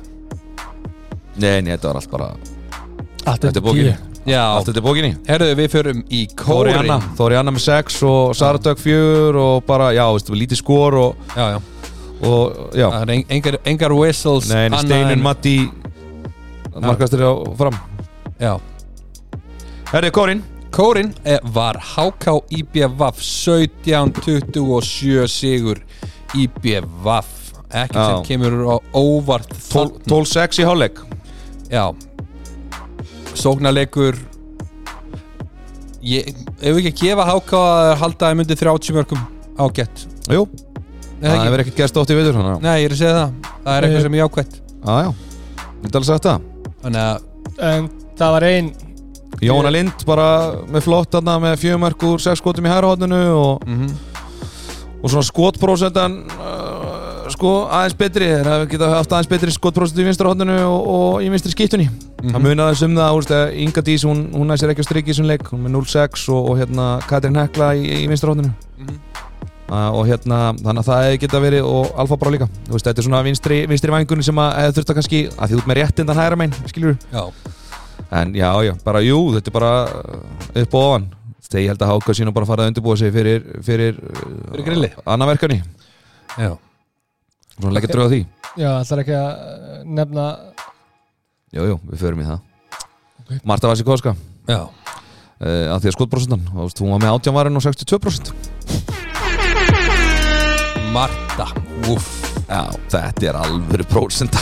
S2: nei, nei, þetta var allt bara
S3: Allt
S2: Þetta er bókinni
S1: já,
S2: Allt þetta er bókinni
S1: herðu við förum í
S2: Þóri
S1: kórin
S2: Anna Þóri Anna með 6 og Sardök 4 og bara, já, veistu, lítið skor og,
S1: já, já,
S2: og já,
S1: það er en- engar, engar whistles
S2: nei,
S1: annað
S2: Steinin
S1: en-
S2: Matti markastur á fram
S1: já,
S2: Herri, Kórin
S1: Kórin eh, var HK IBVF 17-27 sigur IBVF ekki
S2: Já.
S1: sem kemur á óvart þarna.
S2: 12-6 í hálfleik
S1: Já Sóknarleikur Ég, ef við ekki að gefa háka að halda að myndi 30 mörgum ágætt
S2: Jú,
S1: Nei,
S2: það
S1: það ekki.
S2: hefur ekkert gerst oft í veitur hana
S1: Nei, ég er að segja það Það er
S3: Eh.
S1: eitthvað sem er jákvætt
S2: Já, já, þetta er alveg sagt það
S1: Þannig að,
S3: en það var ein
S2: Jóna Lind bara með flott þarna með fjögumörk úr 6 skotum í hærhóðninu og,
S1: mm
S2: og svona skotprósentan uh, sko aðeins betri þeir hafa geta haft aðeins betri skotprósent í vinstra hóðninu og, og í vinstri skiptunni það munaði sem það, úrst, að Inga Dís hún, hún næsir ekki að strikja í þessum leik, hún er með 0-6 og, og hérna Katrin Hekla í, í vinstra hóðninu Uh, og hérna, þannig að það hefði geta verið og Alfa bara líka, þú veist, þetta er svona vinstri, vinstri vangunni sem að hefði þurft að kannski að því út með réttindan hægra megin, skiljur
S1: Já,
S2: en já, já, bara jú, þetta er bara uh, upp og ofan, þegar ég held að háka sín og bara farið að undirbúa sig fyrir fyrir, uh,
S1: Fyrir grilli.
S2: annaverkani,
S1: já
S2: svona leggja dröða því
S3: Já, það er ekki að eh, nefna
S2: jú, jú, við förum í það
S3: Ok.
S2: Marta Vasikowska, uh,
S1: Já,
S2: að því að skotbrósendan hún var með 18 varin og 62%
S1: Marta, úff
S2: já, þetta er alvöru prósenda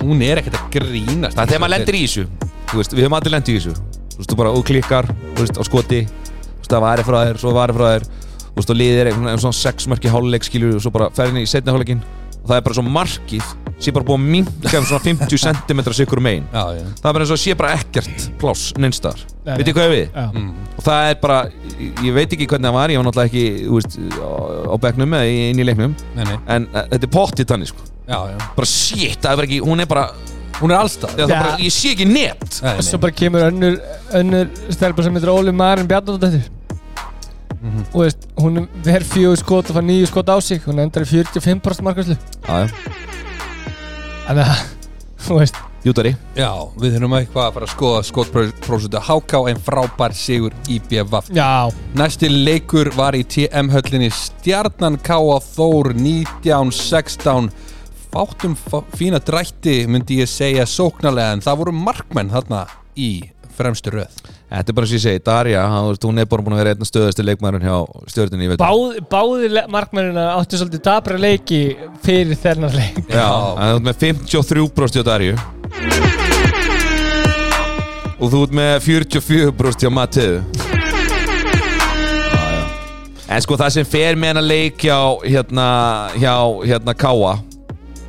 S1: Hún er ekkert að grínast
S2: Ah. Það er þegar maður lendir í þessu Þú veist, Við höfum allir lendir í þessu Þú veist, þú bara og klikkar Þú veist, á skoti Þú veist, það varir frá þér Svo varir frá þér Þú veist, og liðir einhvern veginn Svona sex mörki háluleik skilur Og svo bara ferðin í setna háluleikin Og það er bara svo markið Sé bara búið að minka um svona 50 cm sikur um megin
S1: Já, já,
S2: Það er bara eins og sé bara ekkert pláss neinstar
S3: Nei,
S2: Veitir
S3: nei.
S2: hvað ég við?
S3: Já,
S1: Mm.
S2: Og það er bara Ég ég veit ekki hvernig það var Ég var náttúrulega ekki þú veist, á, á bekknum eða í- inn í leiknum
S1: nei, nei,
S2: En eh, þetta er pottið þannig sko
S1: já, já
S2: Bara shit, það er bara ekki Hún er bara,
S1: Hún er allstað
S2: ja.
S3: Já.
S2: bara Ég sé ekki neitt
S1: Nei,
S3: svo
S1: nei,
S3: bara kemur önnur, önnur stelpa sem heitir Óli Marin Bjarnadóttir
S1: Mhm.
S3: og veist, hún ver fjögur skot og fær nýju skot á sig hún endar í 45% markvæslu
S2: Já, já
S3: þannig að, þú veist
S2: Júdari
S1: já, við þurfum eitthvað að fara að skoða skotprósentu HK en frábær sigur í BVF
S3: já,
S1: Næsti leikur var í TM-höllinni Stjarnan K.A. Þór 1916 Fáttum fá- fína drætti myndi ég segja sóknarlega en það voru markmenn þarna í fremstu röð
S2: Þetta er bara sem ég segi, Darja, hann- þú veist, hún er bara búin að vera einn stöðusti leikmæðurinn hjá stjórninni í veit
S3: báð, báði markmennina áttu svolítið dabra leiki fyrir þennan leik
S2: Já, en þú ert með 53 brosti á Darju Og þú ert með 44 brosti á Mateu En sko það sem fer með hennar leik hjá, hérna, hjá, hérna, Káa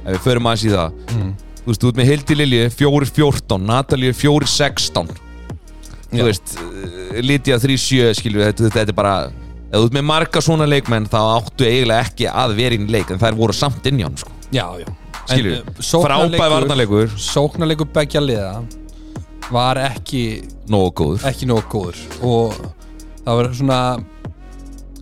S2: Ef við förum aðeins í það Þú veist, þú ert með Hildi Lilju 4.14, Natalíu 4.16 Þú veist, eh, Lítiða 3.7 skilur við, þetta, þetta er bara Ef þú ert með marga svona leikmenn þá áttu eiginlega ekki að vera inn í leik En þær voru samt inn í hann, sko
S1: Já, já
S2: Skilur,
S1: En, uh, sóknarleikur-
S2: frábæð varnarleikur
S1: Sóknarleikur begja liða var ekki,
S2: Nógu góður
S1: ekki nóg góður og það var svona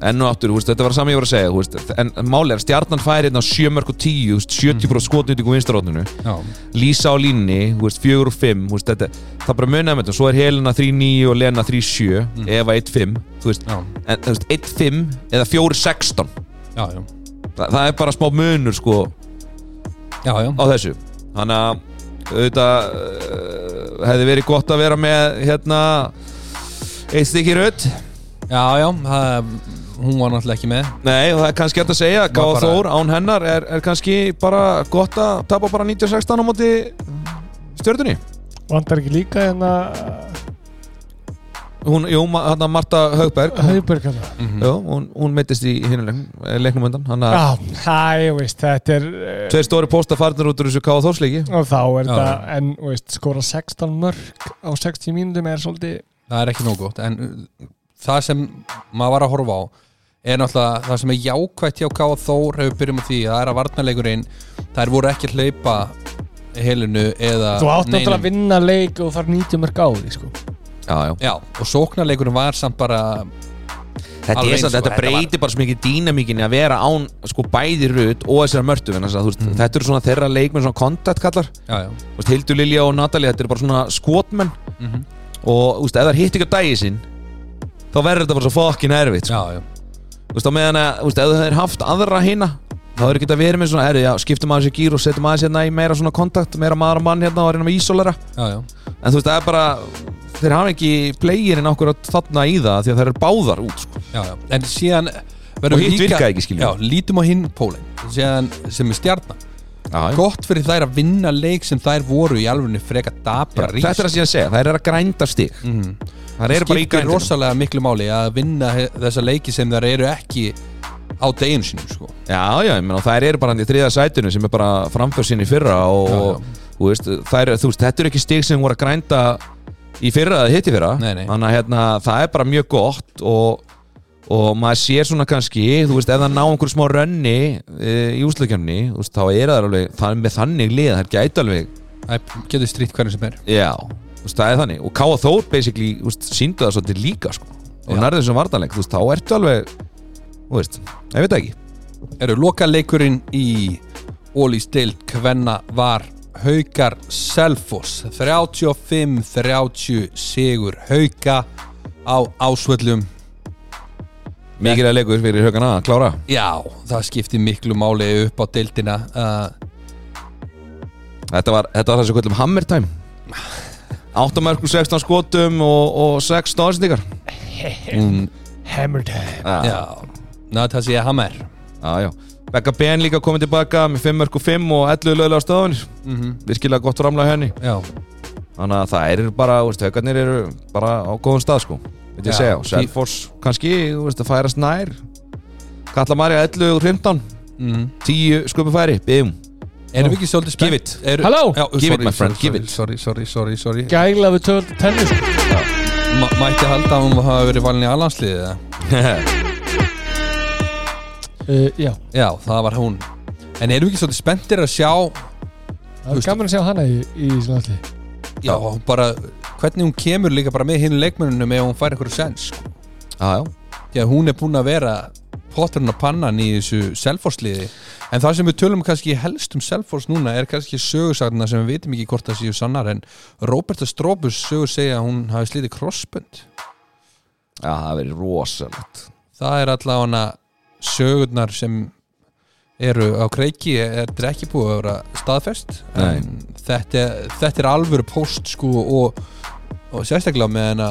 S2: Enn og aftur, þú veist, þetta var það sami ég var að segja þú veist, En máli er að stjarnan færi hérna 7 mörg og 10 þú veist, 70% skotnýtingu vinstarótninu
S1: já,
S2: Lísa á línni, þú veist, 4 og 5 þú veist, þetta, Það bara munaði með þetta Svo er Helena 3-9 og Lena 3-7
S1: Mm.
S2: Eva 1-5 Þú veist,
S1: já,
S2: en, þú veist 1-5 eða 4-16
S1: já, já,
S2: Þa, Það er bara smá munur sko
S1: já, já.
S2: á þessu Þannig að auðvitað uh, hefði verið gott að vera með hérna eitt stykki rödd
S1: já, já það, hún var náttúrulega ekki með
S2: Nei, og það er kannski hægt að segja að Gáða
S1: bara-
S2: Þór án hennar er, er kannski bara gott að tapa bara 1916 á móti stjörnunni
S3: vandar ekki líka hérna, eh, en að
S2: Hún, jú, hann að Marta Haugberg
S3: Hauðberg hérna? hann að
S2: jú, hún, hún meittist í hinu leiknum undan hann að
S3: Já, hæ, þú veist, þetta er eh,
S2: tveir stóri pósta farnir út úr þessu Gáða Þórsleiki
S3: og þá er
S1: Já.
S3: það, en þú veist, skora 16 mörg á 60 mínútum er svolítið
S1: það er ekki nóg gott en uh, það sem maður var að horfa á er náttúrulega það sem er jákvætt hjá Káa Þór hefur byrjum á því að það er að varnarleikurinn þær voru ekki að hlaupa helinu eða
S3: Þú átt
S1: neinum.
S3: náttúrulega að vinna leik og fara 90 mörg á því, sko
S2: Já,
S1: Já,
S2: já
S1: og sóknarleikurinn var samt bara
S2: Þetta,
S1: Alveg
S2: er,
S1: eins
S2: samt-
S1: og-
S2: þetta
S1: þetta var-
S2: breytir bara svo mikið dýnamíkinni að vera án sko bæði rödd og þessar mörtu þannig að þú
S1: Mhm.
S2: veist, þetta eru svona þeirra leikmenn svona kontaktkallar
S1: Já, já,
S2: Þú veist, Hildur Lilja og Natalie, þetta eru bara svona skotmenn
S1: Mhm.
S2: og þú veist, ef það hitt ekki á dagi sinn þá verður þetta bara svo fokkin erfitt sko.
S1: já, já,
S2: þú veist, á meðan að, þú veist, ef það er haft aðra hina þá er ekki að vera með svona, erðu, já, skiptum aðeins í gýr og setjum aðeins hérna í meira svona kontakt meira maður og mann hérna og reynum að ísolera
S1: já, já.
S2: en þú veist, það er bara, þeir hafa ekki playerinn okkur þarna í það því að þeir eru báðar út, sko
S1: já, já. En síðan
S2: Og hitt virkaði ekki, skiljum
S1: Já, lítum á hinn pólinn síðan, sem er stjarnan
S2: já,
S1: Gott fyrir þær að vinna leik sem þær voru í alvörinu freka dabra rís
S2: þetta er það sem ég að segja, það er að grænda stig
S1: Mhm.
S2: það eru bara í
S1: skiptir
S2: grændinum
S1: rosalega miklu máli að vinna he- þessa leiki sem þær eru ekki á deginu sínum sko.
S2: Já, já, ég meina, og þær eru bara hann í þriða sætinu sem er bara framför sín í fyrra og,
S1: Já, já.
S2: og þú veist, þær, þú veist, þetta eru ekki stig sem voru að grænda í fyrra eða hitt í fyrra
S1: Nei, nei.
S2: þannig að hérna, það er bara mjög gott og, og maður sér svona kannski, þú veist, ef það ná einhver smá rönni e, í úsleikjarni, þú veist, þá er það alveg, það er með þannig lið, það er gæti alveg
S1: það getur strýtt hvernig sem er
S2: Já, þú veist, það er þannig og Káa Þór basically, þú veist, síndu það svolítið líka sko. og
S1: Já.
S2: nærðu þessum vartanleik, þú veist, þá ertu alveg þú veist, ég veit það ekki
S1: eru loka leikurinn í Ólís deild hvenna var Haukar Selfoss 35-30 sigur Hauka á ásvöllum
S2: mikilvæg leikur fyrir högan að klára
S1: já, það skipti miklu máli upp á deildina uh,
S2: þetta var, þetta var þessu kvöldum Hammer Time 8 mörgum 16 skotum og, og 6 stóðsendingar mm,
S3: Hammer time
S2: að, já.
S1: já, Natasja Hammer
S2: Að, já. Becca Ben líka komið tilbaka með 5 mörgum 5 og 11 lögulega stöðunir
S1: mm
S2: virkilega gott framlega henni
S1: já,
S2: þannig að það eru bara, þú veist, haugarnir eru bara á góðum stað sko veit ég
S1: Já.
S2: segja, og Selfoss kannski, þú veist, að færast nær Kalla Marja 11 og 15
S1: mm.
S2: 10 sköpufæri, bim
S1: erum við ekki svolítið
S2: Give
S1: spennt?
S2: it.
S1: Eru-
S3: Hello.
S1: já,
S2: Give it, my friend, give it.
S1: sorry, sorry, sorry, sorry.
S3: Gæla við töl tennis
S1: Ma mætti halda að hún hafa verið valin í alhansliðið eða?
S3: uh, Já,
S1: já, það var hún en erum við ekki svolítið spenntir að sjá
S3: það
S1: Veistu-
S3: er gaman að sjá hana í, í slandsli
S1: Já, hún bara, hvernig hún kemur líka bara með hinn leikmennunum ef hún fær eitthvað sens sko.
S2: Já, já,
S1: því að hún er búin að vera potturinn og pannan í þessu selforsliði en það sem við tölum kannski helst um selfors núna er kannski sögursagna sem við vitum ekki hvort það séu sannar en Róberta Strópus sögur segja að hún hafi slítið crossbund
S2: já, það verið rosalegt
S1: það er allavega hana sögurnar sem eru á kreiki er þetta ekki búið að vera staðfest
S2: Nei.
S1: en þetta, þetta er alvöru post sko og, og sérstaklega með hana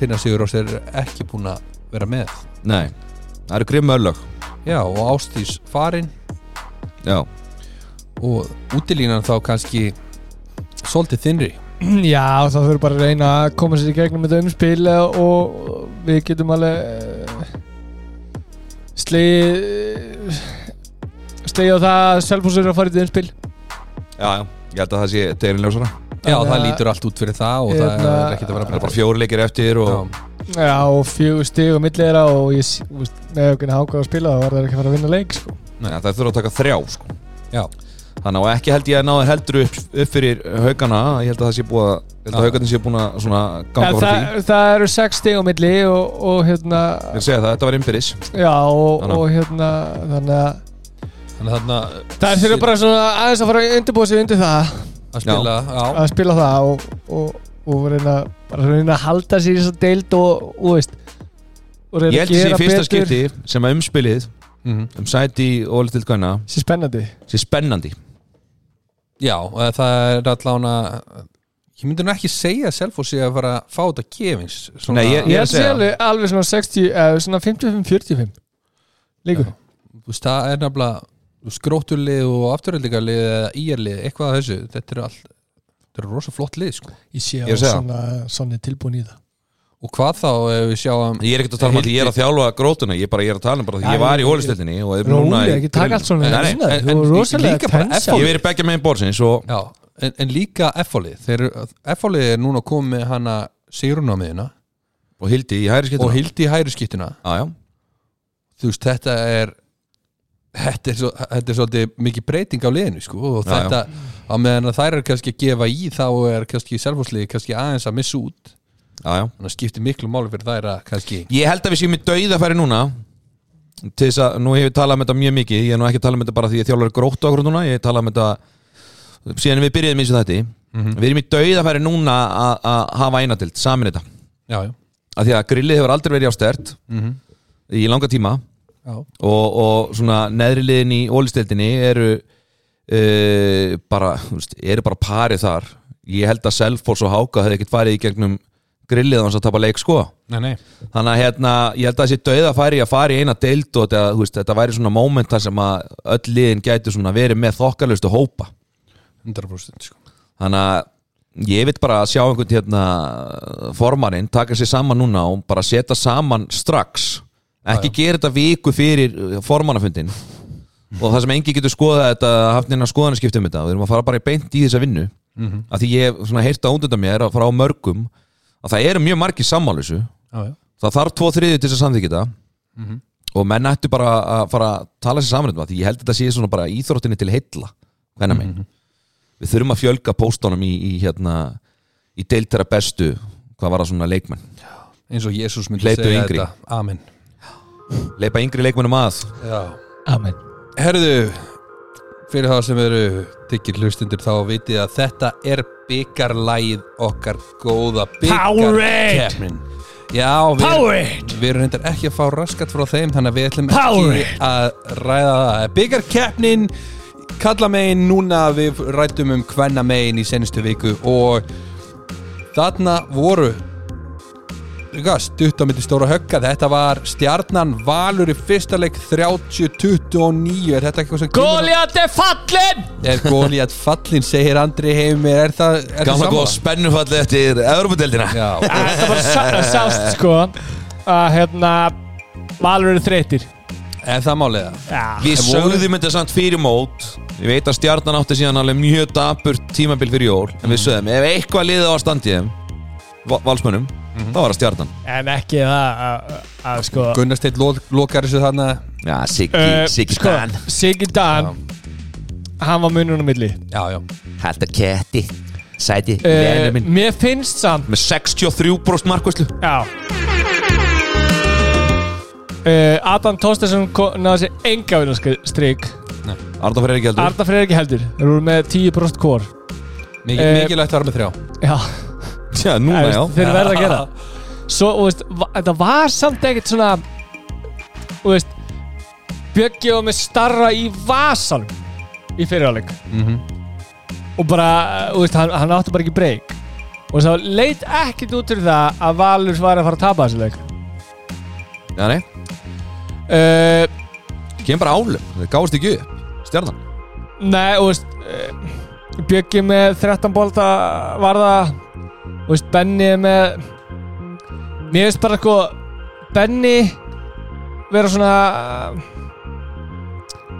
S1: Tina Sigurós er ekki búin að vera með
S2: Nei, það eru grimm örlög
S1: já og Ástís farin
S2: Já,
S1: og útilínan þá kannski svolítið þinnri
S3: Já, þá þurfum bara að reyna að koma sér í gegnum þetta umspil eh, og við getum alveg uh, slegið eh, slegið á það að Selfoss eru að fara í þetta umspil
S2: já, já, ég held að það sé tegurinn ljósara
S1: já
S3: Þannig
S1: það
S3: að-
S1: lítur allt út fyrir það og það
S3: Hérna-
S1: er ekkert að vera
S2: Það eru
S1: breyta
S2: bara fjóri leikir eftir og
S1: já,
S3: Já, og fjögur stig og milli þeirra og ég s- þú veist, með okkur ákvæða að spila þá var það ekki að fara að vinna leik sko.
S2: Nei, það þurfa að taka þrjá sko.
S1: já,
S2: Þannig að ekki held ég að náður heldur upp, upp fyrir haugana Ég held að það sé búið að, ég held að
S1: Já.
S2: haugarnir sé búin að svona
S3: En
S2: ganga frá
S3: það,
S2: því
S3: það eru sex stig á milli og, og hérna
S2: Ég vil segja það, þetta var innbyrðis
S3: já og,
S2: Þannig.
S3: og hérna þannig að
S1: þannig að þarna
S3: það er fyrir bara svona aðeins að fara að undirbúa sig undir það
S1: að spila já,
S3: að spila það og, og, og reyna, bara reyna að halda sér í þess að deild og, og veist og
S2: Ég held
S3: reyna að
S2: að sé í
S3: gera
S2: fyrsta
S3: betur
S2: skipti sem að umspilið
S1: mhm.
S2: um sæti og litil gæna
S3: sér spennandi
S2: sé spennandi
S1: Já, eh, það er allavega ég myndi nú ekki segja að Selfoss sé að fara að fá þetta gefins svona,
S2: Nei,
S3: ég
S2: Ég er að
S3: held sér
S2: segja.
S3: alveg, alveg svona 60 eða svona 55-45 líku
S1: Já. þú veist, það er nefnilega skrótulið og afturöldingarlið eða íjarlið, eitthvað af þessu þetta er allt, þetta er rosa flott lið sko.
S3: ég sé
S2: Ég
S3: að
S2: er að segja.
S3: svona, svona tilbúin í það
S1: og hvað þá ef við sjáum
S2: Ég er ekkert að tala um að ég er að þjálfa grótuna Ég er bara ég er að tala um bara því ég var í hólistöldinni og er núna
S3: Róli,
S2: í-
S3: ekki taka allt svona
S2: Nei, nei,
S3: svona,
S1: en-
S3: Þú
S1: en
S3: er rosalega
S1: líka bara
S3: tensa
S2: Ég verið begja megin borðsins og
S1: já, en, en líka F-fólið F-fólið er núna komið með hana Sigrun á miðina
S2: og Hildi í hæri
S1: og
S2: skiptuna
S1: Hildi í hæri skýttuna
S2: Já, já,
S1: þú veist, þetta er þetta er, svo, þetta er svolítið mikið breyting á liðinu sko og
S2: Já, já.
S1: þetta, á meðan að þær eru kannski að gefa í þá er kannski selfhúsliði kannski aðeins að missa út
S2: já, já
S1: þannig að skipti miklu máli fyrir þær að kannski
S2: Ég held að við séum í dauðafæri núna til þess að nú hef ég talað um þetta mjög mikið ég er nú ekki að tala um þetta bara því ég þjálfur gróttu okkur núna ég tala um þetta síðan við byrjuðum eins og þetta við erum í dauðafæri núna að- að hafa einatild samin þetta
S1: já, já,
S2: af því að grillið hefur aldrei verið á stert
S1: Mhm.
S2: í langa tíma
S1: já,
S2: og, og svona neðri liðin í ólisteldinni eru uh, bara, þú veist, eru bara parið þar ég held að Selfoss og Háka hefði ekkert farið í gegnum grillið þannig að tapa leik sko
S1: nei, nei
S2: þannig að hérna, ég held að þessi dauða færi að fara í eina deild og þetta, þú veist, þetta væri svona moment þar sem að öll liðin gæti svona verið með þokkalustu hópa
S1: 100% sko
S2: þannig að ég vil bara sjá einhvern hérna formaninn taka sér saman núna og bara setja saman strax ekki gera þetta viku fyrir uh, formannafundin og það sem engi getur skoðað þetta haft neina skoðanaskipti um þetta við erum að fara bara í beint í þessa vinnu af því ég hef svona heyrt að útönda mér að frá mörgum að það eru mjög margir sammálusu
S1: já, já,
S2: það þarf tvo þriðju til þess að samþykja þetta
S1: Mhm.
S2: og menn ættu bara að fara að tala sér saman um það því ég held að þetta sé svona bara íþróttinni til heilla hvenna megin
S1: Mhm.
S2: við þurfum að fjölga póstunum í, í hérna í deiltara bestu hvað var það svona leikmenn
S1: eins og Jésús myndi
S2: Hleyptu
S1: segja
S2: yngri.
S1: þetta, amen
S2: leipa yngri leikmennum að
S1: Já.
S3: Amen
S1: Herðu, fyrir það sem eru tyggir hlustundur þá vitið að þetta er byggarlæð okkar góða
S3: Powerade!
S1: byggarkeppnin Já, við,
S3: Powerade!
S1: við erum reyndar ekki að fá raskat frá þeim þannig að við ætlum
S3: Powerade!
S1: ekki að ræða það byggarkeppnin kalla megin núna við rættum um hvenna megin í senustu viku og þarna voru Hvað, stutt á myndi stóra högga þetta var stjarnan Valur í fyrsta leik 30-29 er þetta eitthvað sem
S3: Goliath er fallin
S1: er Góliat fallin segir Andri Heimir er það, er það
S2: Gamla
S1: sama?
S2: góð spennufalli eftir Európa-deldina
S1: Já,
S3: Æ, Þetta var sa- sást sko að hérna Valur eru þreytir
S1: er það máliða
S3: Já.
S2: Við
S1: En voru-
S2: sögðum þetta samt fyrir mót Ég veit að stjarnan átti síðan alveg mjög dapur tímabil fyrir jól En
S1: Mhm.
S2: við sögðum, ef eitthvað liðið á að standi þeim va- Valsmönnum,
S1: Mhm.
S2: þá var það stjarnan
S3: En ekki það að- að- að sko
S1: Gunnar Steinn lo- lokar þessu þarna
S2: Já, Siggi,
S3: eh,
S2: Siggi
S3: sko,
S2: Dan
S3: Siggi Dan Hann var mununum milli
S1: Já, já
S2: Haldur Ketti Sæti,
S3: uh, Mér finnst samt
S2: Með 63% markvæslu
S3: Já Uh, Adam Tóstesson náði sér enga vinnastrygg
S2: Arnda fyrir ekki heldur
S3: Arda Freyr ekki heldur Þeir eru með 10% kór
S1: Mikið,
S3: Eh,
S1: mikilvægt var með þrjá
S3: Já
S2: Já, núna
S3: Nei,
S2: já
S3: veist, þeir verða að gera það. svo, þú veist, va- þetta var samt ekkert svona þú veist Bjöggi og með starra í vasan í fyrirháleik
S1: Mhm.
S3: og bara, þú veist, hann, hann átti bara ekki breyk og svo leit ekkert út fyrir það að Valur var að fara að tapa þessu leik
S2: Já, nei,
S3: uh,
S2: kemur bara álum Þeir gáðust ekki upp, stjarnan
S3: Nei, þú veist uh, Bjöggi með 13 bolta varða Þú veist, Benni er með Mér veist bara sko Benni vera svona eh,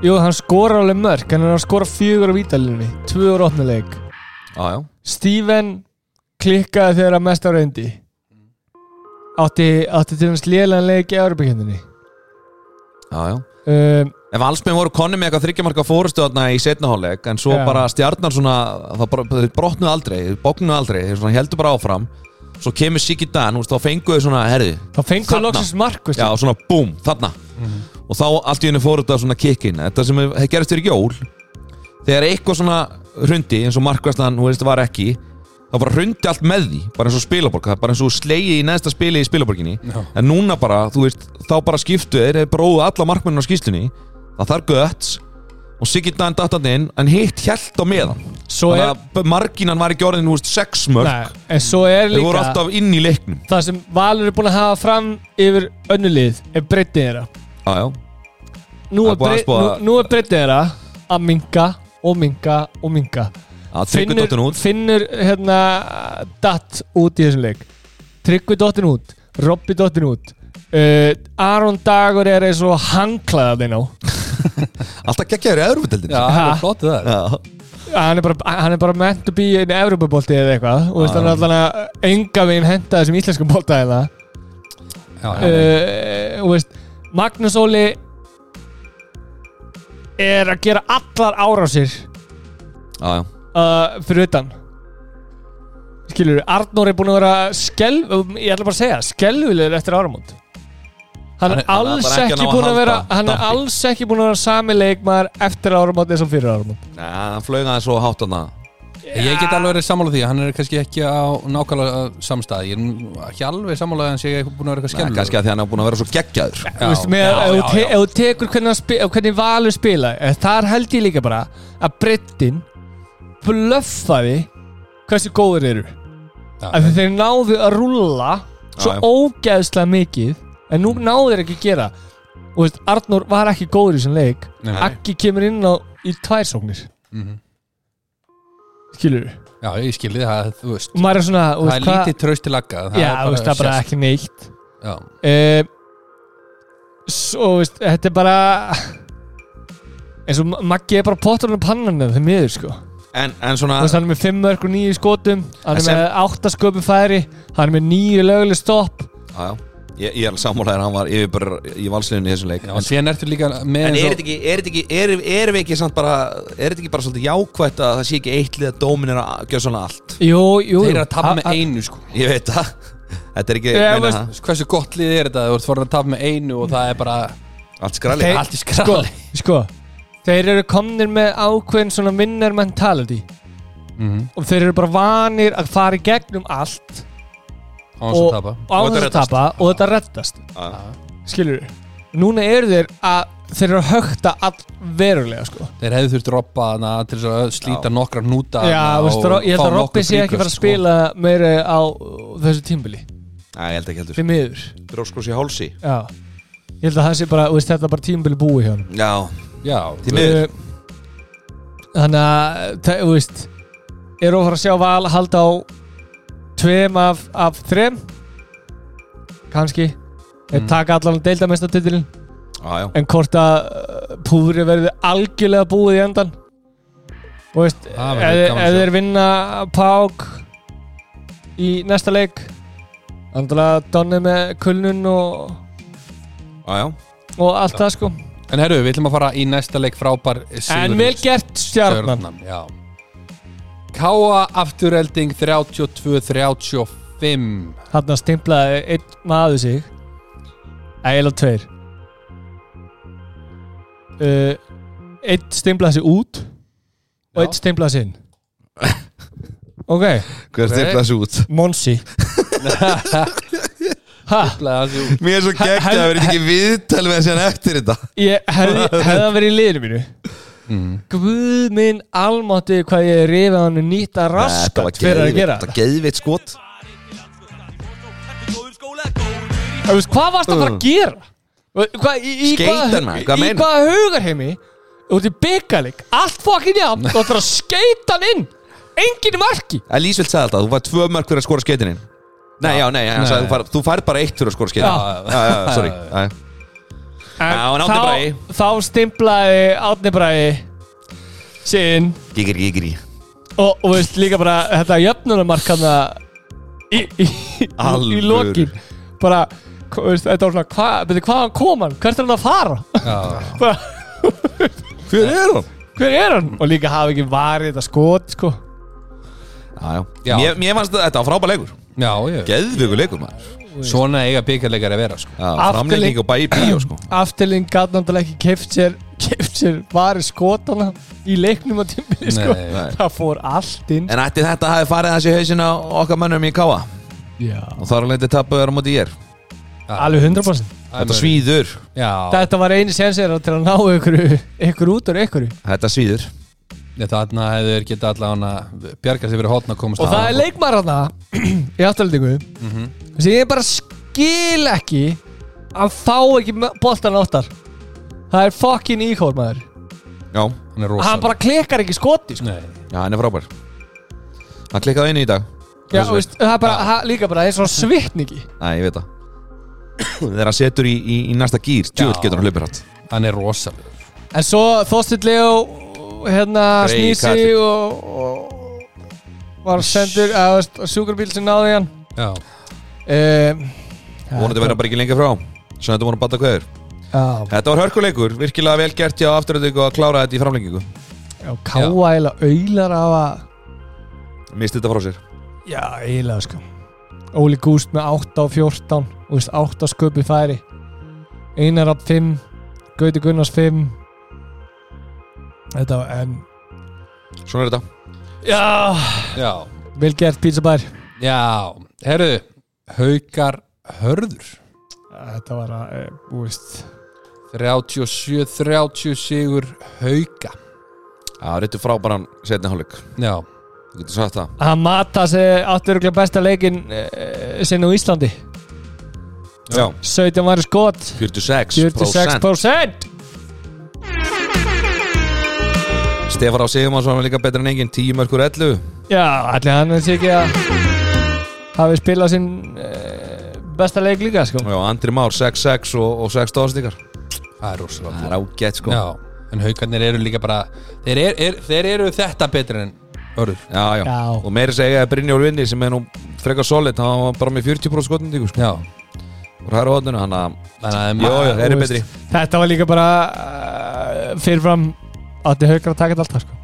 S3: Jú, hann skora alveg mörk en hann er að skora fjögur á vítalinni tvö úr opnuleik
S2: Já, já
S3: Steven klikkaði þegar að mest á reyndi átti, átti til hans lélan leik í Európa-kjöndinni
S2: Já, já
S3: um,
S2: En Valsmenn voru konni með eitthvað þryggjamarka fórustu þarna í setnaháleik en svo
S3: Já.
S2: bara stjarnar svona það bara, þeir brotnuðu aldrei, þeir bóknuðu aldrei þeir svona heldur bara áfram svo kemur Siggi Dan, þú veist, þá fenguðu svona herði,
S3: Þá fengur
S2: Þarna.
S3: loksins mark, veist
S2: já, svona búm, þarna og þá allt í henni fóru þetta svona kikkin þetta sem er- það gerist fyrir jól þegar eitthvað svona hrundi eins og markvæslan, þú veist, var ekki þá bara hrundi allt með því, bara eins og spilaborg það er bara eins og slegið í neðsta spili í spilaborginni
S1: Já.
S2: en núna bara, þú veist, þá bara skiptu þeir, þeir bróðu alla markmennin á skýslunni það þarf götts og Siggi Dan dattan inn, en hitt hjælt á meðan
S3: Svo er,
S2: þannig að marginan var ekki orðin, þú veist, sex
S3: nei,
S2: mörg
S3: en svo er
S2: þeir
S3: líka
S2: voru alltaf inn í leiknum
S3: það sem Valur er búin að hafa fram yfir önnulið er breytið þeirra
S2: já, já,
S3: nú
S2: Það er
S3: er,
S2: búið að
S3: brey, nú,
S2: aðspóa-
S3: nú er breytið þeirra að minka og minka og minka
S2: að tryggur dottin út
S3: finnur hérna datt út í þessum leik Tryggvi dottin út, Robby dottin út uh, Aron Dagur er eins og hangklaðað inn á
S2: alltaf geggjaður í öðrufudeldin
S1: Já, það er flott það
S2: já.
S3: hann er bara, hann er bara meant to be in Evropabolti eða eitthvað og veist, hann er allan að enga veginn henda þessum íslenskum bolta hérna. eða
S1: Já, já, já.
S3: uh, og veist, Magnús Óli er að gera allar árásir
S2: Já, já.
S3: uh, fyrir utan skilur, Arnór er búin að vera skelv, um, ég ætla bara að segja skelvilegur eftir áramót hann
S1: Hann
S3: er
S1: er-
S2: hann er
S3: alls
S2: bara ekki að
S3: ekki
S2: ná að
S3: búin að
S2: halda
S3: vera hann er
S2: dampi.
S3: alls ekki búin að vera sami leikmaður eftir áramót eins og fyrir áramót
S2: Nei, hann flög aðeins og hátt hann
S1: Ég get alveg verið sammála því að Hann er kannski ekki á nákvæmlega samstæð Ég er ekki alveg sammála Þannig að ég er búin að vera eitthvað
S2: Nei,
S1: skemmtilegur.
S2: kannski að því hann er búin að vera svo geggjaður
S3: Þú veist, með,
S1: já, já,
S3: ef, þú te,
S1: já.
S3: ef þú tekur hvernig, hann spi- hvernig valur spila eh, þar held ég líka bara að Brittin blöffaði hversu góður þeir eru
S1: Já,
S3: af því þeir náðu að rúlla svo
S2: Já, já.
S3: ógeðslega mikið en
S1: Mm.
S3: nú náðu þeir ekki að gera og veist, Arnór var ekki góður í þessum leik
S1: Nei, nei.
S3: Akki kemur inn á í tvær sóknir
S1: Mhm.
S3: skilur við
S1: Já, ég skilði það, þú veist
S3: og maður er svona þú
S1: Það er
S3: veist, hvað-
S1: lítið tröst til lagga
S3: já, þú veist, það er bara ekki neitt
S1: Já,
S3: Eh, Svo, veist, þetta er bara eins og Ma- Maggi er bara pottur um pannan þeim miður, sko Þú
S2: En, en svona,
S1: Ah.
S3: veist, hann er með 5 mörg og 9 skotum hann er
S2: Sem-
S3: með 8 sköpum færi hann er með 9 löguleg stopp
S2: já, já Ég, ég er sammálaðir, hann var yfirbörður í valsliðinu í þessum leik
S1: já en síðan ertu líka með
S2: En
S1: eins
S2: er
S1: og-
S2: þetta ekki, er þetta ekki, er, er við ekki samt bara, er þetta ekki bara svolítið jákvætt að það sé ekki eitt lið að dómin er að gjöra svona allt
S3: Jú, jú
S1: Þeir eru að tapa með
S3: a- a-
S1: einu sko
S2: Ég veit það Þetta er ekki
S3: Já,
S2: meina,
S3: veist-
S1: Veist, Hversu gott lið er þetta? Þú ert foran að tapa með einu og það er bara
S2: allt skrali
S3: Þeir-
S1: allt í skrali
S3: Sko, þeir eru komnir með ákveðin svona winner mentality
S1: Mhm,
S3: og þeir eru bara vanir að fara í gegnum allt
S1: Á þess að
S3: Og-
S1: tapa
S3: og á
S2: Og þetta
S3: þess að
S2: reddast.
S3: tapa og þetta reddast skilur núna eru þeir að þeir eru að högta all verulega sko
S1: Þeir hefðu þurft robba hana til þess að slíta nokkra núta
S3: já, veist, ro- ég held að Robby sé ekki fara að spila meira á uh, þessu tímbili
S2: Æ, ég held ekki heldur
S3: því miður
S2: Róskos í hálsi
S3: já ég held að það sé bara þú veist, þetta er bara tímbili búi hjá hann
S2: Já,
S1: sko. Já,
S2: Því miður.
S3: Uh, þannig að það- þú veist eru að fara að sjá val halda á tveim af, af þrem kannski mm.
S1: Mm.
S3: taka allan deildamestatitilin
S2: já, já
S3: en hvort að uh, púðri verði algjörlega búið í endan og veist
S1: Það verður
S3: ef
S1: gaman að
S3: ef
S1: sjá.
S3: þeir vinna Pák í næsta leik andala Donni með kulnun og,
S2: Já, já
S3: og allt það sko
S1: En herru, við ætlum að fara í næsta leik frábær
S3: en
S1: sigur-
S3: vel gert stjarnan
S1: Stjarnan, já Káa afturhelding 32-35
S3: hann að stimplaði einn maður sig eiginlega tveir uh, einn stimplaði sig út og
S1: Já.
S3: einn stimplaði sig inn ok,
S2: Hver
S1: Nei.
S2: stefla þessu út?
S3: Monsi ha,
S2: Mér er svo gegn að
S3: hel-
S2: það verið ekki viðtal við þessi hann eftir þetta
S3: ég hefði, hefði að verið í liðinu mínu
S1: Mm.
S3: Guð minn almátti hvað ég rifið hann nýta raskat fyrir að gera
S2: Þetta geðvitt skot
S3: Þú veist, Hvað varst að fara að gera? Hvað, í, í,
S2: Skeytan, Mm. maður, hvað
S3: í
S2: meinar?
S3: hvaða hugarheimi út í byggaleg, allt fokkin jafn og það er að skeita hann inn enginn í marki
S2: Lísveld sagði alltaf, þú var tvö mörg fyrir að skora skeitinin Nei, já, nei, hann
S1: Nei.
S2: sagði, þú færð- þú færð bara eitt fyrir að skora
S3: Já.
S2: skeitinin Já, já, já, sorry Já, já. Já, en Árni Bragi.
S3: þá, þá stimplaði Átni Bræði sinn
S2: Gigri, gigri
S3: og, og veist líka bara þetta jöfnunumark hann í, í, í, í
S2: Alvöru.
S3: lokin bara, hva- veist, þetta var svona hva, beti, hvaðan kom hann, hvert er hann að fara
S1: Já,
S3: bara,
S2: Hver er hann?
S3: hver er hann og líka hafa ekki varið þetta skot sko.
S2: Já, já
S1: Já.
S2: Mér, mér fannst að þetta var frábær leikur
S1: já, ég
S2: Geðvögu leikur maður
S1: Svona eiga byggarleikar að vera sko.
S2: Já,
S3: Afturlík-
S2: Framlenging og bæ í bíó sko
S3: afturlinn gæti náttúrulega ekki keift sér keift sér varið skotana í leiknum á tímbili sko.
S1: Nei,
S2: nei.
S3: það fór allt inn
S2: En ætti þetta hafi farið þessi hausin á okkar mönnum í Káa
S3: Já.
S2: Og þar alveg þetta tapuður á móti ég
S3: alveg 100%
S2: Þetta svíður
S1: Já,
S3: þetta var eini sensir til að ná ykkur, ykkur út úr ykkur
S2: Þetta svíður
S1: þarna hefur þeir geta allavega bjargað sér fyrir hotna að komast
S3: og það
S1: að-
S3: er leikmar hana í afturlendingu sem ég bara skil ekki að fá ekki boltan áttar það er fucking íkór maður
S2: Já,
S1: Hann er rosa
S3: hann bara klikkar ekki skoti sko.
S1: Nei,
S2: já, hann er frábær Hann klikkaði inn í dag
S3: Já,
S2: Þessu
S3: veist, það er bara, það, líka bara eins og svitningi
S2: Nei, ég veit það Þegar hann setur í, í, í næsta gýr Djúvill
S1: Já.
S2: getur hann hlupir hatt
S1: hann er rosa
S3: en svo þóstillega og hérna
S2: Grey
S3: snýsi
S2: kallinn.
S3: og, og var sendur að veist, sjúkrabíl sem náði hann
S1: Já,
S3: um,
S2: Vonandi verða bara ekki lengi frá Svo þetta voru bata kveður
S3: Já,
S2: Þetta var hörkuleikur, virkilega vel gert hjá afturöndingu að klára þetta í framlengingu
S3: já káa eila auðlar af að
S2: Misti þetta frá sér
S3: Já, eiginlega sko Óli Gúst með 8 á 14 og veist 8 sköpi færi Einar af 5 Gauti Gunnars 5 Þetta var en
S2: Svona er þetta
S3: Já
S1: já,
S3: Vel gert pítsabær
S1: já Herru, haukar hörður
S3: Þetta var að, e, þú veist
S1: 37-30 sigur hauka
S2: Já, réttu frábæran setni hálfleik
S1: Já,
S2: Þú getur sagt það
S3: Hann mata sig átturuglega besta leikin e, sinn á Íslandi
S2: Já,
S3: 17 var skot
S2: 46%
S3: 46%
S2: Stefán á Sigumansson var líka betra en engin 10 mörkur 11
S3: Já, allir hann er sér ekki að hafi spilað sinn e, besta leik líka sko
S2: Já, Andri Már 6-6 og, og 6 stóðstíkar
S1: það er rosa
S2: Það er ágætt sko
S1: Já, en haukarnir eru líka bara Þeir, er, er, þeir eru þetta betri en hörður
S2: já, já.
S3: Já.
S2: Og meiri segja að Brynjór vinni sem er nú frekar solid hann var bara með 40% skotnindíku sko.
S1: Já,
S2: og hæra hodnuna hann að
S1: þannig að
S2: Jó, jó,
S1: maður-
S2: þeir eru
S3: Þú
S2: betri
S3: veist, Þetta var líka bara uh, fyrirfram átti haugur að taka þetta alltaf sko.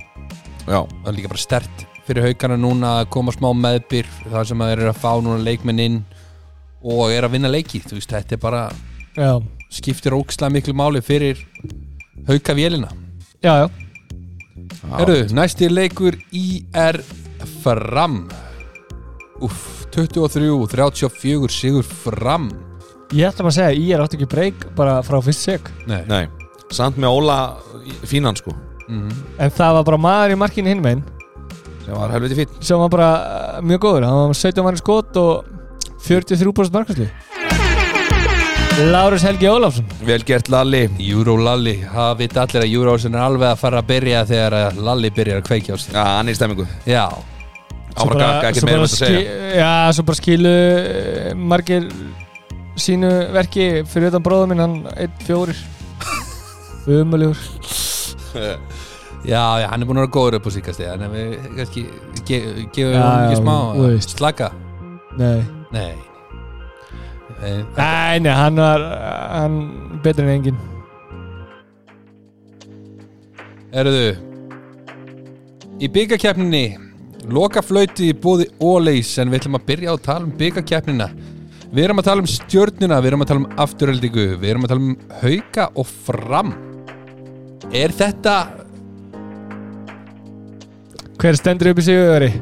S2: Já,
S1: það er líka bara stert fyrir haukana núna að koma smá meðbyr þar sem að þeir eru að fá núna leikmenn inn og er að vinna leiki þú veist, þetta er bara
S3: já,
S1: skiptir ógislega miklu máli fyrir hauka vélina
S3: já, já
S1: Herru, næsti leikur IR Fram Uff, 23 34 sigur Fram
S3: Ég ætla maður að segja, ég er átt ekki breyk bara frá fyrst seg
S1: Nei,
S2: Nei, samt með Óla í- fínan sko
S1: Mhm.
S3: En það var bara maður í markinu hinn megin
S2: sem var helviti fín
S3: sem var bara uh, mjög góður hann var með 17 manni skot og 43% markasli Lárus Helgi Ólafsson
S2: Vel gert Lalli
S1: Euro Lalli, það vita allir að Euro er alveg að fara að byrja þegar að Lalli byrjar að kveikja á sig
S2: Já, hann er í stemmingu
S1: Já,
S2: Áfram kaka, ekkert
S3: svo
S2: meira um
S3: bara
S2: þetta að segja
S3: ski- Já, svo bara skilu uh, margir sínu verki fyrir utan bróðum minn, hann 1-4 Umulugur
S1: já, já, hann er búin að vera góður upp á síkast en við kannski ge, gefum
S3: Já,
S1: honum ekki
S3: já,
S1: smá
S3: þú
S1: að
S3: veist.
S1: slaka
S3: Nei,
S1: Nei Nei,
S3: nei, nei, hann var hann betri en engin
S1: Erðu Í byggakeppninni Loka flöyti í bóði Óleis En við ætlum að byrja á að tala um byggakeppnina Við erum að tala um stjörnina Við erum að tala um afturöldingu Við erum að tala um hauka og fram Er þetta
S3: Hver stendur upp í sigurveri?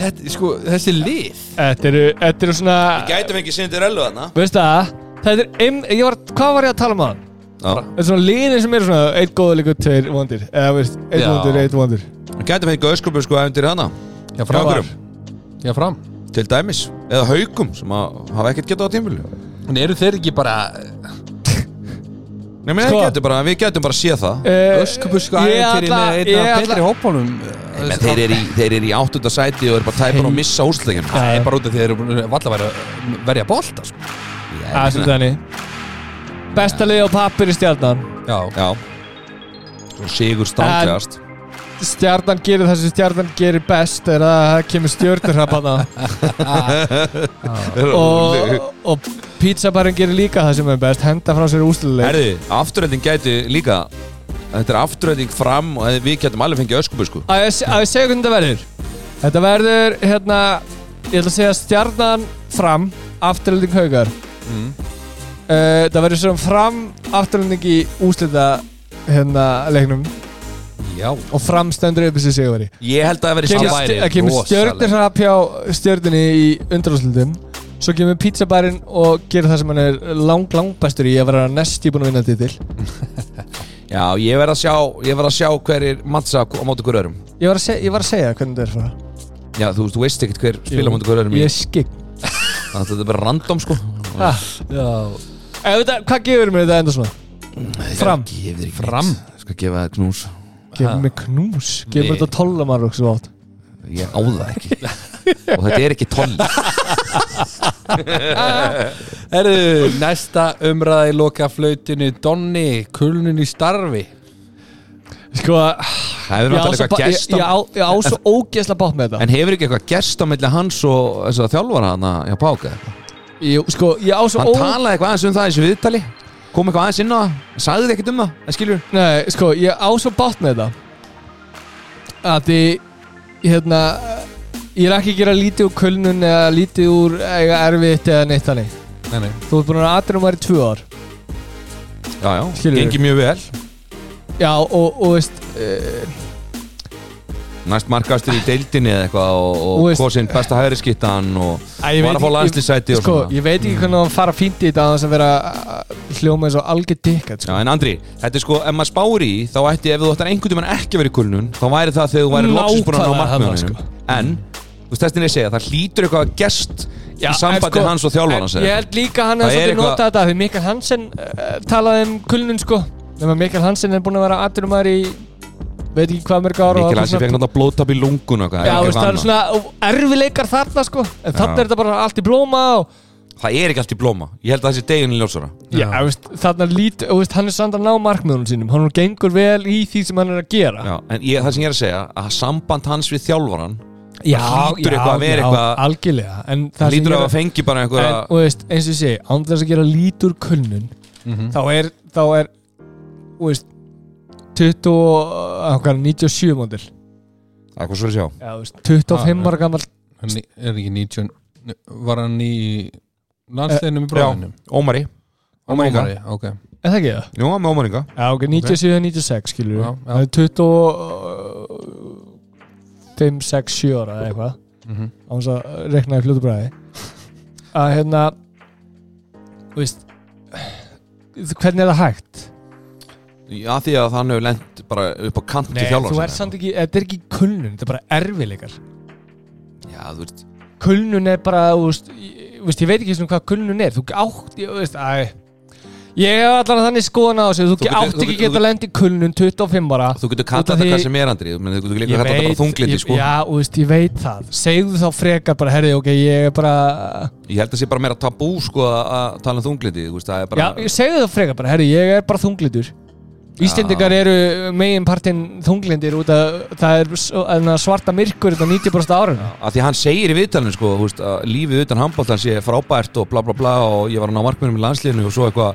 S1: Þetta, sko, þessi lið
S3: Þetta eru, þetta eru svona
S2: Gætum ekki Cinderellu þarna
S3: Veist það, þetta er ein, ég var, Hvað var ég að tala um hann?
S2: Já.
S3: Þetta er svona liðin sem eru svona eitt góða líka tveir vondir eða veist, eitt
S1: Já.
S3: vondir, eitt vondir
S2: Gætum ekki öskupu sko eftir þarna
S1: Já,
S2: Hjá
S1: fram
S2: einhverjum.
S1: Já, fram
S2: Til dæmis Eða haukum sem að hafa ekkert getað á tímul
S1: En eru þeir ekki bara
S2: Nei, menn,
S3: Sko. Eh,
S2: sko. gætum bara, við gætum bara að sé
S1: Eh,
S2: það
S1: öskubusku æventýri með einna betri hópunum
S2: En þeir eru í, þeir eru í áttunda sæti og eru bara tæpan og missa úrslegin
S1: Það er bara út af því að þeir eru búin að valla verja, verja bolta sko.
S3: Það er svona þannig Besta liði á pappir í stjarnan
S1: Já,
S2: Já Svo sigur stanglegast
S3: Stjarnan gerir það sem stjarnan gerir best er að það kemur stjörnur að panna og, og pizzabarinn gerir líka það sem er best henda frá sér úsluleik
S2: Herði, afturölding gæti líka Þetta er afturölding fram og við gætum alveg fengið öskubu sko
S3: Að ég að ég segja hvernig þetta verður Þetta verður, hérna Ég ætla að segja stjarnan fram Afturlending haugar mm. Það verður svona fram Afturlending í úslita Hérna leiknum
S1: já.
S3: Og fram stendur upp þessi sigurveri
S2: Ég held að það verði
S1: Kemur-
S2: stjarnan
S1: væri
S3: Það kemur
S1: rosalegt.
S3: stjörnir hrapp hjá stjörninni Í undarúslitum Svo kemur pizzabarinn og gerir það sem hann er lang, lang bestur í að vera næst í búin að vinna titil.
S2: Já, ég verð að sjá, ég verð að sjá hverjir mattsa á móti hver öðrum
S3: Ég var að, seg ég var að segja hvernig þetta er frá.
S2: Já, þú, þú veist ekkert hver spila á móti hver öðrum
S3: Ég
S2: yes.
S3: er skikk.
S2: Þannig að þetta er bara random sko
S3: Ah. Ef þetta, Eh, hvað gefur mér þetta enda svona? Mm, Fram.
S2: Gefur ekki
S1: Fram
S2: Ég skal gefa það knús
S3: Gefur mig knús Gefur
S2: Nei.
S3: þetta tóllamar og svo átt
S2: Ég á það ekki Og þetta er ekki toll
S1: Herðu, næsta umræða í loka flautinu Donni, kulnun í starfi
S3: Sko
S2: Það hefur
S3: Ég á
S2: náttúrulega
S3: svo ba-
S2: eitthvað
S3: ég-
S2: gerst á
S3: ég á- ég á svo ógeðslega bátt með þetta
S2: En hefur ekki eitthvað gerst á milli hans og þess að þjálfara hana hjá Páka?
S3: Jú, Sko ég á svo
S2: Hann
S3: ó
S2: talaði eitthvað aðeins um það í þessu viðtali kom eitthvað aðeins inn á það, sagði þið ekkert um það það skilur
S3: Nei sko ég á svo bátt með þetta Að því Hérna Ég er ekki að gera lítið úr kulnun Eða lítið úr eiga erfitt eða neitt þannig
S1: Nei, nei
S3: Þú ert búin að vera aðrunum var í tvö ár
S2: Já, já,
S3: Skilur.
S2: gengi mjög vel
S3: Já og, og veist uh,
S2: Næst markastur í deildinni eða eitthvað og,
S3: Þú
S2: og
S3: veist-
S2: kosinn besta hægri skittan og
S3: Æ, ég
S2: var að
S3: veit
S2: fá
S3: ekki-
S2: landslýsæti og
S3: Sko
S2: svona
S3: ég veit ekki hvernig hann fara fínt í þetta að þess að vera að hljóma eins og algjör dikkat
S2: Já,
S3: sko.
S2: en Andri, þetta er sko, ef maður spáir í þá ætti, ef þú ættir einhvern tímann ekki að vera í kulnun þá væri það þegar þú væri loksins búin að ná
S3: Nákvæmlega
S2: markmiðunum
S3: þarna, sko.
S2: En, þú veist, þessin ég að segja, það hlýtur eitthvað að gerst
S3: Já,
S2: í
S3: en
S2: sambandi
S3: sko,
S2: hans og þjálfara hans
S3: en Ég held líka hann
S2: Það
S3: að
S2: er
S3: svolítið
S2: eitthvað-
S3: nota þetta Því Mikael Hansen uh, talaði um kulnun sko Nefnir Mikael Hansen er búin að vera aðurumar í Veit ekki hvað mörg ára
S2: Mikil hans, ég fekk náttúrulega blóðtap í lungun og eitthvað,
S3: Já,
S2: eitthvað
S3: veist, það er
S2: annað.
S3: svona erfileikar þarna sko En þarna er þetta bara allt í blóma og
S2: Það er ekki allt í blóma Ég held að það sé deginni ljósara
S3: Já, veist, þarna lít og veist, Hann er samt að ná markmiðunum sínum Hann gengur vel í því sem hann er að gera
S2: Já, En ég, það sem ég er að segja Að samband hans við þjálfaran
S3: já,
S2: hlýtur eitthvað að vera eitthvað-
S3: algjörlega En það sem
S2: Lítur
S3: ég
S2: að
S3: er
S2: það fengi bara einhverja
S3: en, og veist, eins og ég segi, án þess að gera lítur kulnun þá er þá er, þú veist 20, og, uh, hvað, 97 mótil
S2: Eitthvað svo að sjá
S3: ja, 25
S1: Ah,
S3: ára gammal
S1: Hann Er ekki 19 Var hann í landsliðinum í
S2: Já,
S1: bróðinum
S2: Ómari Ómaringa
S1: Ómari, ok
S3: Er það ekki það?
S2: Jú, hann með Ómaringa
S3: Já, ok, 97 96 skilur við
S1: Já, já.
S3: Það er 25, 6, 7 ára eða eitthvað
S1: Mhm.
S3: á hans að rekna í fljótu bræði að hérna þú veist hvernig er það hægt?
S2: Já, því að hann hefur lent bara upp á kant til þjálfara
S3: þú
S2: sinna.
S3: er samt ekki, þetta er ekki kulnun þetta er bara erfileikar
S2: Já, þú veist
S3: kulnun er bara, þú veist, ég, þú veist, ég veit ekki svona hvað kulnun er, þú átt, ég, þú veist, æ, ég hef allan þannig skoðan á þessu, þú,
S2: Þú getur-
S3: átt
S2: þú
S3: ekki
S2: getur-
S3: geta lend í kulnun 25 ára.
S2: Þú getur
S3: Út af
S2: kallað þetta
S3: því-
S2: hvað sem er andri Þú menn, þú getur líka kallað þetta bara þunglindi
S3: ég,
S2: sko.
S3: já, þú veist, ég veit það, segðu þá frekar bara, herri, ok, ég er bara,
S2: Ég held að sé bara meira tabú sko, að- að tala um þunglindi þú veist, það er bara,
S3: já, segðu þá frekar bara, herri, ég er bara þunglitur. Íslendingar eru megin partinn þunglindir út að það er s- þarna svarta myrkur þetta 90% áruna.
S2: að Því að hann segir í viðtalinu sko, þú veist, að lífið utan handbóltan sé frábært og bla bla bla og ég var hann á markmennum í landsliðinu og svo eitthvað þú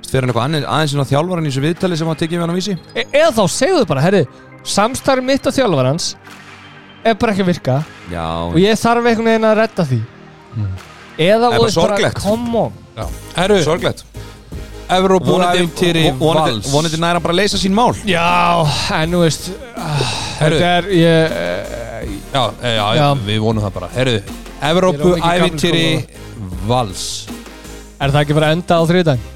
S2: veist, fer hann eitthvað annað- aðeins inn á þjálfaran í þessu viðtali sem hann tekið við hann á vísi
S3: E eða þá segðu bara, herri, samstarf mitt og þjálfarans er bara ekki að virka.
S2: Já,
S3: og ég þarf einhvern veginn að redda því Mm. eða
S2: Það er
S3: og
S2: bara sorglegt.
S3: come on
S1: Herru,
S2: sorglegt
S1: Evrópúæntýri
S2: vonandi,
S1: Vals
S2: vonandi næra bara að leysa sín mál
S3: já, en nú veist ah,
S1: Herru.
S3: þetta er ég, eh,
S1: já, já, já,
S3: Já.
S1: við vonum það bara Herru, Evrópúæntýri Vals
S3: er það ekki bara að enda á þriðdag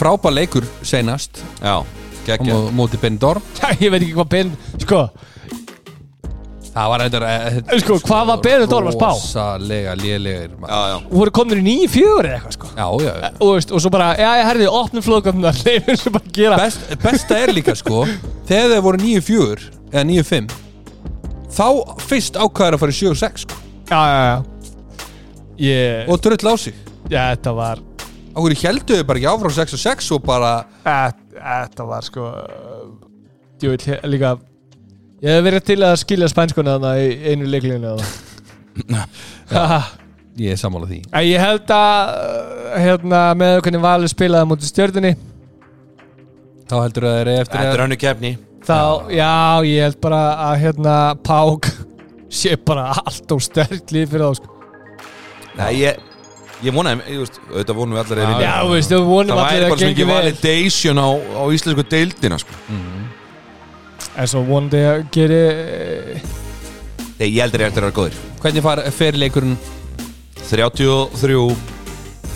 S1: Frábær leikur seinast
S2: Já,
S1: á
S2: geggja
S1: mó- móti Bindor
S3: ég veit ekki hvað Ben sko,
S1: Það var eitthvað
S3: Sko, hvað var Benidorm að spá?
S1: Rosalega lélegir maður.
S2: Já, já
S3: voru komin í nýju fjögur eða eitthvað sko
S1: Já, já, já
S3: og, veist, og svo bara, já, ég herði, opnum flóðgöfnar leifum svo bara að gera
S1: Best, Besta er líka sko Þegar þeir voru 9-4 eða 9-5 Þá fyrst ákvæður að fara í 7-6 sko,
S3: já, já, já ég,
S1: og drull á sig
S3: já, þetta var
S1: Á hverju heldur þau bara ekki áfram 6-6 og bara
S3: Æ- e, Þetta var sko Jú, líka Ég hef verið til að skilja spænskuna þannig í einu leiklinu Ég
S1: Ég er sammála því
S3: held að hérna, með hvernig Valur spilaði mútið stjörnunni
S1: Þá heldur þau að þeir eru eftir
S2: Þetta
S1: að
S2: er hannu kefni
S3: þá, já, ég held bara að hérna, Pák sé bara allt og sterkt líf fyrir þá sko.
S2: Nei, ég, ég vonaði, ég veist, auðvitað vonum við allar að þeir vinni.
S3: Já, þú veist, við vonum
S2: Það
S3: allir
S2: væri
S3: að
S2: bara svo
S3: gengi
S2: mikið
S3: vel
S2: validation á, á íslensku deildina, sko.
S3: En svo vonandi að geri eh,
S2: Nei, ég heldur ég eftir að vera góðir.
S1: Hvernig far, fer leikurinn
S2: 33,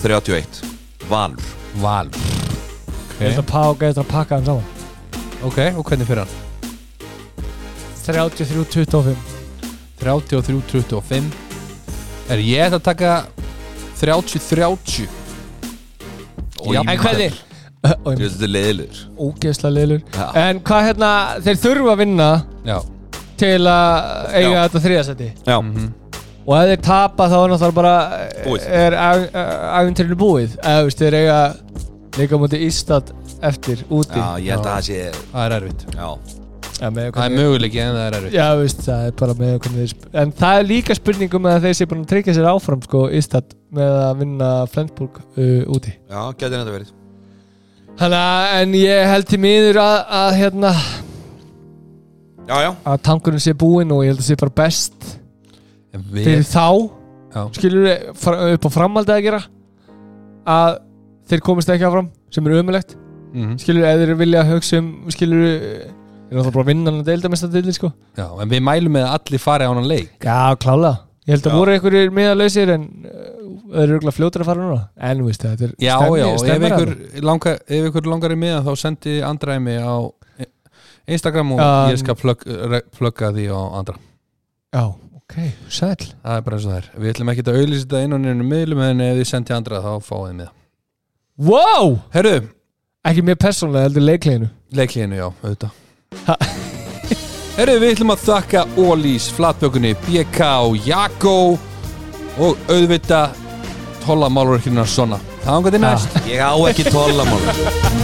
S2: 31. Valur.
S1: val
S3: Ég held að Pák eftir að pakka hann saman
S1: Ok, og hvernig fer hann?
S3: 33-25
S1: 33-25 Er ég ætla að taka 30-30
S2: Og
S1: Jafn-
S3: En hvernig? Ö, og
S2: Ég
S3: ég-
S2: veist, þetta er leiðilegur.
S3: ógeðsla leilur
S2: Já.
S3: en hvað hérna, þeir þurfa að vinna
S1: Já,
S3: til að eiga
S2: Já.
S3: þetta þriðasetti
S2: Já,
S3: Mhm. og ef þeir tapa þá er náttúrulega bara
S2: Búið.
S3: er æfintrinu búið eða þú veist, þeir eiga líka mútið Ísland eftir úti
S2: já, ég held að
S1: Já.
S2: það sé,
S1: það er erfitt
S2: já.
S3: Já, með
S1: Það er
S3: hvernig-
S1: möguleiki en það er erfitt
S3: Já, þú veist, það er bara með hvernig þeir sp- en það er líka spurningum að þeir sé búin að tryggja sér áfram sko, Ísland með að vinna Flensburg uh, úti
S2: Já, getur þetta verið.
S3: Þannig að, en ég held til miður að, að hérna,
S2: Já, já.
S3: að tankurinn sé búinn og ég held að sé bara best
S1: En
S3: fyrir
S1: Við,
S3: þá
S1: já,
S3: skilur við upp á framaldið að gera að þeir komist ekki áfram sem er ömulegt
S1: mhm,
S3: skilur við eða þeir vilja hugsa um skilur við er náttúrulega bara að vinna hann að deilda mest að deildi sko
S1: já, en við mælum með að allir fari á hann leik
S3: já klála ég held að
S2: Já.
S3: voru einhverjir miðalausir en uh, þeir eru auðvitað fljótar að fara núna en þú veist þetta er
S1: Já,
S3: stemmi-
S1: já, ef
S3: stemmar
S1: ykkur,
S3: þarna.
S1: langa, ef ykkur langar í miðan þá sendi andræmi á Instagram og
S3: Um,
S1: ég skal plugg- re- plugga því á andra
S3: já ok sæl
S1: Það er bara eins og það er Við ætlum ekki að auðlýsa þetta inn og nefnum miðlum en ef þið sendi andra þá fáið þið miða
S3: wow
S1: Herru,
S3: ekki mér persónulega heldur leikleginu
S1: leikliðinu, já, auðvitað
S3: Ha.
S1: Herru, við ætlum að þakka Ólís, Flatbökunni, BK, Jakko og auðvitað Tolla Málurkirna Sonna Það ángur til
S3: Ha.
S1: næst
S2: Ég á ekki tólamál.